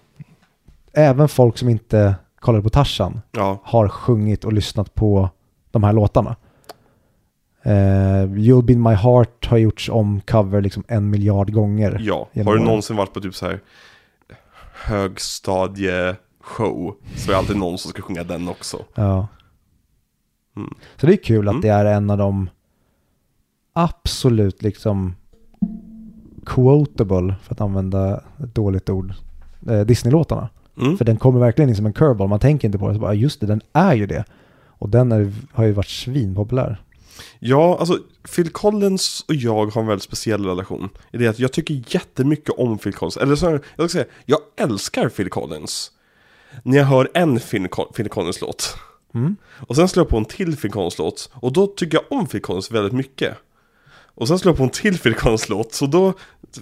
även folk som inte kollade på Tarzan ja, har sjungit och lyssnat på de här låtarna. Eh, You'll Be In My Heart har gjorts om cover liksom en miljard gånger. ja. Eh, Genom Har du åren. någonsin varit på typ så här högstadieshow så är det alltid någon som ska sjunga den också. Ja. Mm. Så det är kul att Mm. det är en av de absolut liksom quotable, för att använda ett dåligt ord, eh, Disney-låtarna. Mm. För den kommer verkligen in som en curveball, man tänker inte på det, så bara, just det, den är ju det. Och den är, har ju varit svinpopulär. Ja, alltså Phil Collins och jag har en väldigt speciell relation. I det att jag tycker jättemycket om Phil Collins. Eller snarare, jag ska säga, jag älskar Phil Collins. När jag hör en Phil, Col- Phil Collins-låt. Mm. Och sen slår jag på en till Phil Collins-låt. Och då tycker jag om Phil Collins väldigt mycket. Och sen slår jag på en till Phil Collins-låt. Så då,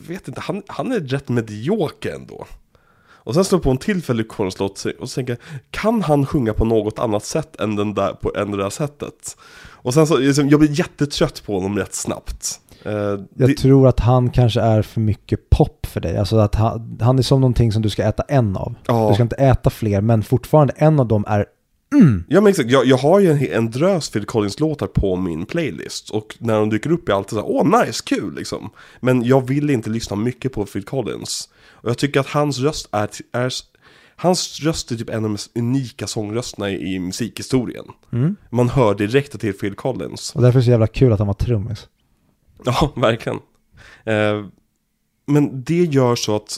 vet inte, han, han är rätt medioker ändå. Och sen slår jag på en till Phil Collins-låt och så tänker jag, kan han sjunga på något annat sätt än, den där, på, än det där sättet? Och sen så, liksom, jag blir jättetrött på honom rätt snabbt. Eh, Jag det, tror att han kanske är för mycket pop för dig. Alltså att han, han är som någonting som du ska äta en av. Ja. Du ska inte äta fler, men fortfarande en av dem är ja men exakt, jag, jag har ju en, en drös Phil Collins-låtar på min playlist. Och när de dyker upp är jag alltid så här, åh nice, kul liksom. Men jag vill inte lyssna mycket på Phil Collins. Och jag tycker att hans röst är, är Hans röst är typ en av de mest unika sångrösterna i, i musikhistorien. Man hör direkt att det är Phil Collins. Och därför är det så jävla kul att han var trummis. Ja, verkligen. Eh, men det gör så att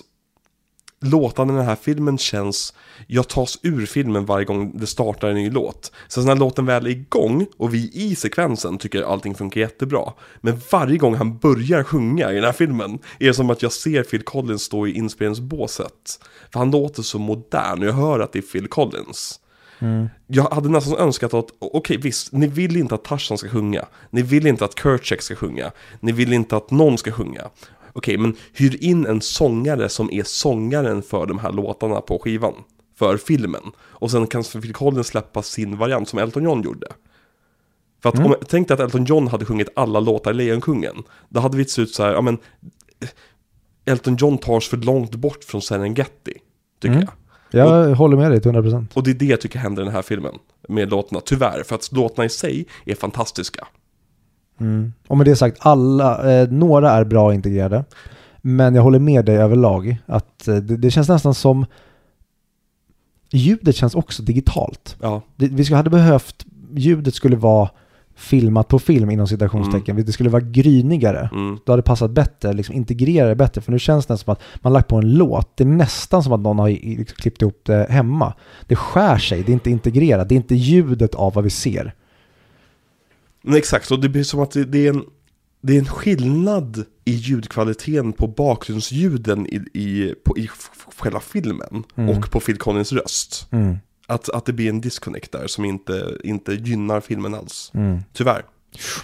låtarna i den här filmen känns, jag tas ur filmen varje gång det startar en ny låt. Så när låten väl är igång och vi i sekvensen tycker allting funkar jättebra. Men varje gång han börjar sjunga i den här filmen är det som att jag ser Phil Collins stå i inspelningsbåset. För han låter så modern och jag hör att det är Phil Collins. Jag hade nästan önskat att, okej visst, ni vill inte att Tarzan ska sjunga. Ni vill inte att Kurtchek ska sjunga. Ni vill inte att någon ska sjunga. Okej, men hyr in en sångare som är sångaren för de här låtarna på skivan. för filmen. Och sen kan Phil Collins släppa sin variant som Elton John gjorde. För att om, tänk dig att Elton John hade sjungit alla låtar i Lejonkungen. Då hade vi sett ut så här, ja men Elton John tar sig för långt bort från Serengeti, tycker Mm. jag. Jag håller med dig till 100%. Och det är det jag tycker händer i den här filmen med låtarna, tyvärr. För att låtarna i sig är fantastiska. Mm. Och med det sagt, alla, eh, några är bra integrerade. Men jag håller med dig överlag att eh, det, det känns nästan som ljudet känns också digitalt. Ja, Det, vi skulle, hade behövt, ljudet skulle vara filmat på film inom citationstecken. Det skulle vara grynigare. mm, Då hade det passat bättre, liksom integrera det bättre. För nu känns det nästan som att man lagt på en låt. Det är nästan som att någon har i- i- liksom klippt ihop det hemma. Det skär sig, det är inte integrerat, det är inte ljudet av vad vi ser. men exakt. Och det blir som att det, det, är, en, det är en skillnad i ljudkvaliteten på bakgrundsljuden i, i, på, i f- själva filmen Mm. och på Phil Collins röst. Att, att det blir en disconnect där som inte, inte gynnar filmen alls. Mm. Tyvärr.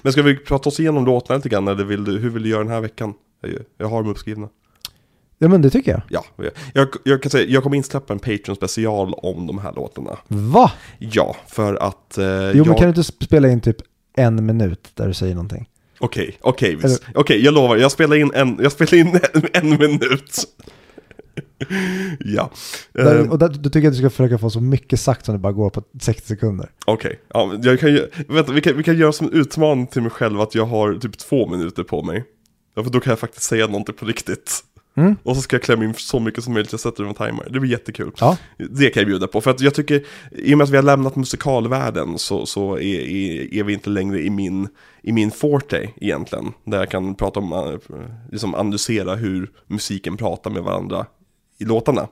Men ska vi prata oss igenom låtarna lite grann eller vill du, hur vill du göra den här veckan? Jag- Jag har dem uppskrivna. Ja men det tycker jag. Ja, jag, jag kan säga, jag kommer inte släppa en Patreon special om de här låtarna. Va? Ja, för att... Eh, Jo, jag... men kan du inte spela in typ en minut där du säger någonting? Okej, okej, visst. okej, jag lovar, jag spelar in en, jag spelar in en, en minut. ja, eh, Där, och där, då tycker jag att du ska försöka få så mycket sagt som det bara går på 60 sekunder. okej. Ja, men jag kan ju, vänta, vi kan, vi kan göra som en utmaning till mig själv att jag har typ två minuter på mig. Ja, för då kan jag faktiskt säga någonting på riktigt. Mm. Och så ska jag klämma in så mycket som möjligt, jag sätter en timer. Det blir jättekul. Ja. Det kan jag bjuda på, för att jag tycker, i och med att vi har lämnat musikalvärlden så, så är, är, är vi inte längre i min, i min forte egentligen. Där jag kan prata om, eh, liksom analysera hur musiken pratar med varandra i låtarna.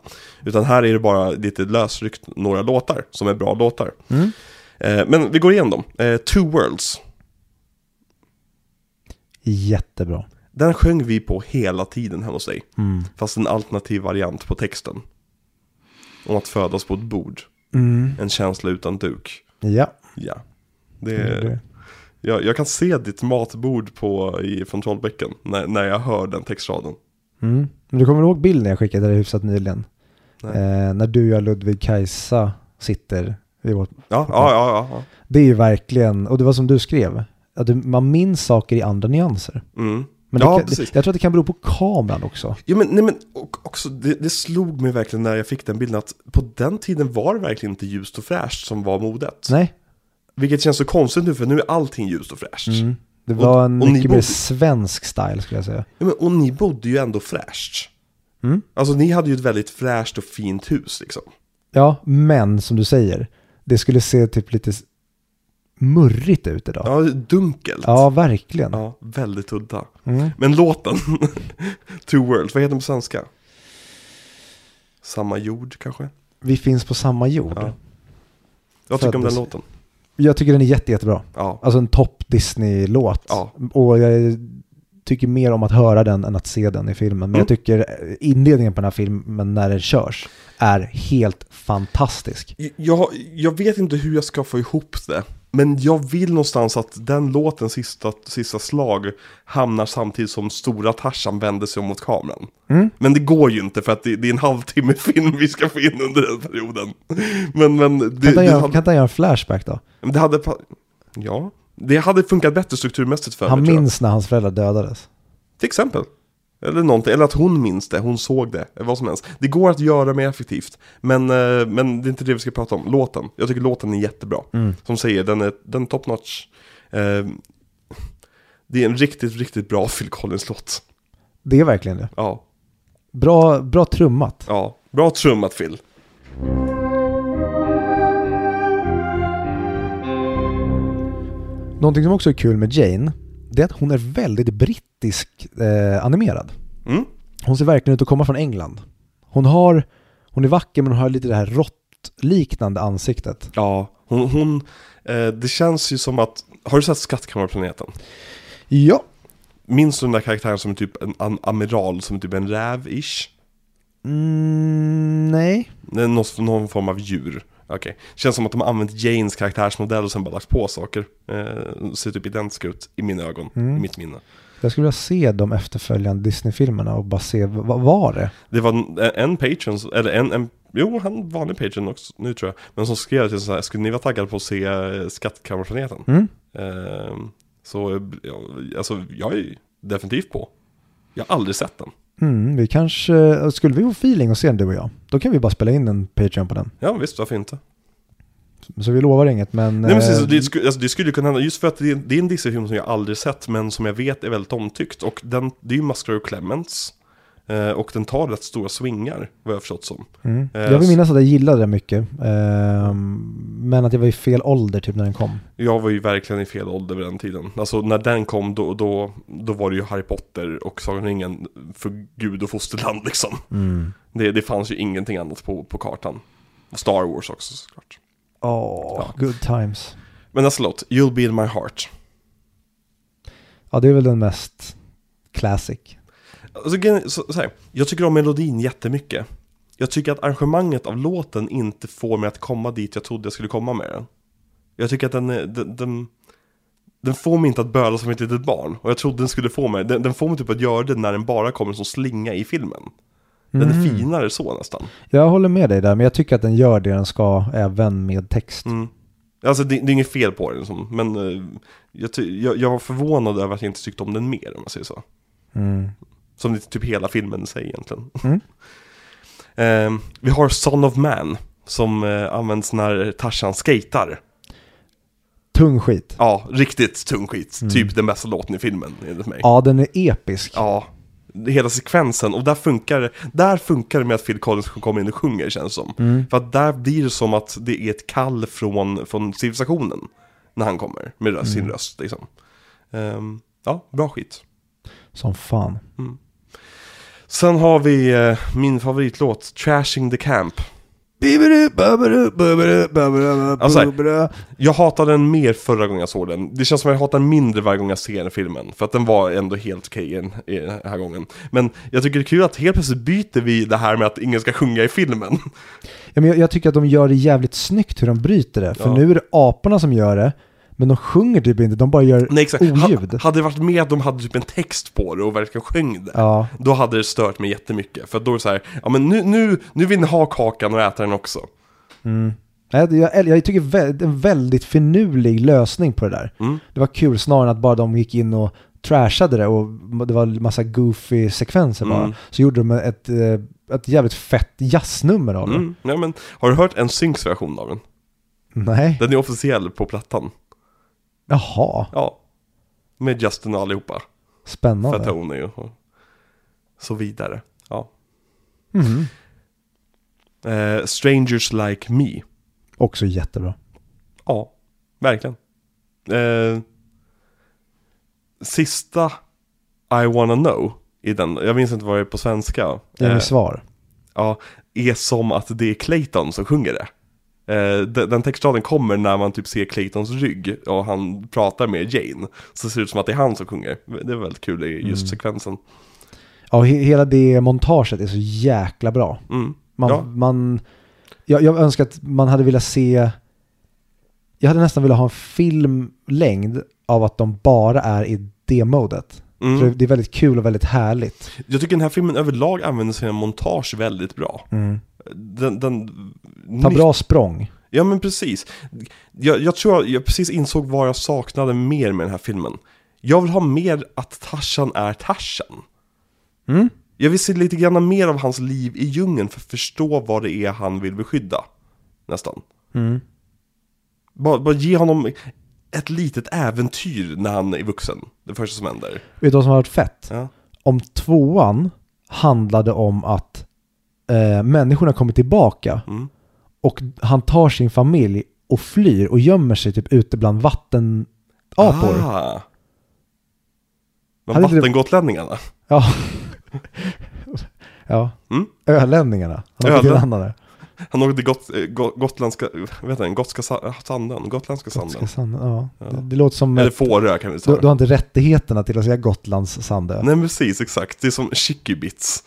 Utan här är det bara lite lösryckt några låtar som är bra låtar. Mm. Eh, men vi går igenom dem. Eh, Two Worlds, Jättebra. den sjöng vi på hela tiden hemma hos dig. Mm. Fast en alternativ variant på texten. Om att födas på ett bord, en känsla utan duk. Mm. Ja, Ja. Det det är Mm, Eh. det. Jag, jag kan se ditt matbord på, i, från Trollbäcken när, när jag hör den textraden. Mm. Men du kommer ihåg bilden jag skickade dig hyfsat nyligen? Nej. Eh, när du, jag, Ludvig, Kajsa sitter vid vårt... Ja, ja, ja. ja, Det är ju verkligen, och det var som du skrev, att du, man minns saker i andra nyanser. ja. Mm. Men ja, det kan, precis. jag tror att det kan bero på kameran också. Ja, men, nej, men och, också, det, det slog mig verkligen när jag fick den bilden att på den tiden var det verkligen inte ljust och fräscht som var modet. Nej, Vilket känns så konstigt nu för nu är allting ljust och fräscht. mm. det Och- var en och ni mycket bodde- mer svensk style skulle jag säga. Ja, men, och ni bodde ju ändå fräscht. Mm. Alltså ni hade ju ett väldigt fräscht och fint hus liksom. Ja, men som du säger, det skulle se typ lite s- murrigt ut idag. Ja, Ja, dunkelt. verkligen. Ja, väldigt udda. Mm. Men låten, Two Worlds, vad heter den på svenska? Samma jord kanske? Vi finns på samma jord. Ja. Jag tycker om den Föddes- låten. Jag tycker den är jätte, jättebra. Ja, Alltså en topp Disney-låt. Ja. Och jag tycker mer om att höra den än att se den i filmen. Men Mm. jag tycker eh, inledningen på den här filmen när den körs är helt fantastisk. jag, jag vet inte hur jag ska få ihop det. Men jag vill någonstans att den låten, sista, sista slag, hamnar samtidigt som stora Tarzan vänder sig om mot kameran. Mm. Men det går ju inte för att det, det är en halvtimme film vi ska få in under den perioden. Men, men det, Kan inte det han göra, hade- kan inte han göra en flashback då? men det hade... pa- Ja, det hade funkat bättre strukturmässigt för Han mig, tror jag. minns när hans föräldrar dödades. Till exempel. Eller någonting, eller att hon minns det, hon såg det, eller vad som helst. Det går att göra mer effektivt, men, eh, men det är inte det vi ska prata om. Låten, jag tycker låten är jättebra. Mm. Som säger, den är, den är top notch. Eh, det är en riktigt, riktigt bra Phil Collins-låt. Det är verkligen det. Ja, Bra, bra trummat. ja. Bra trummat Phil. Någonting som också är kul med Jane, det är att hon är väldigt brittisk eh, animerad. Mm. Hon ser verkligen ut att komma från England. Hon har, hon är vacker men hon har lite det här råttliknande ansiktet. Ja, hon, hon eh, det känns ju som att, har du sett Skattkammarplaneten? Ja. Minns du den där karaktären som är typ en am- amiral, som är typ en räv-ish? Mm, nej. Det är Någon, någon form av djur. Okej. Känns som att de har använt Janes karaktärsmodell och sen bara lagt på saker. Eh, ser typ identiska ut i mina ögon, Mm. i mitt minne. Jag skulle vilja se de efterföljande Disney-filmerna och bara se vad var det? eh, Det var en, en Patreon, eller en, en jo han var i Patreon också nu tror jag. Men som skrev till så här, skulle ni vara taggade på att se eh, Skattkammarplaneten? Mm. Ehm, så eh, ja, alltså, jag är definitivt på. Jag har aldrig sett den. Mm, vi kanske, skulle vi få feeling och se den du och jag, då kan vi bara spela in en Patreon på den. Ja visst, varför inte? Så vi lovar inget, men... Nej, men precis, så eh, det, sku, alltså, det skulle ju kunna hända, just för att det, är- det är en Disney-film som jag aldrig sett, men som jag vet är väldigt omtyckt. Och den, det är ju Masquerade Clements. eh, Och den tar rätt stora swingar, vad jag har förstått som. Mm. Eh, Jag vill s- minnas att jag gillade den mycket. ehm, men att jag var i fel ålder typ när den kom. Jag var ju verkligen i fel ålder vid den tiden. Alltså när den kom, då, då, då var det ju Harry Potter och Sagan om ringen för gud och fosterland liksom. Det, det fanns ju ingenting annat på, på kartan. Och Star Wars också såklart. Åh, Ja. good times. Men alltså låt, You'll Be In My Heart. Ja, det är väl den mest classic. Alltså, grejen är- så, så här, jag tycker om melodin jättemycket. Jag tycker att arrangemanget av låten inte får mig att komma dit jag trodde jag skulle komma med den. Jag tycker att den, är- den, den, den får mig inte att böla som ett litet barn. Och jag trodde den skulle få mig, den, den får mig typ att göra det när den bara kommer som slinga i filmen. Den är finare så nästan. Jag håller med dig där, men jag tycker att den gör det den ska även med text. Mm. Alltså det, det är inget fel på den, liksom. men eh, jag, ty- jag, jag var förvånad över att jag inte tyckte om den mer om man säger så. Mm. Som det, typ hela filmen säger egentligen. Mm. Ehm, vi har Son of Man som eh, används när Tarzan skatar. Tung skit. Ja, riktigt tung skit. Typ den bästa låten i filmen enligt mig. Mm. Ja, den är episk. Ja, hela sekvensen. Och där funkar, det- där funkar det med att Phil Collins kommer in och sjunger känns det Mm. som. För att där blir det som att det är ett kall från, från civilisationen. När han kommer med röst, Mm. sin röst liksom. Ehm, ja, bra skit. Som fan. Sen har vi eh, min favoritlåt, Trashing the Camp. Alltså, Jag hatade den mer förra gången jag såg den. Det känns som jag hatar den mindre varje gång jag ser den filmen. För att den var ändå helt okej i den- i den här gången. Men jag tycker det är kul att helt plötsligt byter vi det här med att ingen ska sjunga i filmen. Ja, men jag, jag tycker att de gör det jävligt snyggt hur de bryter det. För Ja. nu är det aporna som gör det, men de sjunger typ inte, de bara gör Nej exakt. oljud. Ha, hade det varit med att de hade typ en text på det och verkligen sjöng det. Ja. Då hade det stört mig jättemycket. För att då är det så här, ja men nu, nu, nu vill ni ha kakan och äta den också. Nej, det- Jag, jag tycker vä- det är en väldigt finurlig lösning på det där. Mm. Det var kul snarare än att bara de gick in och trashade det och det var massa goofy sekvenser bara. Mm. Så gjorde de ett, eh, ett jävligt fett jazznummer av det. Mm. Ja, men, har du hört en synks version av den? Nej, Den är officiell på plattan. jaha, Ja. Med Justin och allihopa. För att spännande. hon är ju och så vidare. Ja. Mhm. Eh, strangers like me. Också jättebra. Ja, verkligen. Eh, sista I wanna know i den, jag minns inte vad det är på svenska. Det är Eh, mitt svar. ja, är som att det är Clayton som sjunger det. Eh, de- Den textraden kommer när man typ ser Claytons rygg och han pratar med Jane. Så det ser ut som att det är han som sjunger. Det är väldigt kul i Mm. just sekvensen. Ja, he- hela det montaget är så jäkla bra. Mm. Man, Ja. man, jag, jag önskar att man hade velat se... Jag hade nästan velat ha en filmlängd av att de bara är i det modet. Mm. För det är väldigt kul och väldigt härligt. Jag tycker den här filmen överlag använder sina montage väldigt bra. Den, den... Ta bra språng. Ja men precis. Jag, jag tror jag precis insåg vad jag saknade mer med den här filmen. Jag vill ha mer att Tarzan är Tarzan. Mm. Jag vill se lite grann mer av hans liv i djungeln för att förstå vad det är han vill beskydda. Nästan. Mm. Bara, bara ge honom ett litet äventyr när han är vuxen. Det första som händer. Vet du vad som har varit fett? Ja. Om tvåan handlade om att eh, människorna kommer tillbaka Mm. och han tar sin familj och flyr och gömmer sig typ ute bland vattenapor. Ah. Men Hade inte det- vattengotlänningarna. Ja. ja. Mm. Ölänningarna. Han har Ölen. blivit inblandade. Han åkte till got, eh, go, gotländska, vad heter den, gotska sa- sanden, gotländska Gotska sanden. sanden, ja. Det, det låter som... Eller Du, Fårö kan vi säga. du har inte rättigheterna till att säga Gotlands sandö. Nej precis, exakt. Det är som Chickybits.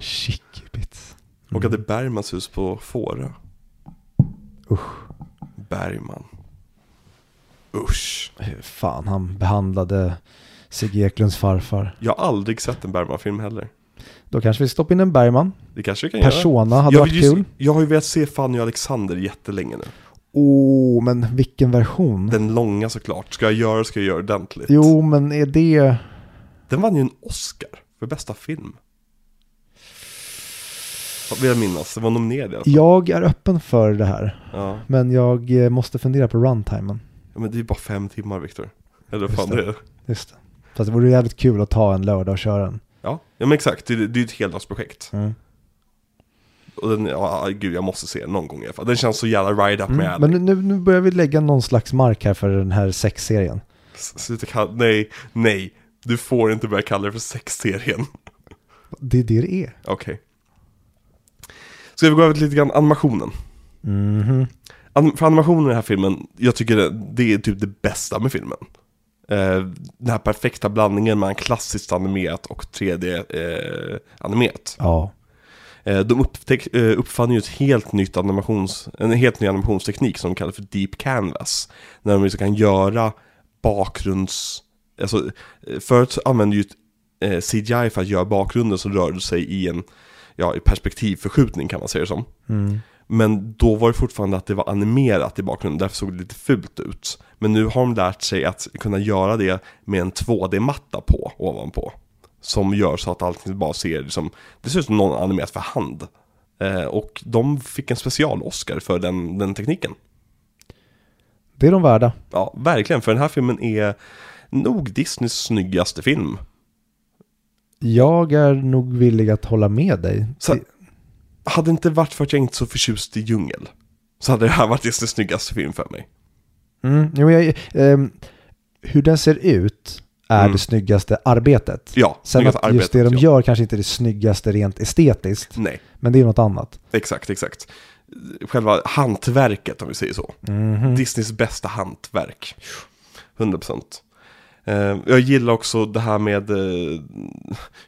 Chickibits. Och att det är Bergmans hus på Fårö. Usch. Bergman. Usch. Hur fan han behandlade Sigge Eklunds farfar. Jag har aldrig sett en Bergman-film heller. Då kanske vi stoppar in en Bergman. Det kanske vi kan göra. Persona hade jag, varit vill ju- kul. Mm. jag har ju velat se Fanny och Alexander jättelänge nu. Åh, oh, men vilken version. Den långa såklart. Ska jag göra ska jag göra ordentligt. Jo, men är det... Den vann ju en Oscar för bästa film. Vad Vill jag minnas, den var nominerad i alla fall. Jag är öppen för det här, Ja. men jag eh, måste fundera på runtimen. ja, men det är ju bara fem timmar Viktor. Eller vad Just fan det är. Just det. Fast det vore jävligt kul att ta en lördag och köra den. Ja. ja, men exakt. Det, är- det är ju ett heldagsprojekt. Och den, ja gud jag måste se den någon gång i alla fall. Den känns så jävla ride up med Mm. Men nu- nu, nu börjar vi lägga någon slags mark här för den här sexserien. S- Sluta kalla, nej, nej. Du får inte börja kalla det för sexserien. Det är det det är. Okej. Ska vi gå över till lite grann animationen? Mhm. An- för animationen i den här filmen, jag tycker det, det är typ det bästa med filmen. Eh, den här perfekta blandningen mellan klassiskt animerat och eh, 3D-animerat. Ja. de upptäck, eh, uppfann ju ett helt nytt animations, en helt ny animationsteknik som de kallar för deep canvas. När de liksom kan göra bakgrunds... Alltså, eh, förut använde ju eh, CGI för att göra bakgrunden som rörde sig i en ja, i perspektivförskjutning kan man säga det som. Mm. Men då var det fortfarande att det var animerat i bakgrunden, därför såg det lite fult ut. Men nu har de lärt sig att kunna göra det med en 2D-matta på, ovanpå. Som gör så att allting bara ser liksom, det ser ut som någon animerat för hand. Eh, och de fick en special-Oscar för den, den tekniken. Det är de värda. Ja, verkligen, för den här filmen är nog Disneys snyggaste film. Jag är nog villig att hålla med dig. Så, Det- hade det inte varit för att jag inte är så förtjust i djungel, så hade det här varit Disneys snyggaste film för mig. Mm, jo, men jag, ehm, hur den ser ut är Mm. det snyggaste arbetet. Ja, Sen snyggaste att just det de ja. gör kanske inte är det snyggaste rent estetiskt, Nej. men det är något annat. Exakt, exakt. Själva hantverket om vi säger så. Mhm. Disneys bästa hantverk. 100%. Eh, jag gillar också det här med eh,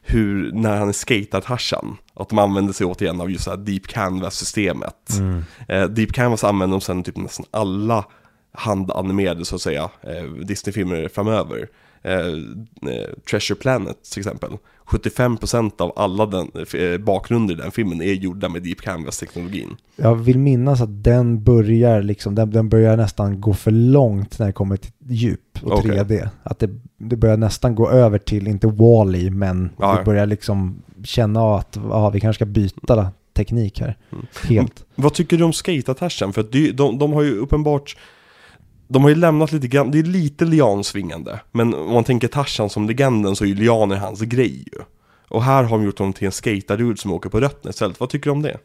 hur, när han skatar Tarzan, att de använder sig återigen av just det här deep canvas-systemet. Eh, deep canvas använder de sen i typ nästan alla handanimerade så att säga, eh, Disney-filmer framöver. Eh, eh, Treasure Planet till exempel. 75% av alla den, eh, bakgrunder i den filmen är gjorda med deep canvas-teknologin. Jag vill minnas att den börjar, liksom, den, den börjar nästan gå för långt när det kommer till djup och Okej. 3D. Att det, det börjar nästan gå över till, inte wall men Ja, ja. vi börjar liksom känna att ja, vi kanske ska byta teknik här. Mm. Helt. Vad tycker du om skate-attachen? För att de, de, de har ju uppenbart de har ju lämnat lite grann, det är lite liansvingande. Men om man tänker Tarzan som legenden så är ju lianer hans grej ju. Och här har de gjort honom till en skaterdude som åker på rötterna istället. Vad tycker du om det?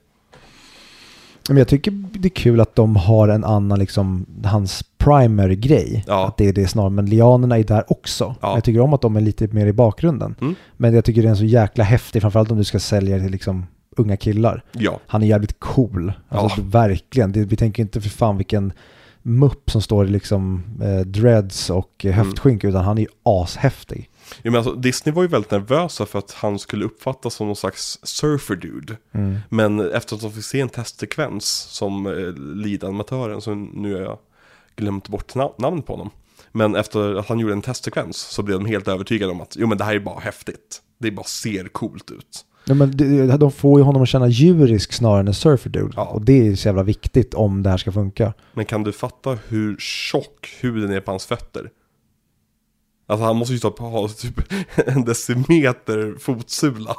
Men jag tycker det är kul att de har en annan, liksom, hans primary grej. Ja. Att det är det snarare, men lianerna är där också. Ja. Jag tycker om att de är lite mer i bakgrunden. Mm. Men jag tycker den är så jäkla häftig, framförallt om du ska sälja till liksom, unga killar. Ja, Han är jävligt cool. Alltså, Ja. det- Verkligen. Det, vi tänker inte för fan vilken mupp som står i liksom, eh, dreads och Mm. eh, höftskynke, utan han är ju ashäftig. jag menar alltså, Disney var ju väldigt nervösa för att han skulle uppfattas som någon slags surfer-dude. Men eftersom de fick se en testsekvens som eh, lead-animatören, så nu har jag glömt bort na- namnet på honom. Men efter att han gjorde en testsekvens så blev de helt övertygade om att jo men det här är bara häftigt. Det bara ser coolt ut. Ja, men det- de får ju honom att känna djurisk snarare än en surferdude. Ja. Och det är ju så jävla viktigt om det här ska funka. Men kan du fatta hur tjock huden är på hans fötter? Alltså han måste ju ta på ha typ en decimeter fotsula.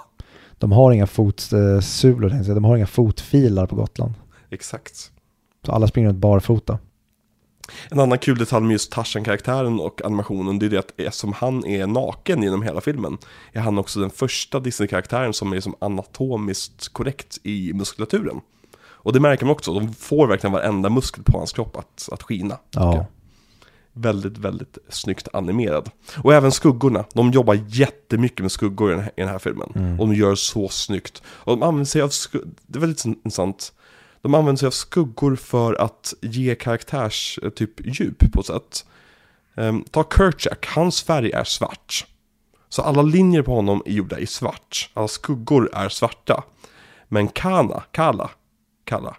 De har inga fotsulor, tänkte jag säga. de har inga fotfilar på Gotland. Exakt. Så alla springer runt barfota. En annan kul detalj med just Tarzan-karaktären och animationen det är det att eftersom han är naken genom hela filmen är han också den första Disney-karaktären som är som anatomiskt korrekt i muskulaturen. Och det märker man också, de får verkligen varenda muskel på hans kropp att, att skina. tycker Ja. jag. Väldigt, väldigt snyggt animerad. Och även skuggorna, de jobbar jättemycket med skuggor i den här, i den här filmen. Och de gör så snyggt. Och de använder sig av, sku- det är väldigt intressant, de använder sig av skuggor för att ge karaktärs eh, typ djup på ett sätt. Ehm, ta Kerchak, hans färg är svart. Så alla linjer på honom är gjorda i svart. Alla skuggor är svarta. Men Kana, Kala, Kala,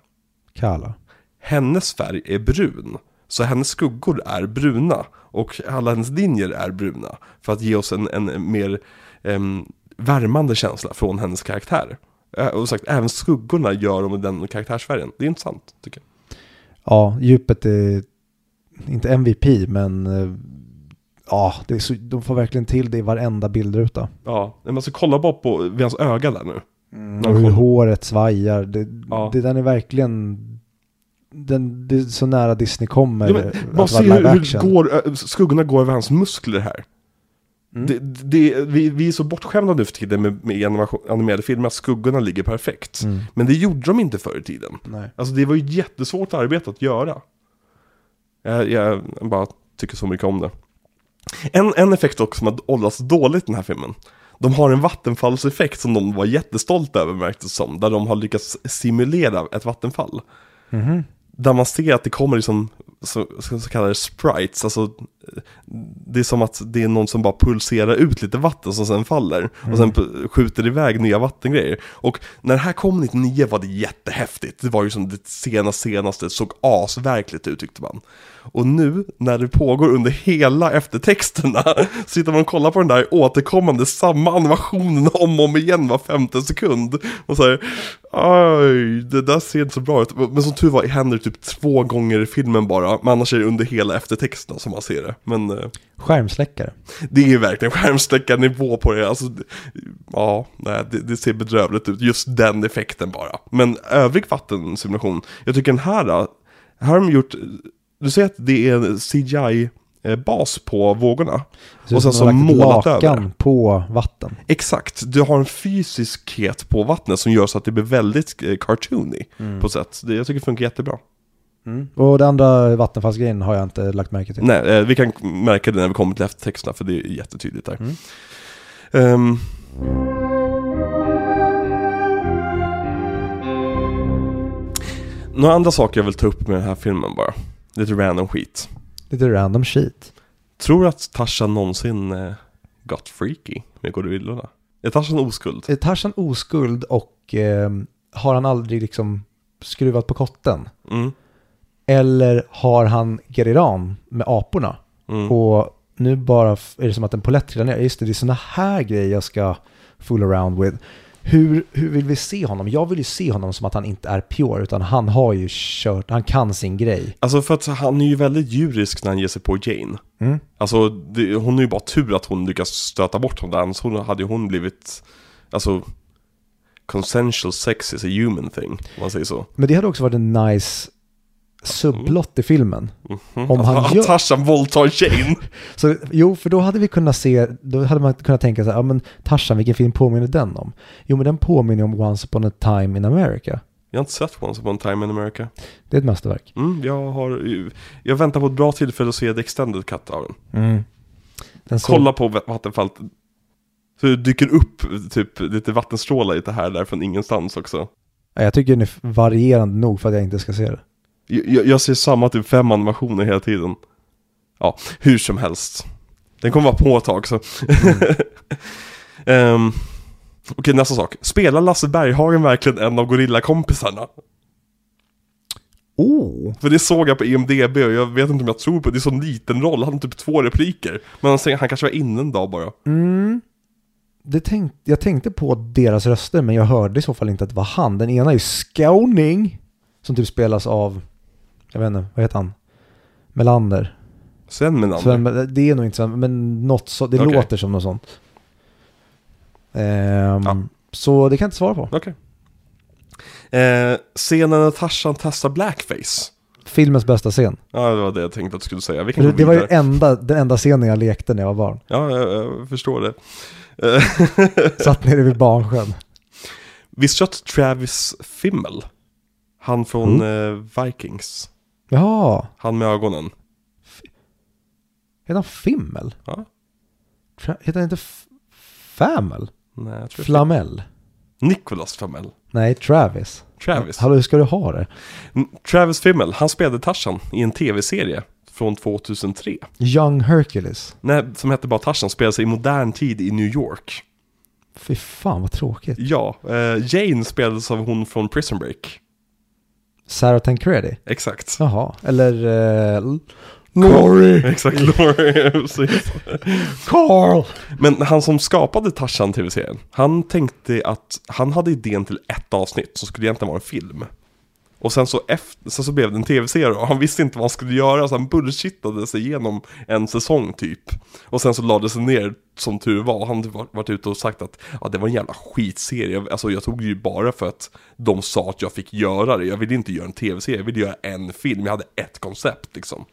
Kalla. hennes färg är brun. Så hennes skuggor är bruna och alla hennes linjer är bruna. För att ge oss en, en mer em, värmande känsla från hennes karaktär. Eh, Och sagt, även skuggorna gör om den karaktärsfärgen. Det är intressant, tycker jag. Ja, djupet är inte MVP, men eh, ja, det är så, de får verkligen till det i varenda bildruta. Ja, men alltså kolla bara på vid hans öga där nu. Och hur håret svajar. Det, Ja. det, den är verkligen... Den, det är så nära Disney kommer. Ja, men att Bara vara se live hur, hur action. går, ö, skuggorna går över hans muskler här. Mm. Det, det, vi, vi är så bortskämda nu för tiden med, med animation- animerade filmer att skuggorna ligger perfekt. Mm. Men det gjorde de inte förr i tiden. Nej. Alltså det var ju jättesvårt arbete att göra. Jag, jag bara tycker så mycket om det. En, en effekt också som har åldrats dåligt i den här filmen. De har en vattenfallseffekt som de var jättestolta över märktes som. Där de har lyckats simulera ett vattenfall. Mhm. Där man ser att det kommer liksom så, så så kallade sprites. Alltså, eh, det är som att det är någon som bara pulserar ut lite vatten som sen faller. Och sen pu- skjuter iväg nya vattengrejer. Och när det här kom 99 var det jättehäftigt. Det var ju som det senaste, senaste såg asverkligt ut tyckte man. Och nu när det pågår under hela eftertexterna sitter man och kollar på den där återkommande samma animationen om och om igen var femte sekund. Och så här, aj, det där ser inte så bra ut. Men som tur var händer det typ två gånger i filmen bara, men annars är det under hela eftertexten som man ser det. Men eh, Skärmsläckare. det är ju verkligen skärmsläckarnivå på det. Alltså, det- ja, nej, det, det ser bedrövligt ut. Just den effekten bara. Men övrig vattensimulation, jag tycker den här, då, här har de gjort, du ser att det är en CGI-bas på vågorna. ser Och ut sen som de har så lagt målat lakan över. på vatten. Exakt, du har en fysiskhet på vattnet som gör så att det blir väldigt eh, cartoony Mm. på sätt. Det, jag tycker det funkar jättebra. Och den andra vattenfallsgrejen har jag inte lagt märke till. Nej, eh, vi kan märka det när vi kommer till eftertexterna för det är jättetydligt Mm. där. Ehm, några andra saker jag vill ta upp med den här filmen bara. Lite random skit. Lite random shit. Tror du att Tarzan någonsin eh, got freaky med gorillorna? Är Tarzan oskuld? Är Tarzan oskuld och eh, har han aldrig liksom skruvat på kotten? Mm. Eller har han Geriran med aporna? Mm. Och nu bara f- är det som att en polett trillar ner. Just det, det är sådana här grejer jag ska fool around with. Hur, hur vill vi se honom? Jag vill ju se honom som att han inte är pure, utan han har ju kört, han kan sin grej. Alltså för att han är ju väldigt djurisk när han ger sig på Jane. Mm. Alltså det, hon är ju bara tur att hon lyckas stöta bort honom där, annars hon- hade ju hon blivit, alltså consensual sex is a human thing, om man säger så. Men det hade också varit en nice subplott i filmen. Om Att- han Mhm. att gör- Tarzan våldtar Jane. Så, jo, för då hade vi kunnat se, då hade man kunnat tänka så här, ja men Tarzan, vilken film påminner den om? Jo, men den påminner om Once upon a time in America. jag har inte sett Once upon a time in America. Det är ett mästerverk. Mm, jag har, jag väntar på ett bra tillfälle att se the extended cut av den. Den såg- Mm. Kolla på Vattenfall. Så det dyker upp typ lite vattenstrålar lite här där från ingenstans också. Ja, Jag tycker den är varierande nog för att jag inte ska se det. Jag, jag- jag ser samma typ fem animationer hela tiden. Ja, hur som helst. Den kommer vara på ett tag så. Mm. Ehm, Okej, nästa sak. Spelar Lasse Berghagen verkligen en av gorillakompisarna? Oh. För det såg jag på E IMDB och jag vet inte om jag tror på det. Det är så liten roll, han har typ två repliker. Men han, säger- han kanske var inne en dag bara. Mm. Det tänk, jag tänkte på deras röster men jag hörde i så fall inte att det var han. Den ena är ju Skåning som typ spelas av, jag vet inte, vad heter han? Melander. Sen med Sven, namn. Mel- det är nog inte Sven, men något så, det Okej. låter som något sånt. Ehm, Ja. Så det kan jag inte svara på. Okej. Eh, scenen när Tarzan testar blackface. Filmens bästa scen. Ja, det var det jag tänkte att du skulle säga. Vi kan Det, gå det var ju vidare. enda, den enda scenen jag lekte när jag var barn. Ja, jag, jag förstår det. Satt nere vid barnsjön. Visste du att Travis Fimmel, han från Mm. eh, Vikings, Jaha, han med ögonen. heter han Fimmel? Ja, Tra- Heter han inte F- Famel? nej, jag tror Flamel? Nicholas Fimmel. Nej, Travis. Travis. Hallå, hur ska du ha det? Mm, Travis Fimmel, han spelade Tarzan i en tv-serie från 2003. Young Hercules. Nej, som hette bara Tarzan, spelade i modern tid i New York. Fy fan vad tråkigt. Ja, eh, Jane spelades av hon från Prison Break. Sarah Tancredi. Exakt. Jaha, eller eh, L- Corey! Exakt, Laurie. precis. Carl! Men han som skapade Tarzan tv-serien, han tänkte att han hade idén till ett avsnitt som skulle egentligen vara en film. Och sen så, efter, sen så blev det en tv-serie och han visste inte vad han skulle göra så han bullshittade sig igenom en säsong typ. Och sen så lades det ner som tur var och han hade var- varit ute och sagt att ja, det var en jävla skitserie. Alltså jag tog det ju bara för att de sa att jag fick göra det. Jag ville inte göra en tv-serie, jag ville göra en film. Jag hade ett koncept liksom.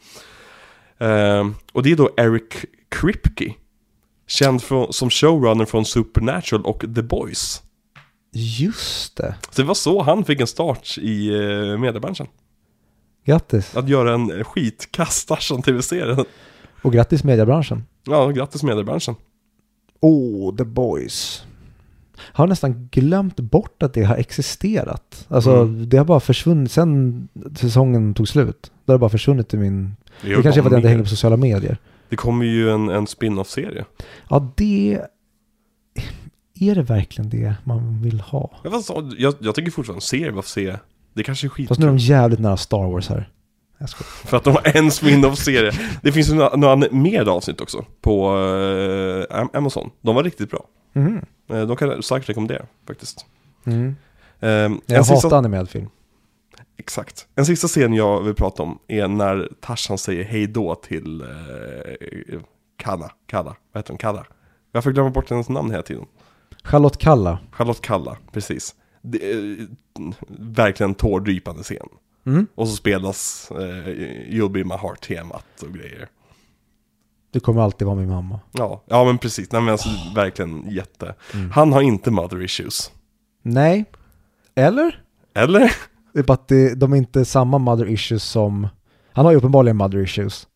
Ehm, och det är då Eric Kripke. Känd från, som showrunner från Supernatural och The Boys. Just det. Så det var så han fick en start i eh, mediebranschen. Grattis. Att göra en skitkass Tarzan tv-serie. Och grattis mediebranschen. Ja, grattis mediebranschen. Oh, The Boys. Jag har nästan glömt bort att det har existerat. Alltså det har bara försvunnit sen säsongen tog slut. Det har bara försvunnit i min... Det, kanske är för att jag inte hänger på sociala medier. Det kommer ju en, en spin-off-serie. Ja, det... Är det verkligen det man vill ha? Jag, fast, jag, jag tycker fortfarande en serie, varför se? Det kanske är skit. Fast nu är de jävligt nära Star Wars här. Jag skojar. För att de har en spin-off-serie. det finns ju några, några mer avsnitt också på eh, Am- Amazon. De var riktigt bra. Mhm. Eh, de kan jag starkt rekommendera faktiskt. Mm. Eh, en Jag hatar sista- animerad film. Exakt. En sista scen jag vill prata om är när Tarzan säger hej då till eh, Kalla. Kalla. Vad heter hon? Kalla. Varför glömmer jag bort hennes namn hela tiden? Charlotte Kalla. Charlotte Kalla, precis. Det, eh, verkligen tårdrypande scen. Mm. Och så spelas eh, You'll be my heart-temat och grejer. Du kommer alltid vara min mamma. Ja, ja men precis. Nej, men alltså, Verkligen jätte. Mm. Han har inte mother issues. Nej. Eller? Eller? Det är bara att det, de är inte samma mother issues som... Han har ju uppenbarligen mother issues.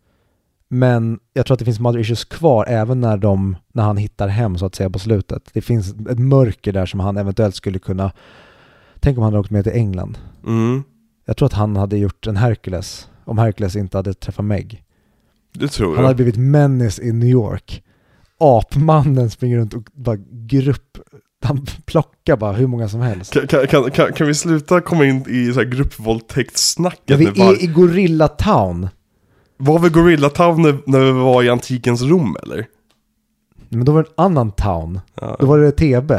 Men jag tror att det finns mother issues kvar även när, de, när han hittar hem så att säga på slutet. Det finns ett mörker där som han eventuellt skulle kunna... Tänk om han hade åkt med till England. Mm, Jag tror att han hade gjort en Hercules om Hercules inte hade träffat Meg. det tror Han hade jag. blivit menace i New York. Apmannen springer runt och bara grupp... Han plockar bara hur många som helst. Kan, kan, kan, kan, kan vi sluta komma in i så här gruppvåldtäktssnacket Ja, vi nu? Var- är i Gorilla Town. Var vi Gorilla Town när, när vi var i antikens Rom eller? Men då var det en annan town. Ja, Då var det TB.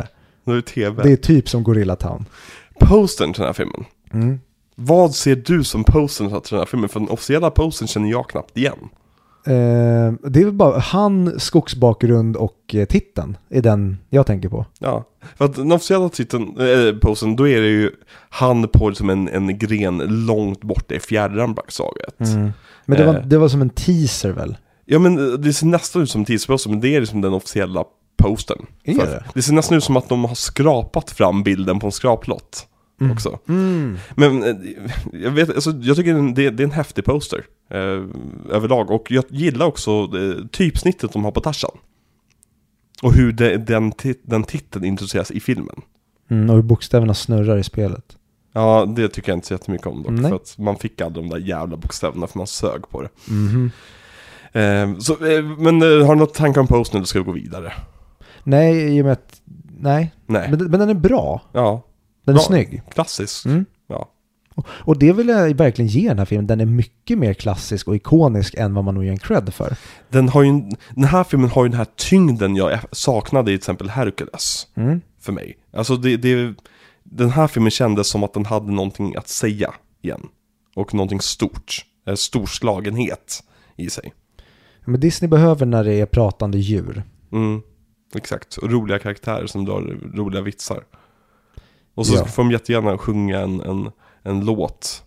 nu är det tv. Det är typ som Gorilla Town. Postern till den här filmen. Mm. Vad ser du som postern till den här filmen? För den officiella postern känner jag knappt igen. Eh, det är väl bara han, skogsbakgrund och eh, titeln är den jag tänker på. Ja, för att den officiella titeln, äh, posten, då är det ju han på liksom en, en gren långt borta i fjärran Blacksaget. Mm. Men det, var, Eh. det var som en teaser väl? Ja men eh, det ser nästan ut som tidsposten, men det är liksom den officiella posten. Är För- det? det ser nästan ut som att de har skrapat fram bilden på en skraplott också. Men eh, jag vet, alltså, jag tycker den- det, det är en häftig poster eh, överlag. Och jag gillar också eh, typsnittet de har på Tarzan. Och hur det, den, ti- den titeln introduceras i filmen. Mm, och hur bokstäverna snurrar i spelet. Ja, det tycker jag inte så jättemycket om dock. Nej. För att man fick aldrig de där jävla bokstäverna för man sög på det. Mhm. Eh, så, eh, men eh, har du något tankar om posten eller ska vi gå vidare? Nej, i och med att... Nej. Nej. Men, men den är bra. Ja, Den Bra. är snygg. klassisk. Mm. Ja. Och, och det vill jag verkligen ge den här filmen. Den är mycket mer klassisk och ikonisk än vad man nog ger en cred för. Den, har ju, en- den här filmen har ju den här tyngden jag eff- saknade i till exempel Hercules. Mm. För mig. Alltså det, det, den här filmen kändes som att den hade någonting att säga igen. Och någonting stort. Eh, Storslagenhet i sig. Men Disney behöver när det är pratande djur. Mm, exakt. Och roliga karaktärer som drar roliga vitsar. Och så Ja. får de jättegärna sjunga en, en, en låt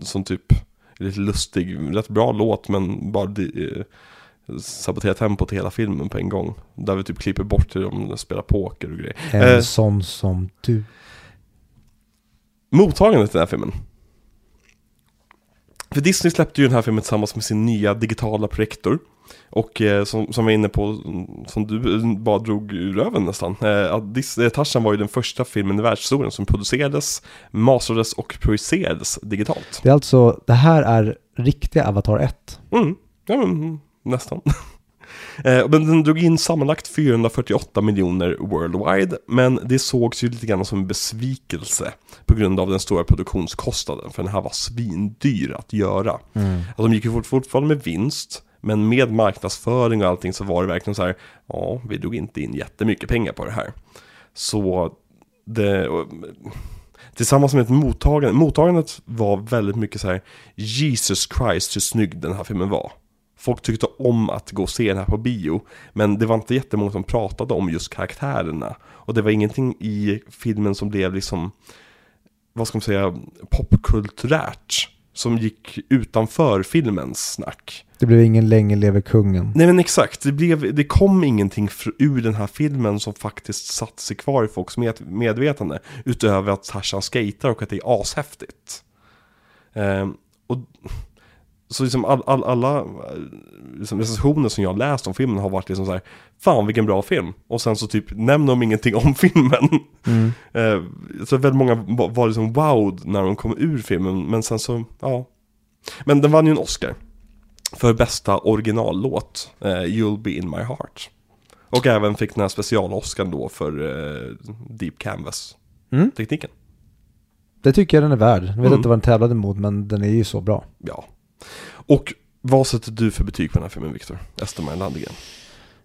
som typ är lite lustig, rätt bra låt men bara di- eh, sabotera tempot i hela filmen på en gång. Där vi typ klipper bort hur de spelar poker och grejer. En Eh. sån som du. Mottagandet i den här filmen. För Disney släppte ju den här filmen tillsammans med sin nya digitala projektor. Och eh, som, som vi var inne på, mm, som du eh, bara drog ur röven nästan. Eh, att Dis- eh, Tarzan var ju den första filmen i världshistorien som producerades, masterades och projicerades digitalt. Det är alltså, det här är riktiga Avatar 1. Mm, ja men mm, nästan. Eh, men den drog in sammanlagt 448 miljoner worldwide, men det sågs ju lite grann som en besvikelse på grund av den stora produktionskostnaden, för den här var svindyr att göra. Alltså, de gick ju fort- fortfarande med vinst, men med marknadsföring och allting så var det verkligen så här, ja, vi drog inte in jättemycket pengar på det här. Så det, och, tillsammans med ett mottagande, mottagandet var väldigt mycket så här, Jesus Christ hur snygg den här filmen var. Folk tyckte om att gå och se den här på bio, men det var inte jättemånga som pratade om just karaktärerna. Och det var ingenting i filmen som blev liksom, vad ska man säga, popkulturärt. Som gick utanför filmens snack. Det blev ingen länge lever kungen. Nej men exakt, det, blev, det kom ingenting fr- ur den här filmen som faktiskt satt sig kvar i folks med, medvetande. Utöver att Tarzan skater och att det är ashäftigt. Ehm, och, så liksom all, all, alla eh, liksom recensioner som jag läst om filmen har varit liksom så här, fan vilken bra film. Och sen så typ nämner de ingenting om filmen. Ehm, så väldigt många var, var liksom wowed när de kom ur filmen, men sen så, ja. Men den vann ju en Oscar för bästa originallåt, eh, You'll Be In My Heart. Och även fick den här special-Oscarn då för eh, Deep Canvas-tekniken. Mm. Det tycker jag den är värd. Jag Mm. vet inte vad den tävlade mot, men den är ju så bra. Ja. Och vad sätter du för betyg på den här filmen, Viktor? Estermar Landegren.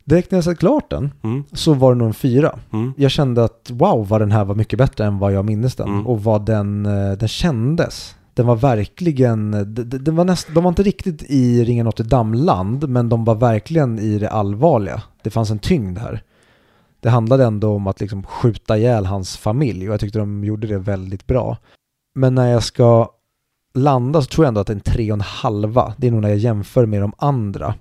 Direkt när jag sett klart den Mm. så var det nog en fyra. Mm. Jag kände att wow, vad den här var mycket bättre än vad jag minns den. Mm. Och vad den, eh, den kändes. Den var verkligen, eh, d- d- den var näst, de var inte riktigt i Ringen Notre Dame-land, men de var verkligen i det allvarliga. Det fanns en tyngd här. Det handlade ändå om att liksom skjuta ihjäl hans familj och jag tyckte de gjorde det väldigt bra. Men när jag ska landa så tror jag ändå att en tre och en halva, det är nog när jag jämför med de andra.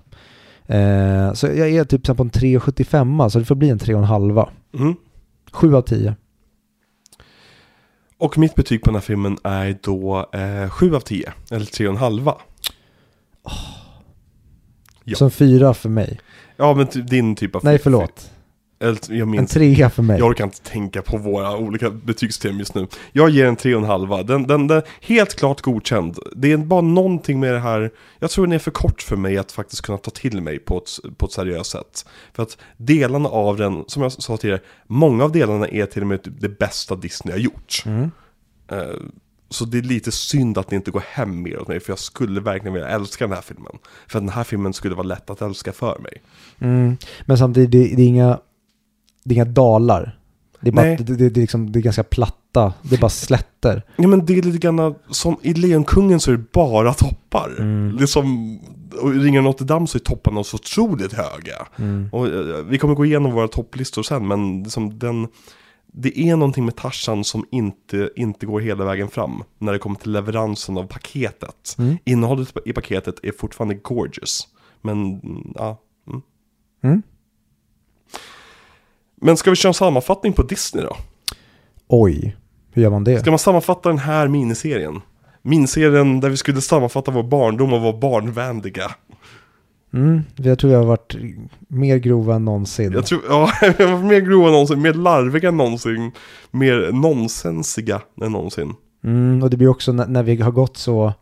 Eh, så jag är typ så här på en 3,75 så det får bli en tre och en halva. Mm. 7 av 10. Och mitt betyg på den här filmen är då eh, 7 av 10, eller 3,5. Ja. Så en 4 för mig. Ja, men ty- din typ av... Nej, förlåt. Eller, jag minns En 3 för mig. Jag orkar inte tänka på våra olika betygssystem just nu. Jag ger en 3,5. Den, den, den helt klart godkänd. Det är bara någonting med det här, jag tror den är för kort för mig att faktiskt kunna ta till mig på ett, på ett seriöst sätt. För att delarna av den, som jag sa tidigare, många av delarna är till och med typ det bästa Disney har gjort. Mm. Eh, Så det är lite synd att det inte går hem mer åt mig, för jag skulle verkligen vilja älska den här filmen. För den här filmen skulle vara lätt att älska för mig. Mm. Men samtidigt, det, det, är inga, det är inga dalar. Det är, bara, Nej. det, det, det, är liksom, det är ganska platta. Det är bara slätter. Ja men det är lite grann som i Lejonkungen så är det bara toppar. Mm. Liksom, och i Ringen av Notre Dame så är topparna så otroligt höga. Mm. Och, eh, vi kommer gå igenom våra topplistor sen men liksom den, det är någonting med Tarzan som inte, inte går hela vägen fram när det kommer till leveransen av paketet. Mm. Innehållet i paketet är fortfarande gorgeous. Men mm, ja. Mm. Mm. Men ska vi köra en sammanfattning på Disney då? Oj, hur gör man det? Ska man sammanfatta den här miniserien? Miniserien där vi skulle sammanfatta vår barndom och vara barnvänliga. Mm. Jag tror jag har varit mer grova än någonsin. Jag tror, ja, jag var mer grova än någonsin, mer larviga än någonsin, mer nonsensiga än någonsin. Mm. Och det blir också när, när vi har gått så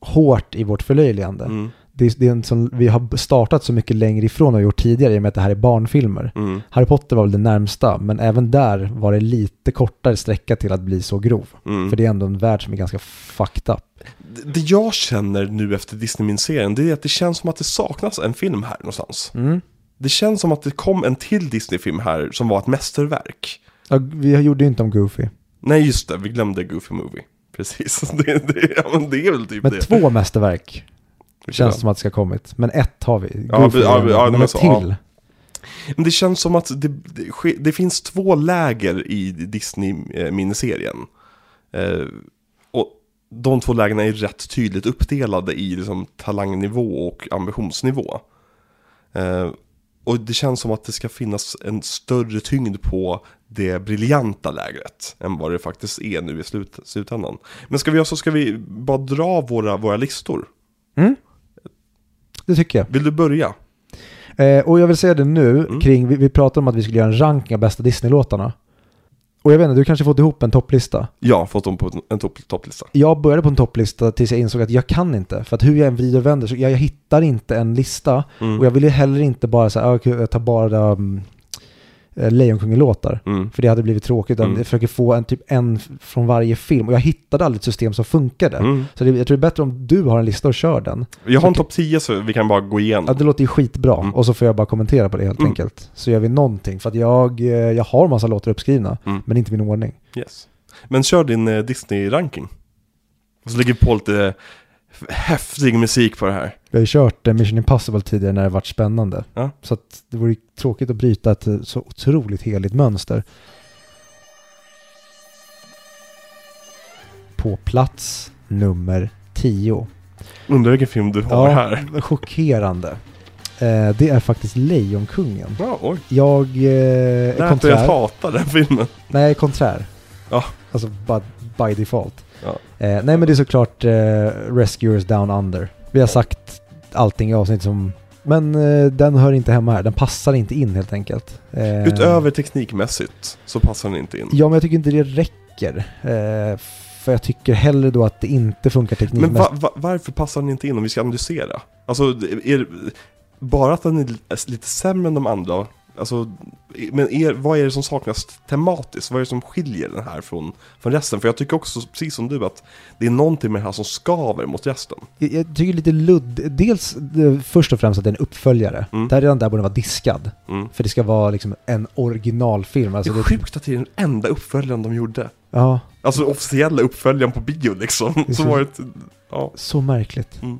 hårt i vårt förlöjligande. Mm, Det, är- det är en sån, vi har startat så mycket längre ifrån och gjort tidigare i och med att det här är barnfilmer. mm. Harry Potter var väl det närmsta, men även där var det lite kortare sträcka till att bli så grov. Mm. För det är ändå en värld som är ganska fucked up. Det- Det jag känner nu efter Disney-miniserien, det är att det känns som att det saknas en film här någonstans. Mm. Det känns som att det kom en till Disney-film här som var ett mästerverk. Ja, vi gjorde ju inte om Goofy. Nej just det, vi glömde Goofy Movie. Precis, det, det, ja, men det är väl typ Men det. två mästerverk känns Ja. som att det ska ha kommit. Men ett har vi. Ja, Goofy vi- ja, är vi- en, ja, men men ett så, ja. till. Men det känns som att det, det, ske- det finns två läger i Disney-miniserien. Eh, och de två lägena är rätt tydligt uppdelade i liksom, talangnivå och ambitionsnivå. Eh, och det känns som att det ska finnas en större tyngd på det briljanta lägret än vad det faktiskt är nu i slut, slutändan. Men ska vi göra så ska vi bara dra våra, våra listor. Mm? Det tycker jag. Vill du börja? Eh, och jag vill säga det nu Mm. kring, vi, vi pratade om att vi skulle göra en ranking av bästa Disney-låtarna. Och jag vet inte, du kanske fått ihop en topplista. Jag har fått dem på en topp- topplista. Jag började på en topplista tills jag insåg att jag kan inte. För att hur jag än vrider och vänder så jag, jag hittar inte en lista. Mm. Och jag ville heller inte bara så här, "Ah, okej, jag tar bara um, eh, Lejonkungen-låtar. Mm. För det hade blivit tråkigt. Utan Mm. Jag försöker få en, typ en f- från varje film. Och jag hittade aldrig ett system som funkade. Mm. Så det, jag tror det är bättre om du har en lista och kör den. Jag har en Så- topp 10 så vi kan bara gå igenom. Ja, det låter ju skitbra. Mm. Och så får jag bara kommentera på det helt Mm. enkelt. Så gör vi någonting. För att jag, eh, jag har massa låtar uppskrivna, Mm. men inte i min ordning. Yes. Men kör din eh, Disney-ranking. Och så lägger vi på lite eh, f- häftig musik på det här. Vi har ju kört eh, Mission Impossible tidigare när det varit spännande. Ja. Så att det vore ju tråkigt att bryta ett eh, så otroligt heligt mönster. På plats nummer 10. Undrar vilken film du har här. chockerande. Eh, det är faktiskt Lejonkungen. Ja, oj. Jag eh, är Lät dig att konträr. hata den filmen. Nej, jag är konträr. Ja. Alltså by, by default. Ja. Eh, nej, men det är såklart eh, Rescuers Down Under. Vi har sagt allting i avsnitt som... Men eh, den hör inte hemma här. Den passar inte in helt enkelt. Eh, Utöver teknikmässigt så passar den inte in. Ja, men jag tycker inte det räcker. Eh, för jag tycker hellre då att det inte funkar teknikmässigt. Men va, va, varför passar den inte in om vi ska analysera? Alltså, är, bara att den är lite sämre än de andra, alltså, men är, vad är det som saknas tematiskt? Vad är det som skiljer den här från, från resten? För jag tycker också, precis som du, att det är någonting med den här som skaver mot resten. Jag, jag tycker lite ludd... Dels eh, först och främst att det är en uppföljare. Mm. Där redan där borde den vara diskad. Mm. För det ska vara liksom en originalfilm. Alltså, det är sjukt att det är den enda uppföljaren de gjorde. Ja, Alltså den officiella uppföljaren på bio liksom. Så Precis. var det, ja. Så märkligt. Mm.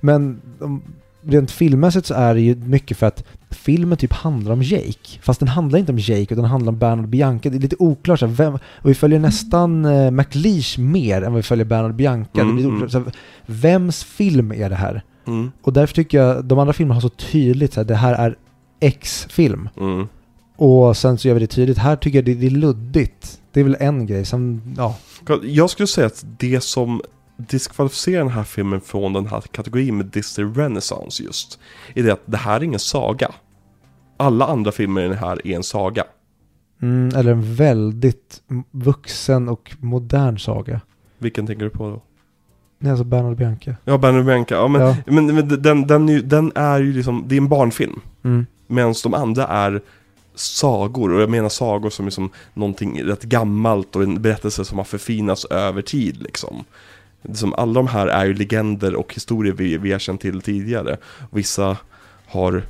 Men om- rent filmmässigt så är det ju mycket för att filmen typ handlar om Jake. Fast den handlar inte om Jake utan den handlar om Bernard och Bianca. Det är lite oklart så här, vem, och vi följer nästan eh, McLeish mer än vad vi följer Bernard och Bianca. Mm, det blir mm. oklart, så här, vems film är det här? Mm. Och därför tycker jag de andra filmerna har så tydligt så här, det här är X-film. Mm. Och sen så gör vi det tydligt. Här tycker jag det, det är luddigt. Det är väl en grej. Sen, ja. Jag skulle säga att det som diskvalificerar den här filmen från den här kategorin med Disney Renaissance just, är det att det här är ingen saga. Alla andra filmer i den här är en saga. Mm, eller en väldigt m- vuxen och modern saga. Vilken tänker du på då? Nej, alltså Bernard och Bianca. Ja, Benny Bianca. Ja, men, Ja. men, men den, den, är ju, den är ju liksom, det är en barnfilm. Mm. Medan de andra är sagor, och jag menar sagor som är som någonting rätt gammalt och en berättelse som har förfinats över tid liksom. Som alla de här är ju legender och historier vi, vi har känt till tidigare. Vissa har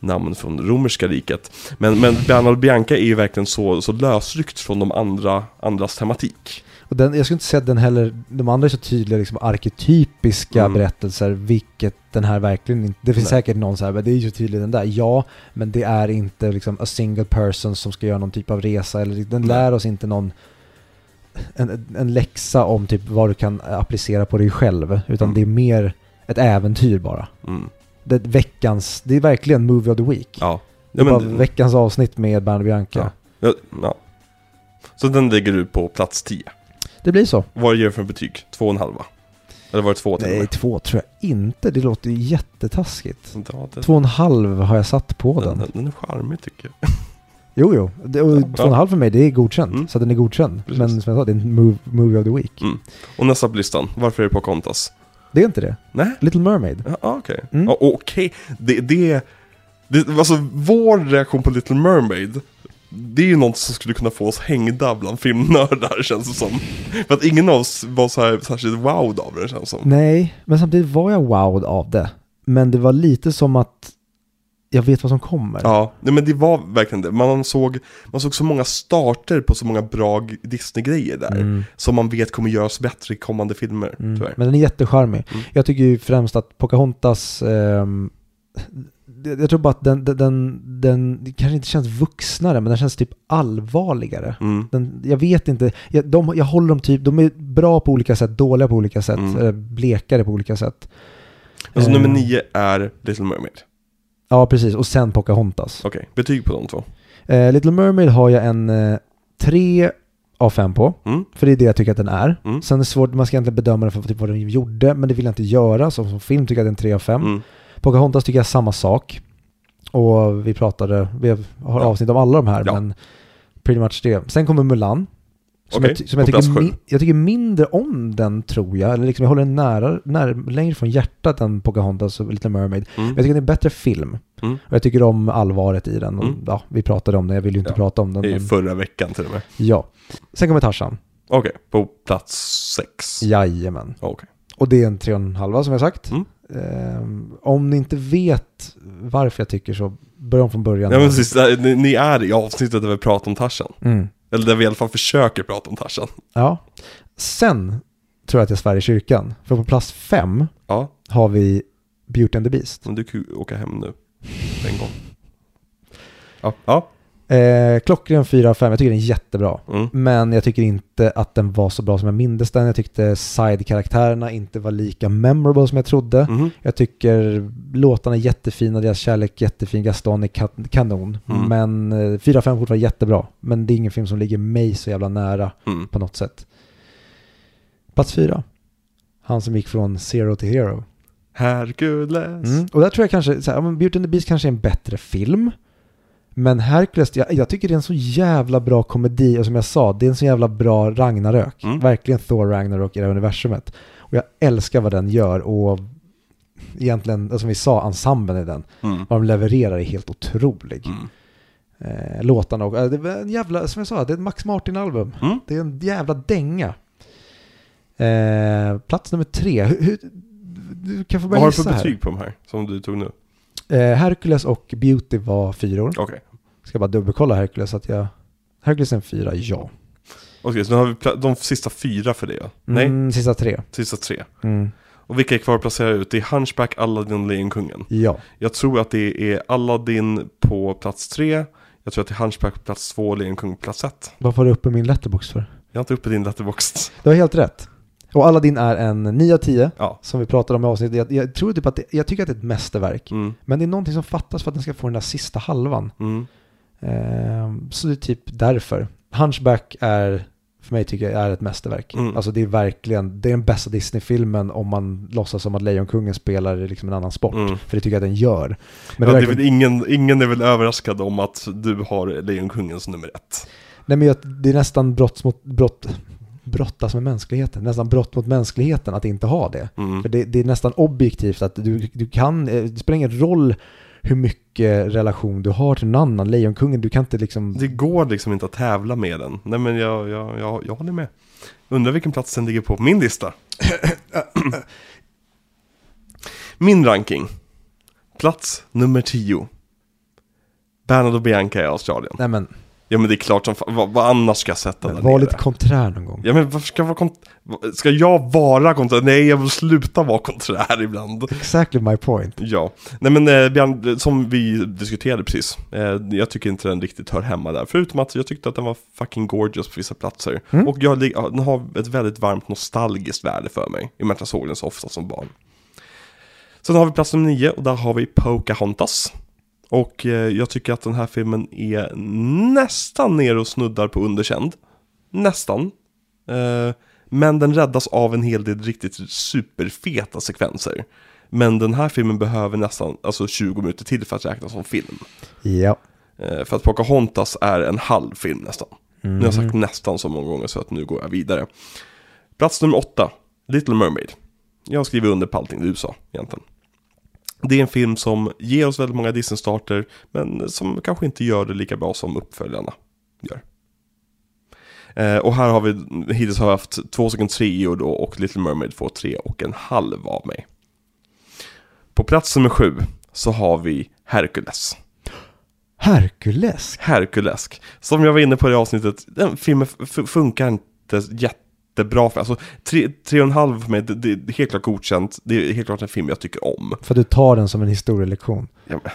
namn från romerska riket. Men, men Bernard och Bianca är ju verkligen så, så lösryckt från de andra, andras tematik. Och den, jag skulle inte säga att den heller, de andra är så tydliga liksom arketypiska Mm. berättelser, vilket den här verkligen inte, det finns Nej. säkert någon så här, men det är ju så tydligt den där. Ja, men det är inte liksom a single person som ska göra någon typ av resa, eller den Nej. lär oss inte någon en, en läxa om typ vad du kan applicera på dig själv, utan Mm. det är mer ett äventyr bara. Mm. Det är veckans, det är verkligen movie of the week. Ja. Det är Ja, men- bara veckans avsnitt med Bernard och Bianca. Ja. ja, ja. Så den lägger du på plats 10. Det blir så. Vad ger du för betyg? Två och en halva? Eller var det två till och Nej, med? två tror jag inte. Det låter ju jättetaskigt. Ja, det- Två och en halv har jag satt på den, den. den, den är charmig tycker jag. Jo, jo. Det, och Ja. två och en halv för mig, det är godkänt. Mm. Så den är godkänd. Precis. Mm. Men som jag sa, det är en move, movie of the week. Och nästa på listan, varför är det på Kontas? Det är inte det. Nej? Little Mermaid. Ja, ah, okej. Mm. Ja, okej, det, det, det... Alltså vår reaktion på Little Mermaid, det är ju något som skulle kunna få oss hängda bland filmnördar känns det som. För att ingen av oss var så här särskilt wowed av det känns som. Nej, men samtidigt var jag wowed av det. Men det var lite som att jag vet vad som kommer. Ja, nej, men det var verkligen det. Man såg, man såg så många starter på så många bra g- Disney-grejer där. Mm. Som man vet kommer göras bättre i kommande filmer, Mm. tyvärr. Men den är jättecharmig. Mm. Jag tycker ju främst att Pocahontas... ehm, det- jag tror bara att den, den, den, den det kanske inte känns vuxnare, men den känns typ allvarligare. Mm. Den, jag vet inte, jag, de, jag håller dem typ, de är bra på olika sätt, dåliga på olika sätt, Mm. eller blekare på olika sätt. Alltså Eh, nummer nio är Little Mermaid. Ja, precis. Och sen Pocahontas. Okej, betyg på de två. Eh, Little Mermaid har jag en eh, tre av fem på. Mm. För det är det jag tycker att den är. Mm. Sen är det svårt, man ska egentligen bedöma den för typ vad den gjorde, men det vill jag inte göra. Så som film tycker jag att det är en tre av fem. Mm. Pocahontas tycker jag är samma sak. Och vi pratade, vi har Ja. avsnitt om alla de här, Ja. men pretty much det. Sen kommer Mulan. Som, Okej, jag, ty- som jag, på plats tycker sju. mi- jag tycker mindre om den tror jag. Eller liksom, jag håller den nära, nära, längre från hjärtat än Pocahontas och Little Mermaid. Mm. Men jag tycker det är en bättre film. Mm. Och jag tycker om allvaret i den. Och, Mm. ja, vi pratade om den, jag vill ju inte Ja. prata om den. I Men, förra veckan till och med. ja. Sen kommer Tarzan. Okej, på plats sex. Jajamän. Okej. Och det är en tre och en halva som jag sagt. Mm. Ehm, om ni inte vet varför jag tycker så, börja om från början. Alltså, Ja, men precis, där- ni, ni är i avsnittet där vi pratar om Tarzan. mm. Eller där vi i alla fall försöker prata om Tarzan. ja. Sen tror jag att jag svär i kyrkan. För på plats fem Ja, har vi Beauty and the Beast. men du kan ju åka hem nu. En gång. Ja, ja. Eh, klockren 4 av 5, jag tycker den är jättebra. Mm. Men jag tycker inte att den var så bra som jag mindes den. Jag tyckte side-karaktärerna inte var lika memorable som jag trodde. Mhm. Jag tycker låtarna är jättefina, deras kärlek är jättefin, Gaston är ka- kanon. Mm. Men eh, 4 5 fortfarande jättebra. Men det är ingen film som ligger mig så jävla nära Mm. på något sätt. Plats 4. Han som gick från Zero till Hero. Herkules. Mm. Och där tror jag kanske, så här, ja, men Beauty and the Beast kanske är en bättre film. Men Hercules, jag, jag tycker det är en så jävla bra komedi och som jag sa, det är en så jävla bra Ragnarök. Mm. Verkligen Thor Ragnarök i det här universumet. Och jag älskar vad den gör och egentligen, som vi sa, ensemblen i den. Mm. Vad de levererar är helt otrolig. Mm. Eh, låtarna och, eh, det är en jävla, som jag sa, det är ett Max Martin-album. Mm. Det är en jävla dänga. Eh, plats nummer tre, hur, hur, du kan få Vad börja har du för gissa här. betyg på de här som du tog nu? Eh, Hercules och Beauty var fyror. Okej, Ska bara dubbelkolla Hercules så att jag... Hercules är en fyra, ja. Okej, så nu har vi pla- de sista fyra för dig ja? Nej, Mm, sista tre. sista tre. Mm, Och vilka är kvar att placera ut? Det är Hunchback, Aladdin och Lejonkungen. ja. Jag tror att det är Aladdin på plats tre. Jag tror att det är Hunchback på plats två och Lejonkungen på plats ett. Varför var du uppe i min letterbox för? Jag har inte uppe din letterbox. Du har helt rätt. Och Aladdin är en 9 av 10 Ja. som vi pratade om i avsnittet. Jag, jag tror typ att det, jag tycker att det är ett mästerverk. Mm. Men det är någonting som fattas för att den ska få den där sista halvan. Mm. Ehm, så det är typ därför. Hunchback är, för mig tycker jag, är ett mästerverk. Mm. Alltså det är verkligen, det är den bästa Disney-filmen om man låtsas som att Lejonkungen spelar liksom en annan sport. Mm. För det tycker jag att den gör. Men, ja, det det är är verkligen, väl ingen, ingen är väl överraskad om att du har Lejonkungen som nummer ett. nej, men jag, det är nästan brott mot, brott, brottas med mänskligheten, nästan brott mot mänskligheten att inte ha det. Mm. För det, det är nästan objektivt att du, du kan, eh, det spelar ingen roll hur mycket relation du har till någon annan. Lejonkungen, du kan inte liksom... Det går liksom inte att tävla med den. Nej men jag, jag, jag, jag håller med. Undrar vilken plats den ligger på på min lista. min ranking. Plats nummer 10. Bernard och Bianca i Australien. Nej men, Ja men det är klart som fa- vad, vad annars ska jag sätta där var nere? lite konträr någon gång. Ja men varför ska jag vara kont- va- Ska jag vara konträr? Nej jag vill sluta vara konträr ibland. Exactly my point. Ja, nej men eh, Björn, som vi diskuterade precis, eh, jag tycker inte den riktigt hör hemma där. Förutom att jag tyckte att den var fucking gorgeous på vissa platser. Mm. Och jag, lig- ja, den har ett väldigt varmt nostalgiskt värde för mig, i och med att jag såg den så ofta som barn. Sen har vi plats nummer nio och där har vi Pocahontas. Och eh, jag tycker att den här filmen är nästan ner och snuddar på underkänd. Nästan. Eh, men den räddas av en hel del riktigt superfeta sekvenser. Men den här filmen behöver nästan alltså 20 minuter till för att räknas som film. Ja. Eh, för att Pocahontas är en halv film nästan. Nu har jag sagt nästan så många gånger så att nu går jag vidare. Plats nummer åtta, Little Mermaid. Jag skriver under på allting du sa egentligen. Det är en film som ger oss väldigt många Disney-starter, men som kanske inte gör det lika bra som uppföljarna gör. Eh, och här har vi, hittills har jag haft två stycken treor då och Little Mermaid får tre och en halv av mig. På plats nummer sju så har vi Hercules. Herkules. Herkulesk. Som jag var inne på i det avsnittet, den filmen f- funkar inte jättebra för Alltså, tre, tre och en halv för mig, det, det är helt klart godkänt. Det är helt klart en film jag tycker om. För att du tar den som en historielektion. Ja, men,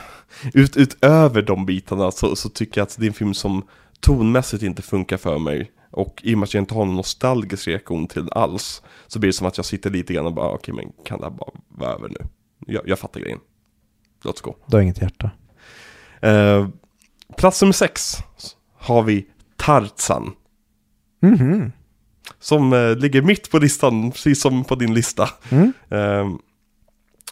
Ut, utöver de bitarna så, så tycker jag att det är en film som tonmässigt inte funkar för mig. Och i och med att jag inte har någon nostalgisk reaktion till den alls, så blir det som att jag sitter lite grann och bara, okej men kan det här bara vara över nu? Jag, jag fattar grejen. Låt gå. Du har inget hjärta. Eh, plats nummer sex har vi Tarzan. Mhm. Som eh, ligger mitt på listan, precis som på din lista. Mm. Ehm,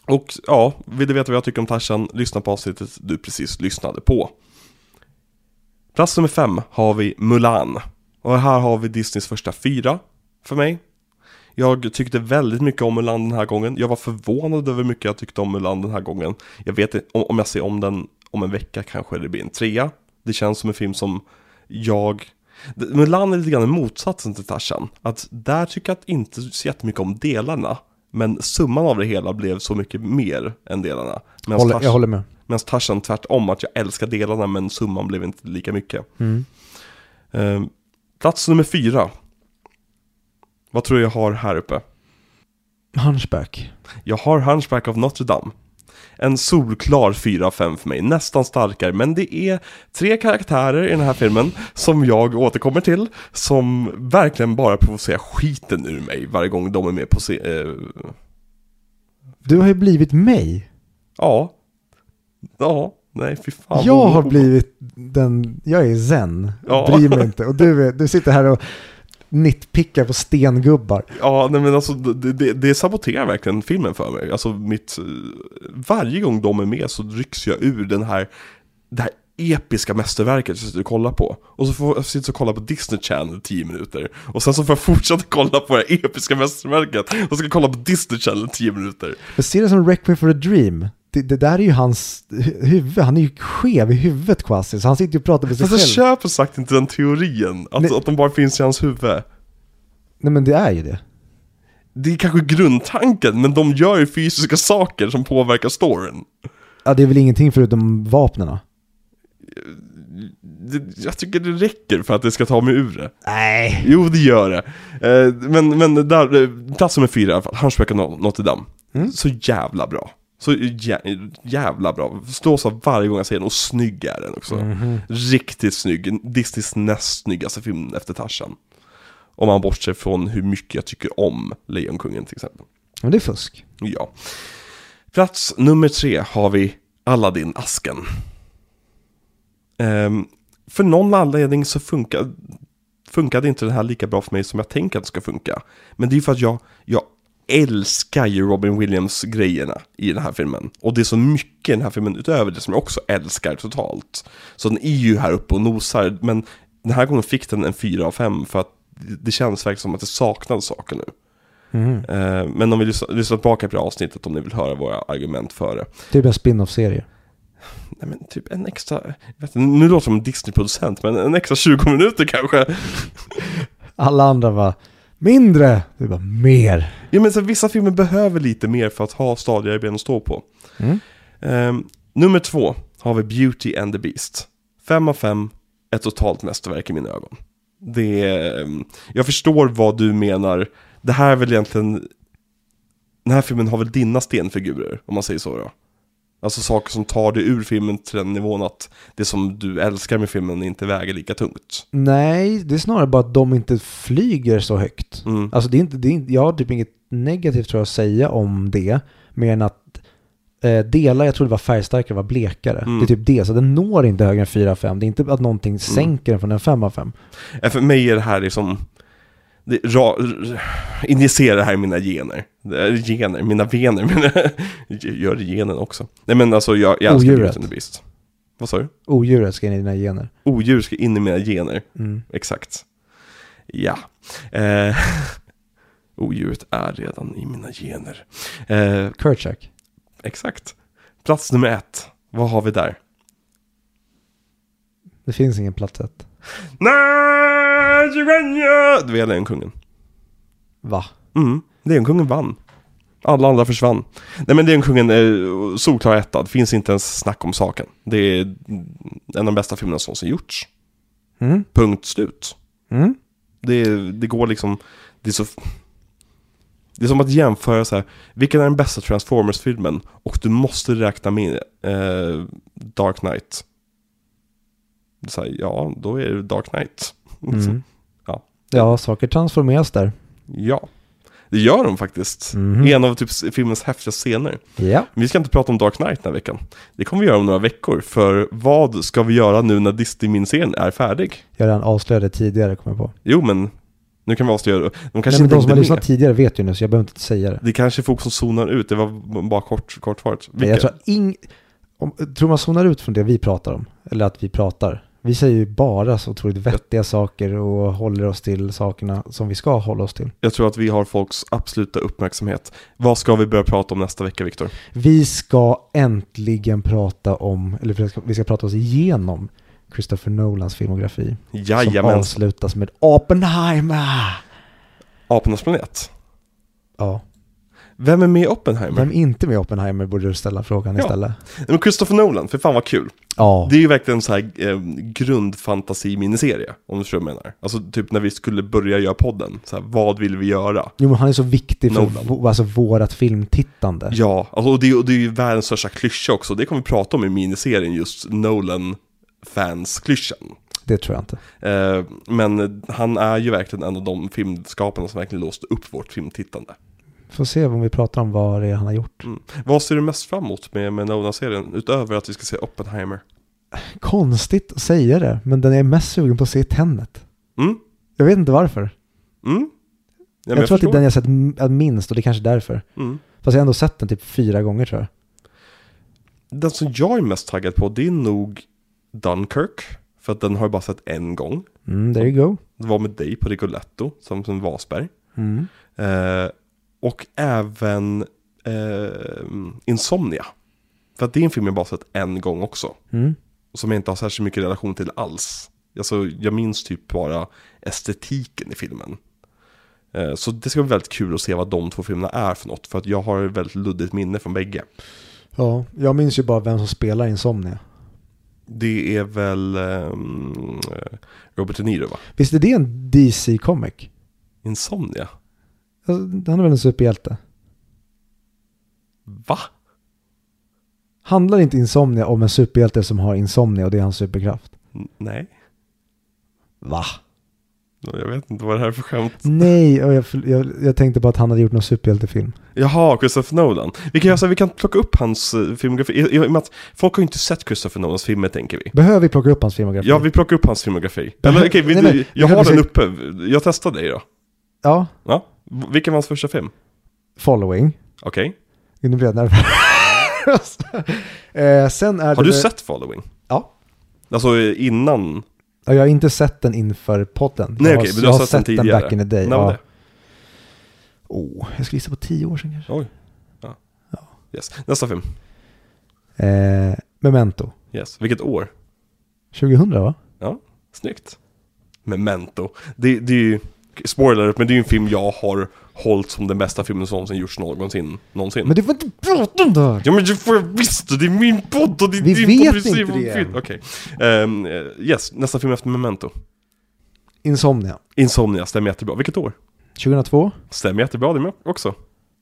och ja, vill du veta vad jag tycker om Tarzan, lyssna på avsnittet du precis lyssnade på. Plats nummer fem har vi Mulan. Och här har vi Disneys första fyra för mig. Jag tyckte väldigt mycket om Mulan den här gången. Jag var förvånad över hur mycket jag tyckte om Mulan den här gången. Jag vet inte, om, om jag ser om den om en vecka kanske det blir en trea. Det känns som en film som jag... D- Mulan är lite grann motsatsen till Tarzan. Att där tycker jag att inte så jättemycket om delarna. Men summan av det hela blev så mycket mer än delarna. Medans Håller, Tarzan- jag håller med. Medan Tarzan tvärtom, att jag älskar delarna men summan blev inte lika mycket. Mm. Eh, plats nummer fyra. Vad tror jag har här uppe? Hunchback. Jag har Hunchback of Notre Dame. En solklar 4 av 5 för mig, nästan starkare, men det är tre karaktärer i den här filmen som jag återkommer till, som verkligen bara provocerar skiten ur mig varje gång de är med på se- eh, Du har ju blivit mig. Ja. Ja, nej fy fan. jag har blivit den, jag är zen. Ja. Bryr mig inte. Och du, är, du sitter här och nitpickar på stengubbar. Ja, nej men alltså det, det, det saboterar verkligen filmen för mig. Alltså mitt, eh, varje gång de är med så rycks jag ur den här, det här episka mästerverket som jag sitter och kollar på. Och så får jag sitta och kolla på Disney Channel i 10 minuter. Och sen så får jag fortsätta kolla på det här episka mästerverket. Och så ska jag kolla på Disney Channel i 10 minuter. Men se det som Requiem for a Dream. Det, det där är ju hans hu- huvud, han är ju skev i huvudet quasi, så han sitter ju och pratar med sig Fast jag själv. köper sagt inte den teorin, att, Nej. att de bara finns i hans huvud. Nej men det är ju det. Det är kanske grundtanken, men de gör ju fysiska saker som påverkar storyn. Ja, det är väl ingenting förutom vapnena. Det, jag tycker det räcker för att det ska ta mig ur det. Nej. Jo, det gör det. Eh, men, men där, eh, plats nummer fyra i alla fall, Hunchback of Not- Notre Dame. Så jävla bra. Så jä- jävla bra. Slås av varje gång jag ser den och snygg är den också. Riktigt snygg. Disneys näst snyggaste film efter Tarzan. Om man bortser från hur mycket jag tycker om Lejonkungen till exempel. Men det är fusk. Ja. Plats nummer tre har vi Aladdin-asken. Ehm, för någon anledning så funkar, funkade inte den här lika bra för mig som jag tänker att det ska funka. Men det är ju för att jag, jag älskar ju Robin Williams-grejerna i den här filmen. Och det är så mycket i den här filmen utöver det som jag också älskar totalt. Så den är ju här uppe och nosar, men den här gången fick den en 4 av 5 för att det- det känns verkligen som att det saknas saker nu. Eh, Men om vi lyssnar, lyssnar tillbaka på det här avsnittet om ni vill höra våra argument för det. Typ en spin-off-serie. Nej men typ en extra, jag vet inte, nu låter det som en Disney-producent men en extra 20 minuter kanske. Alla andra var mindre. Du bara mer. Ja men så vissa filmer behöver lite mer för att ha stadigare ben att stå på. Mm. Ehm, nummer två har vi Beauty and the Beast. Fem av fem, ett totalt mästerverk i mina ögon. Det är, ehm, jag förstår vad du menar. Det här är väl egentligen, den här filmen har väl dina stenfigurer, om man säger så då. Alltså saker som tar dig ur filmen till den nivån att det som du älskar med filmen inte väger lika tungt. Nej, det är snarare bara att de inte flyger så högt. Mm. Alltså det är inte, det är, inte- jag har typ inget negativt tror jag att säga om det. Mer än att eh, delar jag trodde var färgstarkare var blekare. Mm. Det är typ det, så den når inte högre än 4 av 5. Det är inte att någonting sänker den från en 5 av 5. Eh, För mig är det här liksom, det, ra, r- injicera det här i mina gener. Det är Gener, mina vener, mina, gör det i genen också. Nej men alltså jag, jag älskar Odjuret. Beauty and the Beast. Vad sa du? Odjuret ska in i dina gener. Odjur ska in i mina gener, Mm. exakt. Ja. Eh, odjuret är redan i mina gener. Eh, Kurchak. exakt. Plats nummer ett, vad har vi där? Det finns ingen plats ett. Nej, Jirenya! Du vet Lejonkungen. Va? Mm, Lejonkungen vann. Alla andra försvann. Nej men Lejonkungen är eh, solklar etta, det finns inte ens snack om saken. Det är en av de bästa filmerna som någonsin gjorts. Mm. Punkt slut. Mm. Det, det går liksom, det är så... Det är som att jämföra så här, vilken är den bästa Transformers-filmen? Och du måste räkna med eh, Dark Knight. Så här, ja, då är det Dark Knight. Mm. Ja. ja, saker transformeras där. Ja, det gör de faktiskt. Mhm. En av typ filmens häftigaste scener. Ja. Men vi ska inte prata om Dark Knight den här veckan. Det kommer vi göra om några veckor, för vad ska vi göra nu när Disney-miniserien är färdig? Jag redan avslöjade tidigare, kommer jag på. Jo, men nu kan vi avslöja, de Nej, kanske men inte de som har hängde med. lyssnat tidigare vet ju nu, så jag behöver inte säga det. Det kanske är folk som zonar ut, det var b- bara kort, kortvarigt. Men Vilka? jag tror, ing, om, tror man zonar ut från det vi pratar om, eller att vi pratar, Vi säger ju bara så otroligt vettiga saker och håller oss till sakerna som vi ska hålla oss till. Jag tror att vi har folks absoluta uppmärksamhet. Vad ska vi börja prata om nästa vecka, Viktor? Vi ska äntligen prata om, eller vi ska, vi ska prata oss igenom Christopher Nolans filmografi. Som Jajamän, avslutas med Oppenheimer. Apornas planet. Ja, Vem är med i Oppenheimer? vem är inte med i Oppenheimer borde du ställa frågan Ja. istället. Nej, Men Christopher Nolan, för fan vad kul. Ja, Det är ju verkligen en så här eh, grundfantasi-miniserie, om du förstår vad jag menar. Alltså typ när vi skulle börja göra podden, så här, vad vill vi göra? jo, men han är så viktig för Nolan. vå- alltså, vårat filmtittande. Ja, alltså, och, det, är- och det är ju världens största klyscha också. Det kommer vi prata om i miniserien, just Nolan-fans-klyschan. Det tror jag inte. Eh, men han är ju verkligen en av de filmskaparna som verkligen låste upp vårt filmtittande. Mm. Får se om vi pratar om vad det är han har gjort. Vad ser du mest fram emot med, med Nolan-serien, utöver att vi ska se Oppenheimer? Konstigt att säga det, men den är mest sugen på att se Tenet. Mm? Jag vet inte varför. Mm? Ja, men jag, tror att det är förstår. den jag sett m- äh, minst och det är kanske därför. Mm. Fast jag har ändå sett den typ fyra gånger tror jag. Den som jag är mest taggad på det är nog Dunkirk. För att den har jag bara sett en gång. Mm, there you go. Det var med dig på Rigoletto, som, som Wasberg. Mm. Eh, och även eh, Insomnia. För att det är en film jag bara sett en gång också. Mm. Och som jag inte har särskilt mycket relation till alls. Alltså, jag minns typ bara estetiken i filmen. Eh, Så det ska bli väldigt kul att se vad de två filmerna är för något. För att jag har ett väldigt luddigt minne från bägge. Ja, jag minns ju bara vem som spelar Insomnia. Det är väl ehm, eh, Robert De Niro va? Visst är det en DC-comic? Insomnia? Alltså, han är väl en superhjälte? Va? Handlar inte Insomnia om en superhjälte som har insomnia och det är hans superkraft? N- Nej, Va? jag vet inte vad det här är för skämt. Nej, och jag, jag, jag tänkte bara att han hade gjort någon superhjältefilm. Jaha, Christopher Nolan. Vi kan, göra så här, vi kan plocka upp hans eh, filmografi. I, i, i och med att folk har ju inte sett Christopher Nolans filmer tänker vi. Behöver vi plocka upp hans filmografi? Ja, vi plockar upp hans filmografi. Eller okej, vi- Nej, men- jag vi har kan den uppe. Jag testar dig då. ja. Ja, v- vilken var hans första film? Following. Okej. Nu blir jag nervös. eh, sen är det Har du väl- sett Following? Ja. Alltså eh, innan? Ja, Jag har inte sett den inför podden. Nej jag okej, men du har sett, den tidigare. back in the day. När var Ja. det? Oh, jag skulle gissa på tio år sedan kanske. Oj. Ja. Yes. Nästa film. Eh, Memento. Yes. Vilket år? 2000 va? Ja, snyggt. Memento. Det, det är ju, spoiler, men det är ju en film jag har hållit som den bästa filmen som någonsin gjorts någonsin. någonsin. Men du får inte prata om det här! Ja men det får jag visst, det är min podd och det är Vi din vet podd, säger inte vad vi det vill. än. Okej. Ehm, eh, yes, nästa film efter Memento. Insomnia. Insomnia, stämmer jättebra. Vilket år? 2002. Stämmer jättebra det med också.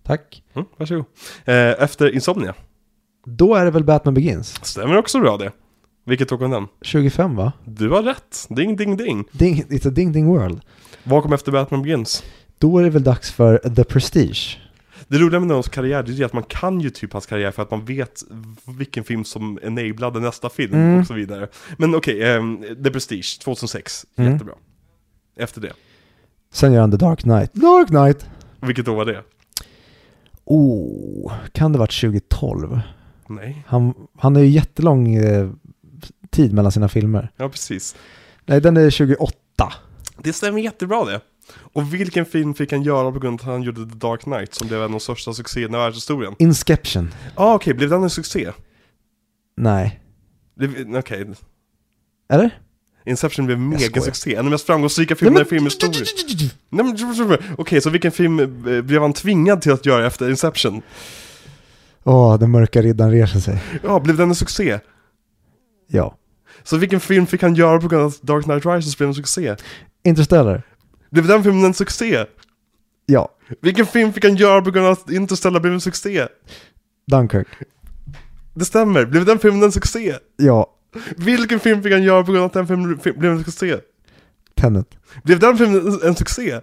Tack. Mm, varsågod. Eh, efter Insomnia, Då är det väl Batman Begins? stämmer också bra det. Vilket år kom den? 25 va? Du har rätt. Ding, ding, ding. Ding, it's a ding ding world. Vad kom efter Batman Begins? Då är det väl dags för The Prestige. Det roliga med Nolans karriär det är ju att man kan ju typ hans karriär för att man vet vilken film som enablade nästa film Mm. och så vidare. Men okej, ehm, The Prestige 2006, Mm. jättebra. Efter det, Sen gör han The Dark Knight. Dark Knight! vilket år var det? Oh, kan det varit 2012? Nej, Han, han har ju jättelång eh, tid mellan sina filmer. ja precis. Nej, den är 28. Det stämmer jättebra det. Och vilken film fick han göra på grund av att han gjorde The Dark Knight som blev en av de största succéerna i världshistorien? Inception. Ja Ah, okej, blev den en succé? Nej. Blev- Okej, Eller? Inception blev en Jag skojar. megasuccé, en av de mest framgångsrika filmerna i filmhistorien. Nej, men- Okej, så vilken film eh, blev han tvingad till att göra efter Inception? Åh, den mörka riddaren reser sig. Ja, blev den en succé? Ja. Så vilken film fick han göra på grund av att Dark Knight Rises blev en succé? Interstellar. Blev den filmen en succé? Ja. Vilken film fick han göra på grund av att Interstellar blev en succé? Dunkirk. Det stämmer, blev den filmen en succé? Ja. Vilken film fick han göra på grund av att den filmen fi- blev en succé? Tenet. Blev den filmen en- en succé?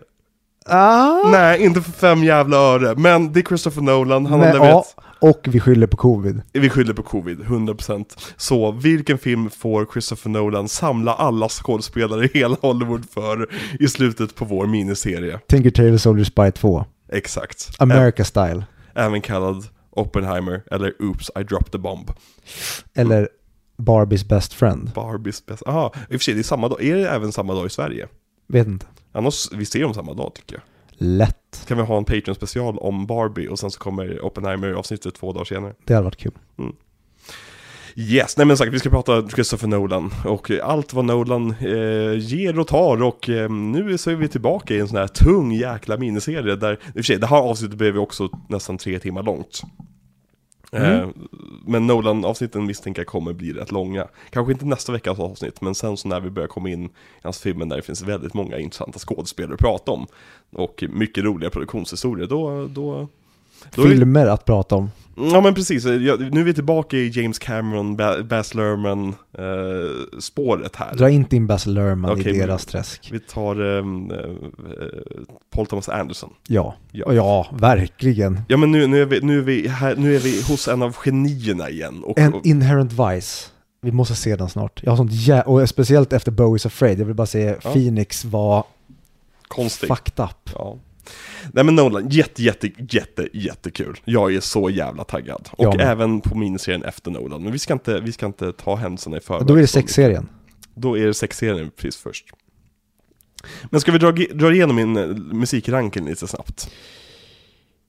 Ah! Nej, inte för fem jävla öre, men det är Christopher Nolan, han har Men, ja, levererat. och vi skyller på covid. Vi skyller på covid, 100%. Så vilken film får Christopher Nolan samla alla skådespelare i hela Hollywood för i slutet på vår miniserie? Tinker Tailor Soldier Spy 2. Exakt. America Style. Ä- Även kallad Oppenheimer eller Oops I dropped the bomb. Eller Barbies best friend. Barbies bästa... Aha, i och för sig det är samma dag. Är det även samma dag i Sverige? Vet inte. Annars, vi ser dem samma dag tycker jag. Lätt. Kan vi ha en Patreon special om Barbie och sen så kommer Oppenheimer avsnittet två dagar senare. Det hade varit kul. Yes, nej men sagt, vi ska prata Christopher Nolan och allt vad Nolan eh, ger och tar och eh, nu så är vi tillbaka i en sån här tung jäkla miniserie där, i och för sig, det här avsnittet blev ju också nästan tre timmar långt. Eh, men Nolan-avsnitten misstänker jag kommer bli rätt långa. Kanske inte nästa veckas avsnitt, men sen så när vi börjar komma in i hans filmer där det finns väldigt många intressanta skådespelare att prata om och mycket roliga produktionshistorier, då, då, då är det- Alltså- Filmer att prata om. Ja men precis, Jag, nu är vi tillbaka i James Cameron, Ba- Baz Luhrmann eh, spåret här. Dra inte in Baz Luhrmann Okej, i men- deras träsk. Vi tar ehm, eh, eh, Paul Thomas Anderson. Ja. Ja. ja, ja verkligen. Ja men nu, nu, är, vi, nu, är, vi här, nu är vi hos en av genierna igen. Och, En och, inherent vice. Vi måste se den snart. Jag har sånt jä- och speciellt efter Bowie's Afraid. Jag vill bara se Ja. Phoenix var konstig. fucked up. Ja. Nej men Nolan, jätte, jätte, jätte, jättekul. Jag är så jävla taggad. Och Jag med. även på miniserien efter Nolan. Men vi ska inte, vi ska inte ta händelserna i förväg. Då är det sexserien. Då är det sexserien precis först. Men ska vi dra, dra igenom min eh, musikranken lite snabbt?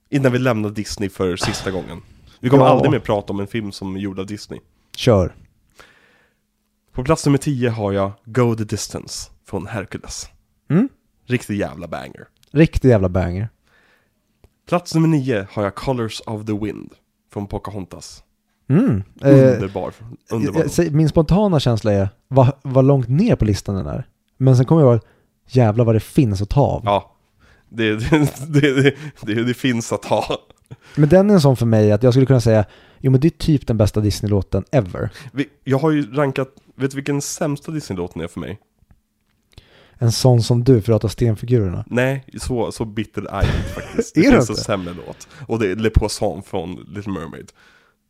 Innan vi lämnar Disney för sista gången. Vi kommer Ja. aldrig mer prata om en film som är gjord av Disney. Kör. På plats nummer 10 har jag Go the Distance från Hercules. Mm? Riktig jävla banger. Riktig jävla banger. Plats nummer 9 har jag Colors of the Wind från Pocahontas. Mm. Eh, Underbar. Underbar. jag- jag säger- min spontana känsla är vad, vad långt ner på listan den är. Men sen kommer jag ihåg, jävlar vad det finns att ta av. Ja. Det, det, det, det, det, det finns att ha. Men den är en sån för mig att jag skulle kunna säga, jo men det är typ den bästa Disney-låten ever. Vi, jag har ju rankat, vet du vilken sämsta Disney-låten är för mig? En sån som du för att ha stenfigurerna. Nej, så, så bitter är jag inte faktiskt. Är det du finns en inte? sämre låt. Och det är Le Poisson från Little Mermaid.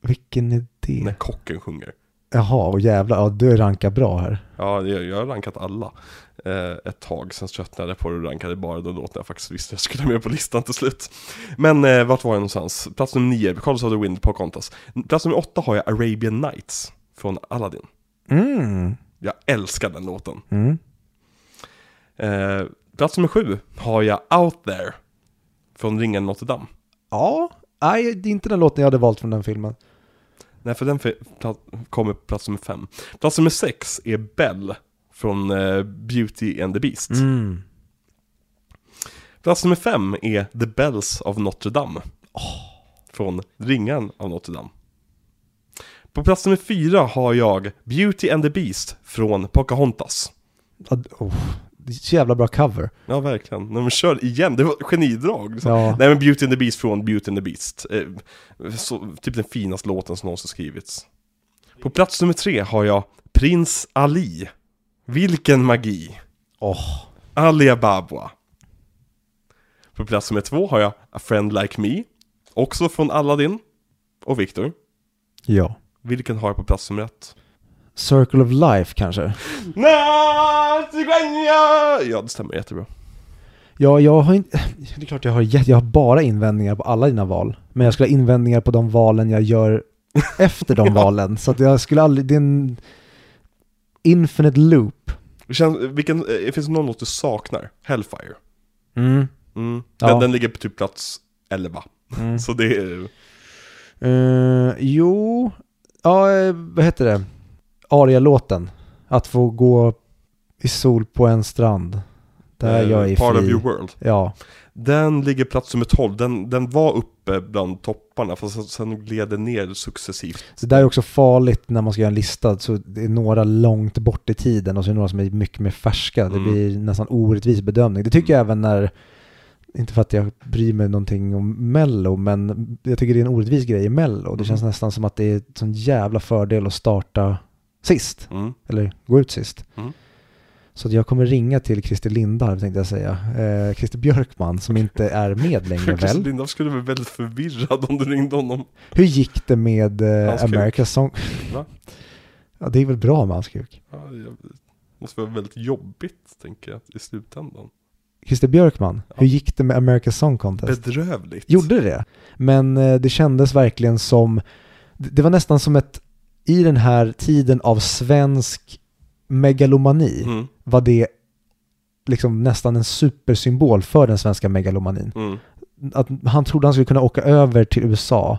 Vilken är det? När kocken sjunger. Jaha, och jävlar, ja du rankar bra här. Ja, jag, jag har rankat alla eh, ett tag, sen tröttnade jag på det och rankade bara de låtarna jag faktiskt visste jag skulle ha med på listan till slut. Men eh, vart var jag någonstans? Plats nummer nio, Carlos of the Wind, Pocahontas. Plats nummer åtta har jag Arabian Nights från Aladdin. Mm. Jag älskar den låten. Mm. Eh, plats nummer sju har jag Out There från Ringen Notre Dame. Ja, nej det är inte den låten jag hade valt från den filmen. Nej, för den fi- pla- kommer på plats nummer fem. Plats nummer sex är Bell från eh, Beauty and the Beast. Mm. Plats nummer fem är The Bells of Notre Dame. Från Ringan av Notre Dame. På plats nummer fyra har jag Beauty and the Beast från Pocahontas. Oh, det är så jävla bra cover. Ja, verkligen. När de kör igen, det var genidrag. Liksom. Ja. Nej, men Beauty and the Beast från Beauty and the Beast. Eh, så, typ den finaste låten som någonsin skrivits. På plats nummer tre har jag Prins Ali. Vilken magi! Åh, Ali Ababa. På plats nummer två har jag A Friend Like Me. Också från Aladdin. Och Victor. ja. Vilken har jag på plats nummer ett? Circle of Life kanske. Na, cigüeña! Ja, det stämmer jättebra. Ja, jag har inte... Det är klart jag har, jätte- jag har bara invändningar på alla dina val. Men jag skulle ha invändningar på de valen jag gör efter de valen. Så att jag skulle aldrig... Det är en infinite loop. Det Känns, vilken, eh, finns det någon låt du saknar? Hellfire. Mm. Mm. Ja. Den, den ligger på typ plats 11. Mm. Så det är... Eh, jo, ja, eh, vad heter det? Aria-låten. Att få gå i sol på en strand. Där eh, jag är Part of fri. your world. Ja, Den ligger plats nummer 12. Den, den var uppe bland topparna, fast sen- sen gled den ner successivt. så det där är också farligt när man ska göra en lista. Så det är några långt bort i tiden och så är det några som är mycket mer färska. Det Mm. blir nästan orättvis bedömning. Det tycker jag även när, inte för att jag bryr mig någonting om Mello, men jag tycker det är en orättvis grej i Mello. Det Mhm. känns nästan som att det är en sån jävla fördel att starta sist. Mm. eller gå ut sist. Mm. Så att jag kommer ringa till Christer Lindarw tänkte jag säga. Eh, Christer Björkman som inte är med längre Christer väl. Lindarw skulle bli väldigt förvirrad om du ringde honom. Hur gick det med eh, Hans kuk. America's Song? Va? ja, det är väl bra med hans kuk. Ja, jag- det måste vara väldigt jobbigt, tänker jag, i slutändan. Christer Björkman, Ja. hur gick det med America's Song Contest? Bedrövligt. Gjorde det? Men eh, det kändes verkligen som, det det var nästan som ett i den här tiden av svensk megalomani Mm, var det liksom nästan en supersymbol för den svenska megalomanin. mm, Att han trodde han skulle kunna åka över till USA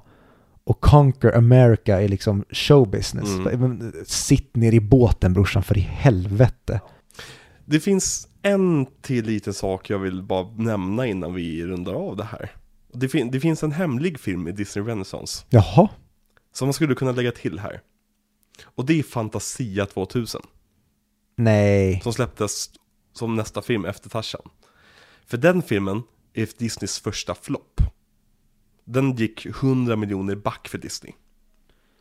och conquer America i liksom showbusiness. Mm. Men, Sitt ner i båten brorsan för i helvete. Det finns en till liten sak jag vill bara nämna innan vi rundar av det här. Det, fin- det finns en hemlig film i Disney Renaissance Jaha, som man skulle kunna lägga till här. Och det är Fantasia 2000. nej. som släpptes som nästa film efter Tarzan. För den filmen är Disneys första flopp. Den gick 100 miljoner back för Disney.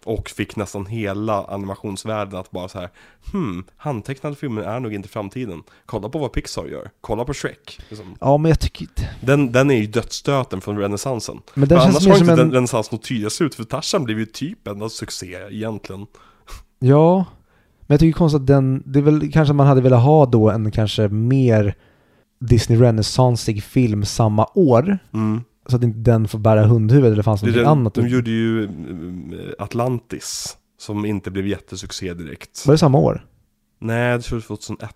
Och fick nästan hela animationsvärlden att bara så här, hmm, handtecknade filmer är nog inte framtiden. Kolla på vad Pixar gör, kolla på Shrek. Liksom. Ja, men jag tycker inte... Den, den är ju dödsstöten från renässansen. Men För den annars känns har mer inte som en... den renässansen något tydligare slut, för Tarzan blev ju typ en succé egentligen. Ja, men jag tycker konstigt att den... Det är väl kanske man hade velat ha då en kanske mer Disney Renaissance-ig film samma år. Mm. Så att inte den får bära hundhuvud eller fanns Det är något den, annat. de gjorde ju mm, Atlantis, som inte blev jättesuccé direkt. Var det samma år? Nej, det tror jag 2001.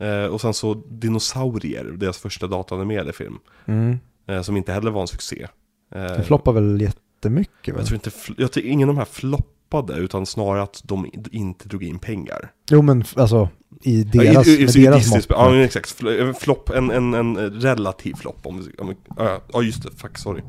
Eh, och sen så Dinosaurier, deras första datanimerade film, Mm. eh, som inte heller var en succé. Eh, Den floppar väl jättemycket? Väl? Jag tror inte, fl- jag tror ingen av de här floppade, utan snarare att de i- inte drog in pengar. Jo, men f- alltså i Ja, deras, i, i, i, med i deras Disneys- mått. Ja, men exakt. Fl- eh, Flopp, en, en, en eh, relativ flopp om vi- om vi- Ja, ja, just det. Fuck, sorry.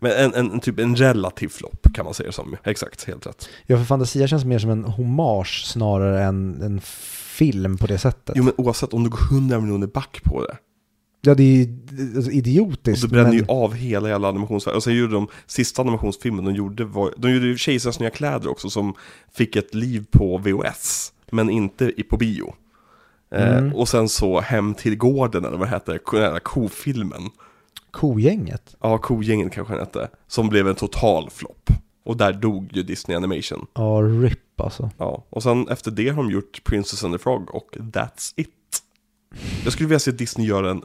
Men en, en, en typ en relativ flopp kan man säga det som. ju. Exakt, helt rätt. Ja, för Fantasia känns mer som en hommage snarare än en film på det sättet. Jo men oavsett om du går 100 miljoner back på det. Ja, det är ju alltså, Och idiotiskt. du bränner men... ju av hela jävla animationsvärlden. Och sen gjorde de sista animationsfilmen de gjorde var, de gjorde ju Kejsarens nya kläder också som fick ett liv på VHS. Men inte i, på bio. Mm. Eh, och sen så Hem till gården eller vad det hette, den här kofilmen. Kogänget. Ja, Kogängen kanske den hette. Som blev en total flopp. Och där dog ju Disney Animation. Ja, RIP alltså. Ja, och sen efter det har de gjort Princess and the Frog och That's It. Jag skulle vilja se Disney göra en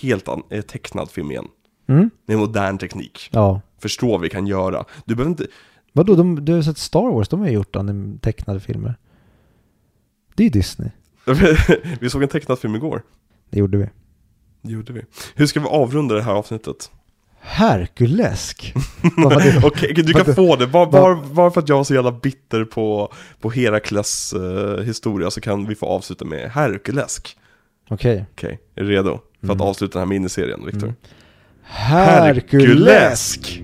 helt an- eh, tecknad film igen. Mm? Med modern teknik. Ja. Förstå vad vi kan göra. Du behöver inte... Vadå, de, du har sett Star Wars, de har ju gjort anim- tecknade filmer. Det är ju Disney. vi såg en tecknad film igår. Det gjorde vi. Det gjorde vi. Hur ska vi avrunda det här avsnittet? Herkulesk! Vad var det? Okej, du kan få det. Bara, bara, bara för att jag var så jävla bitter på, på Herakles eh, historia så kan vi få avsluta med Herkulesk. Okej. Okej, är du redo? För att Mm. avsluta den här miniserien, Viktor? Herkulesk!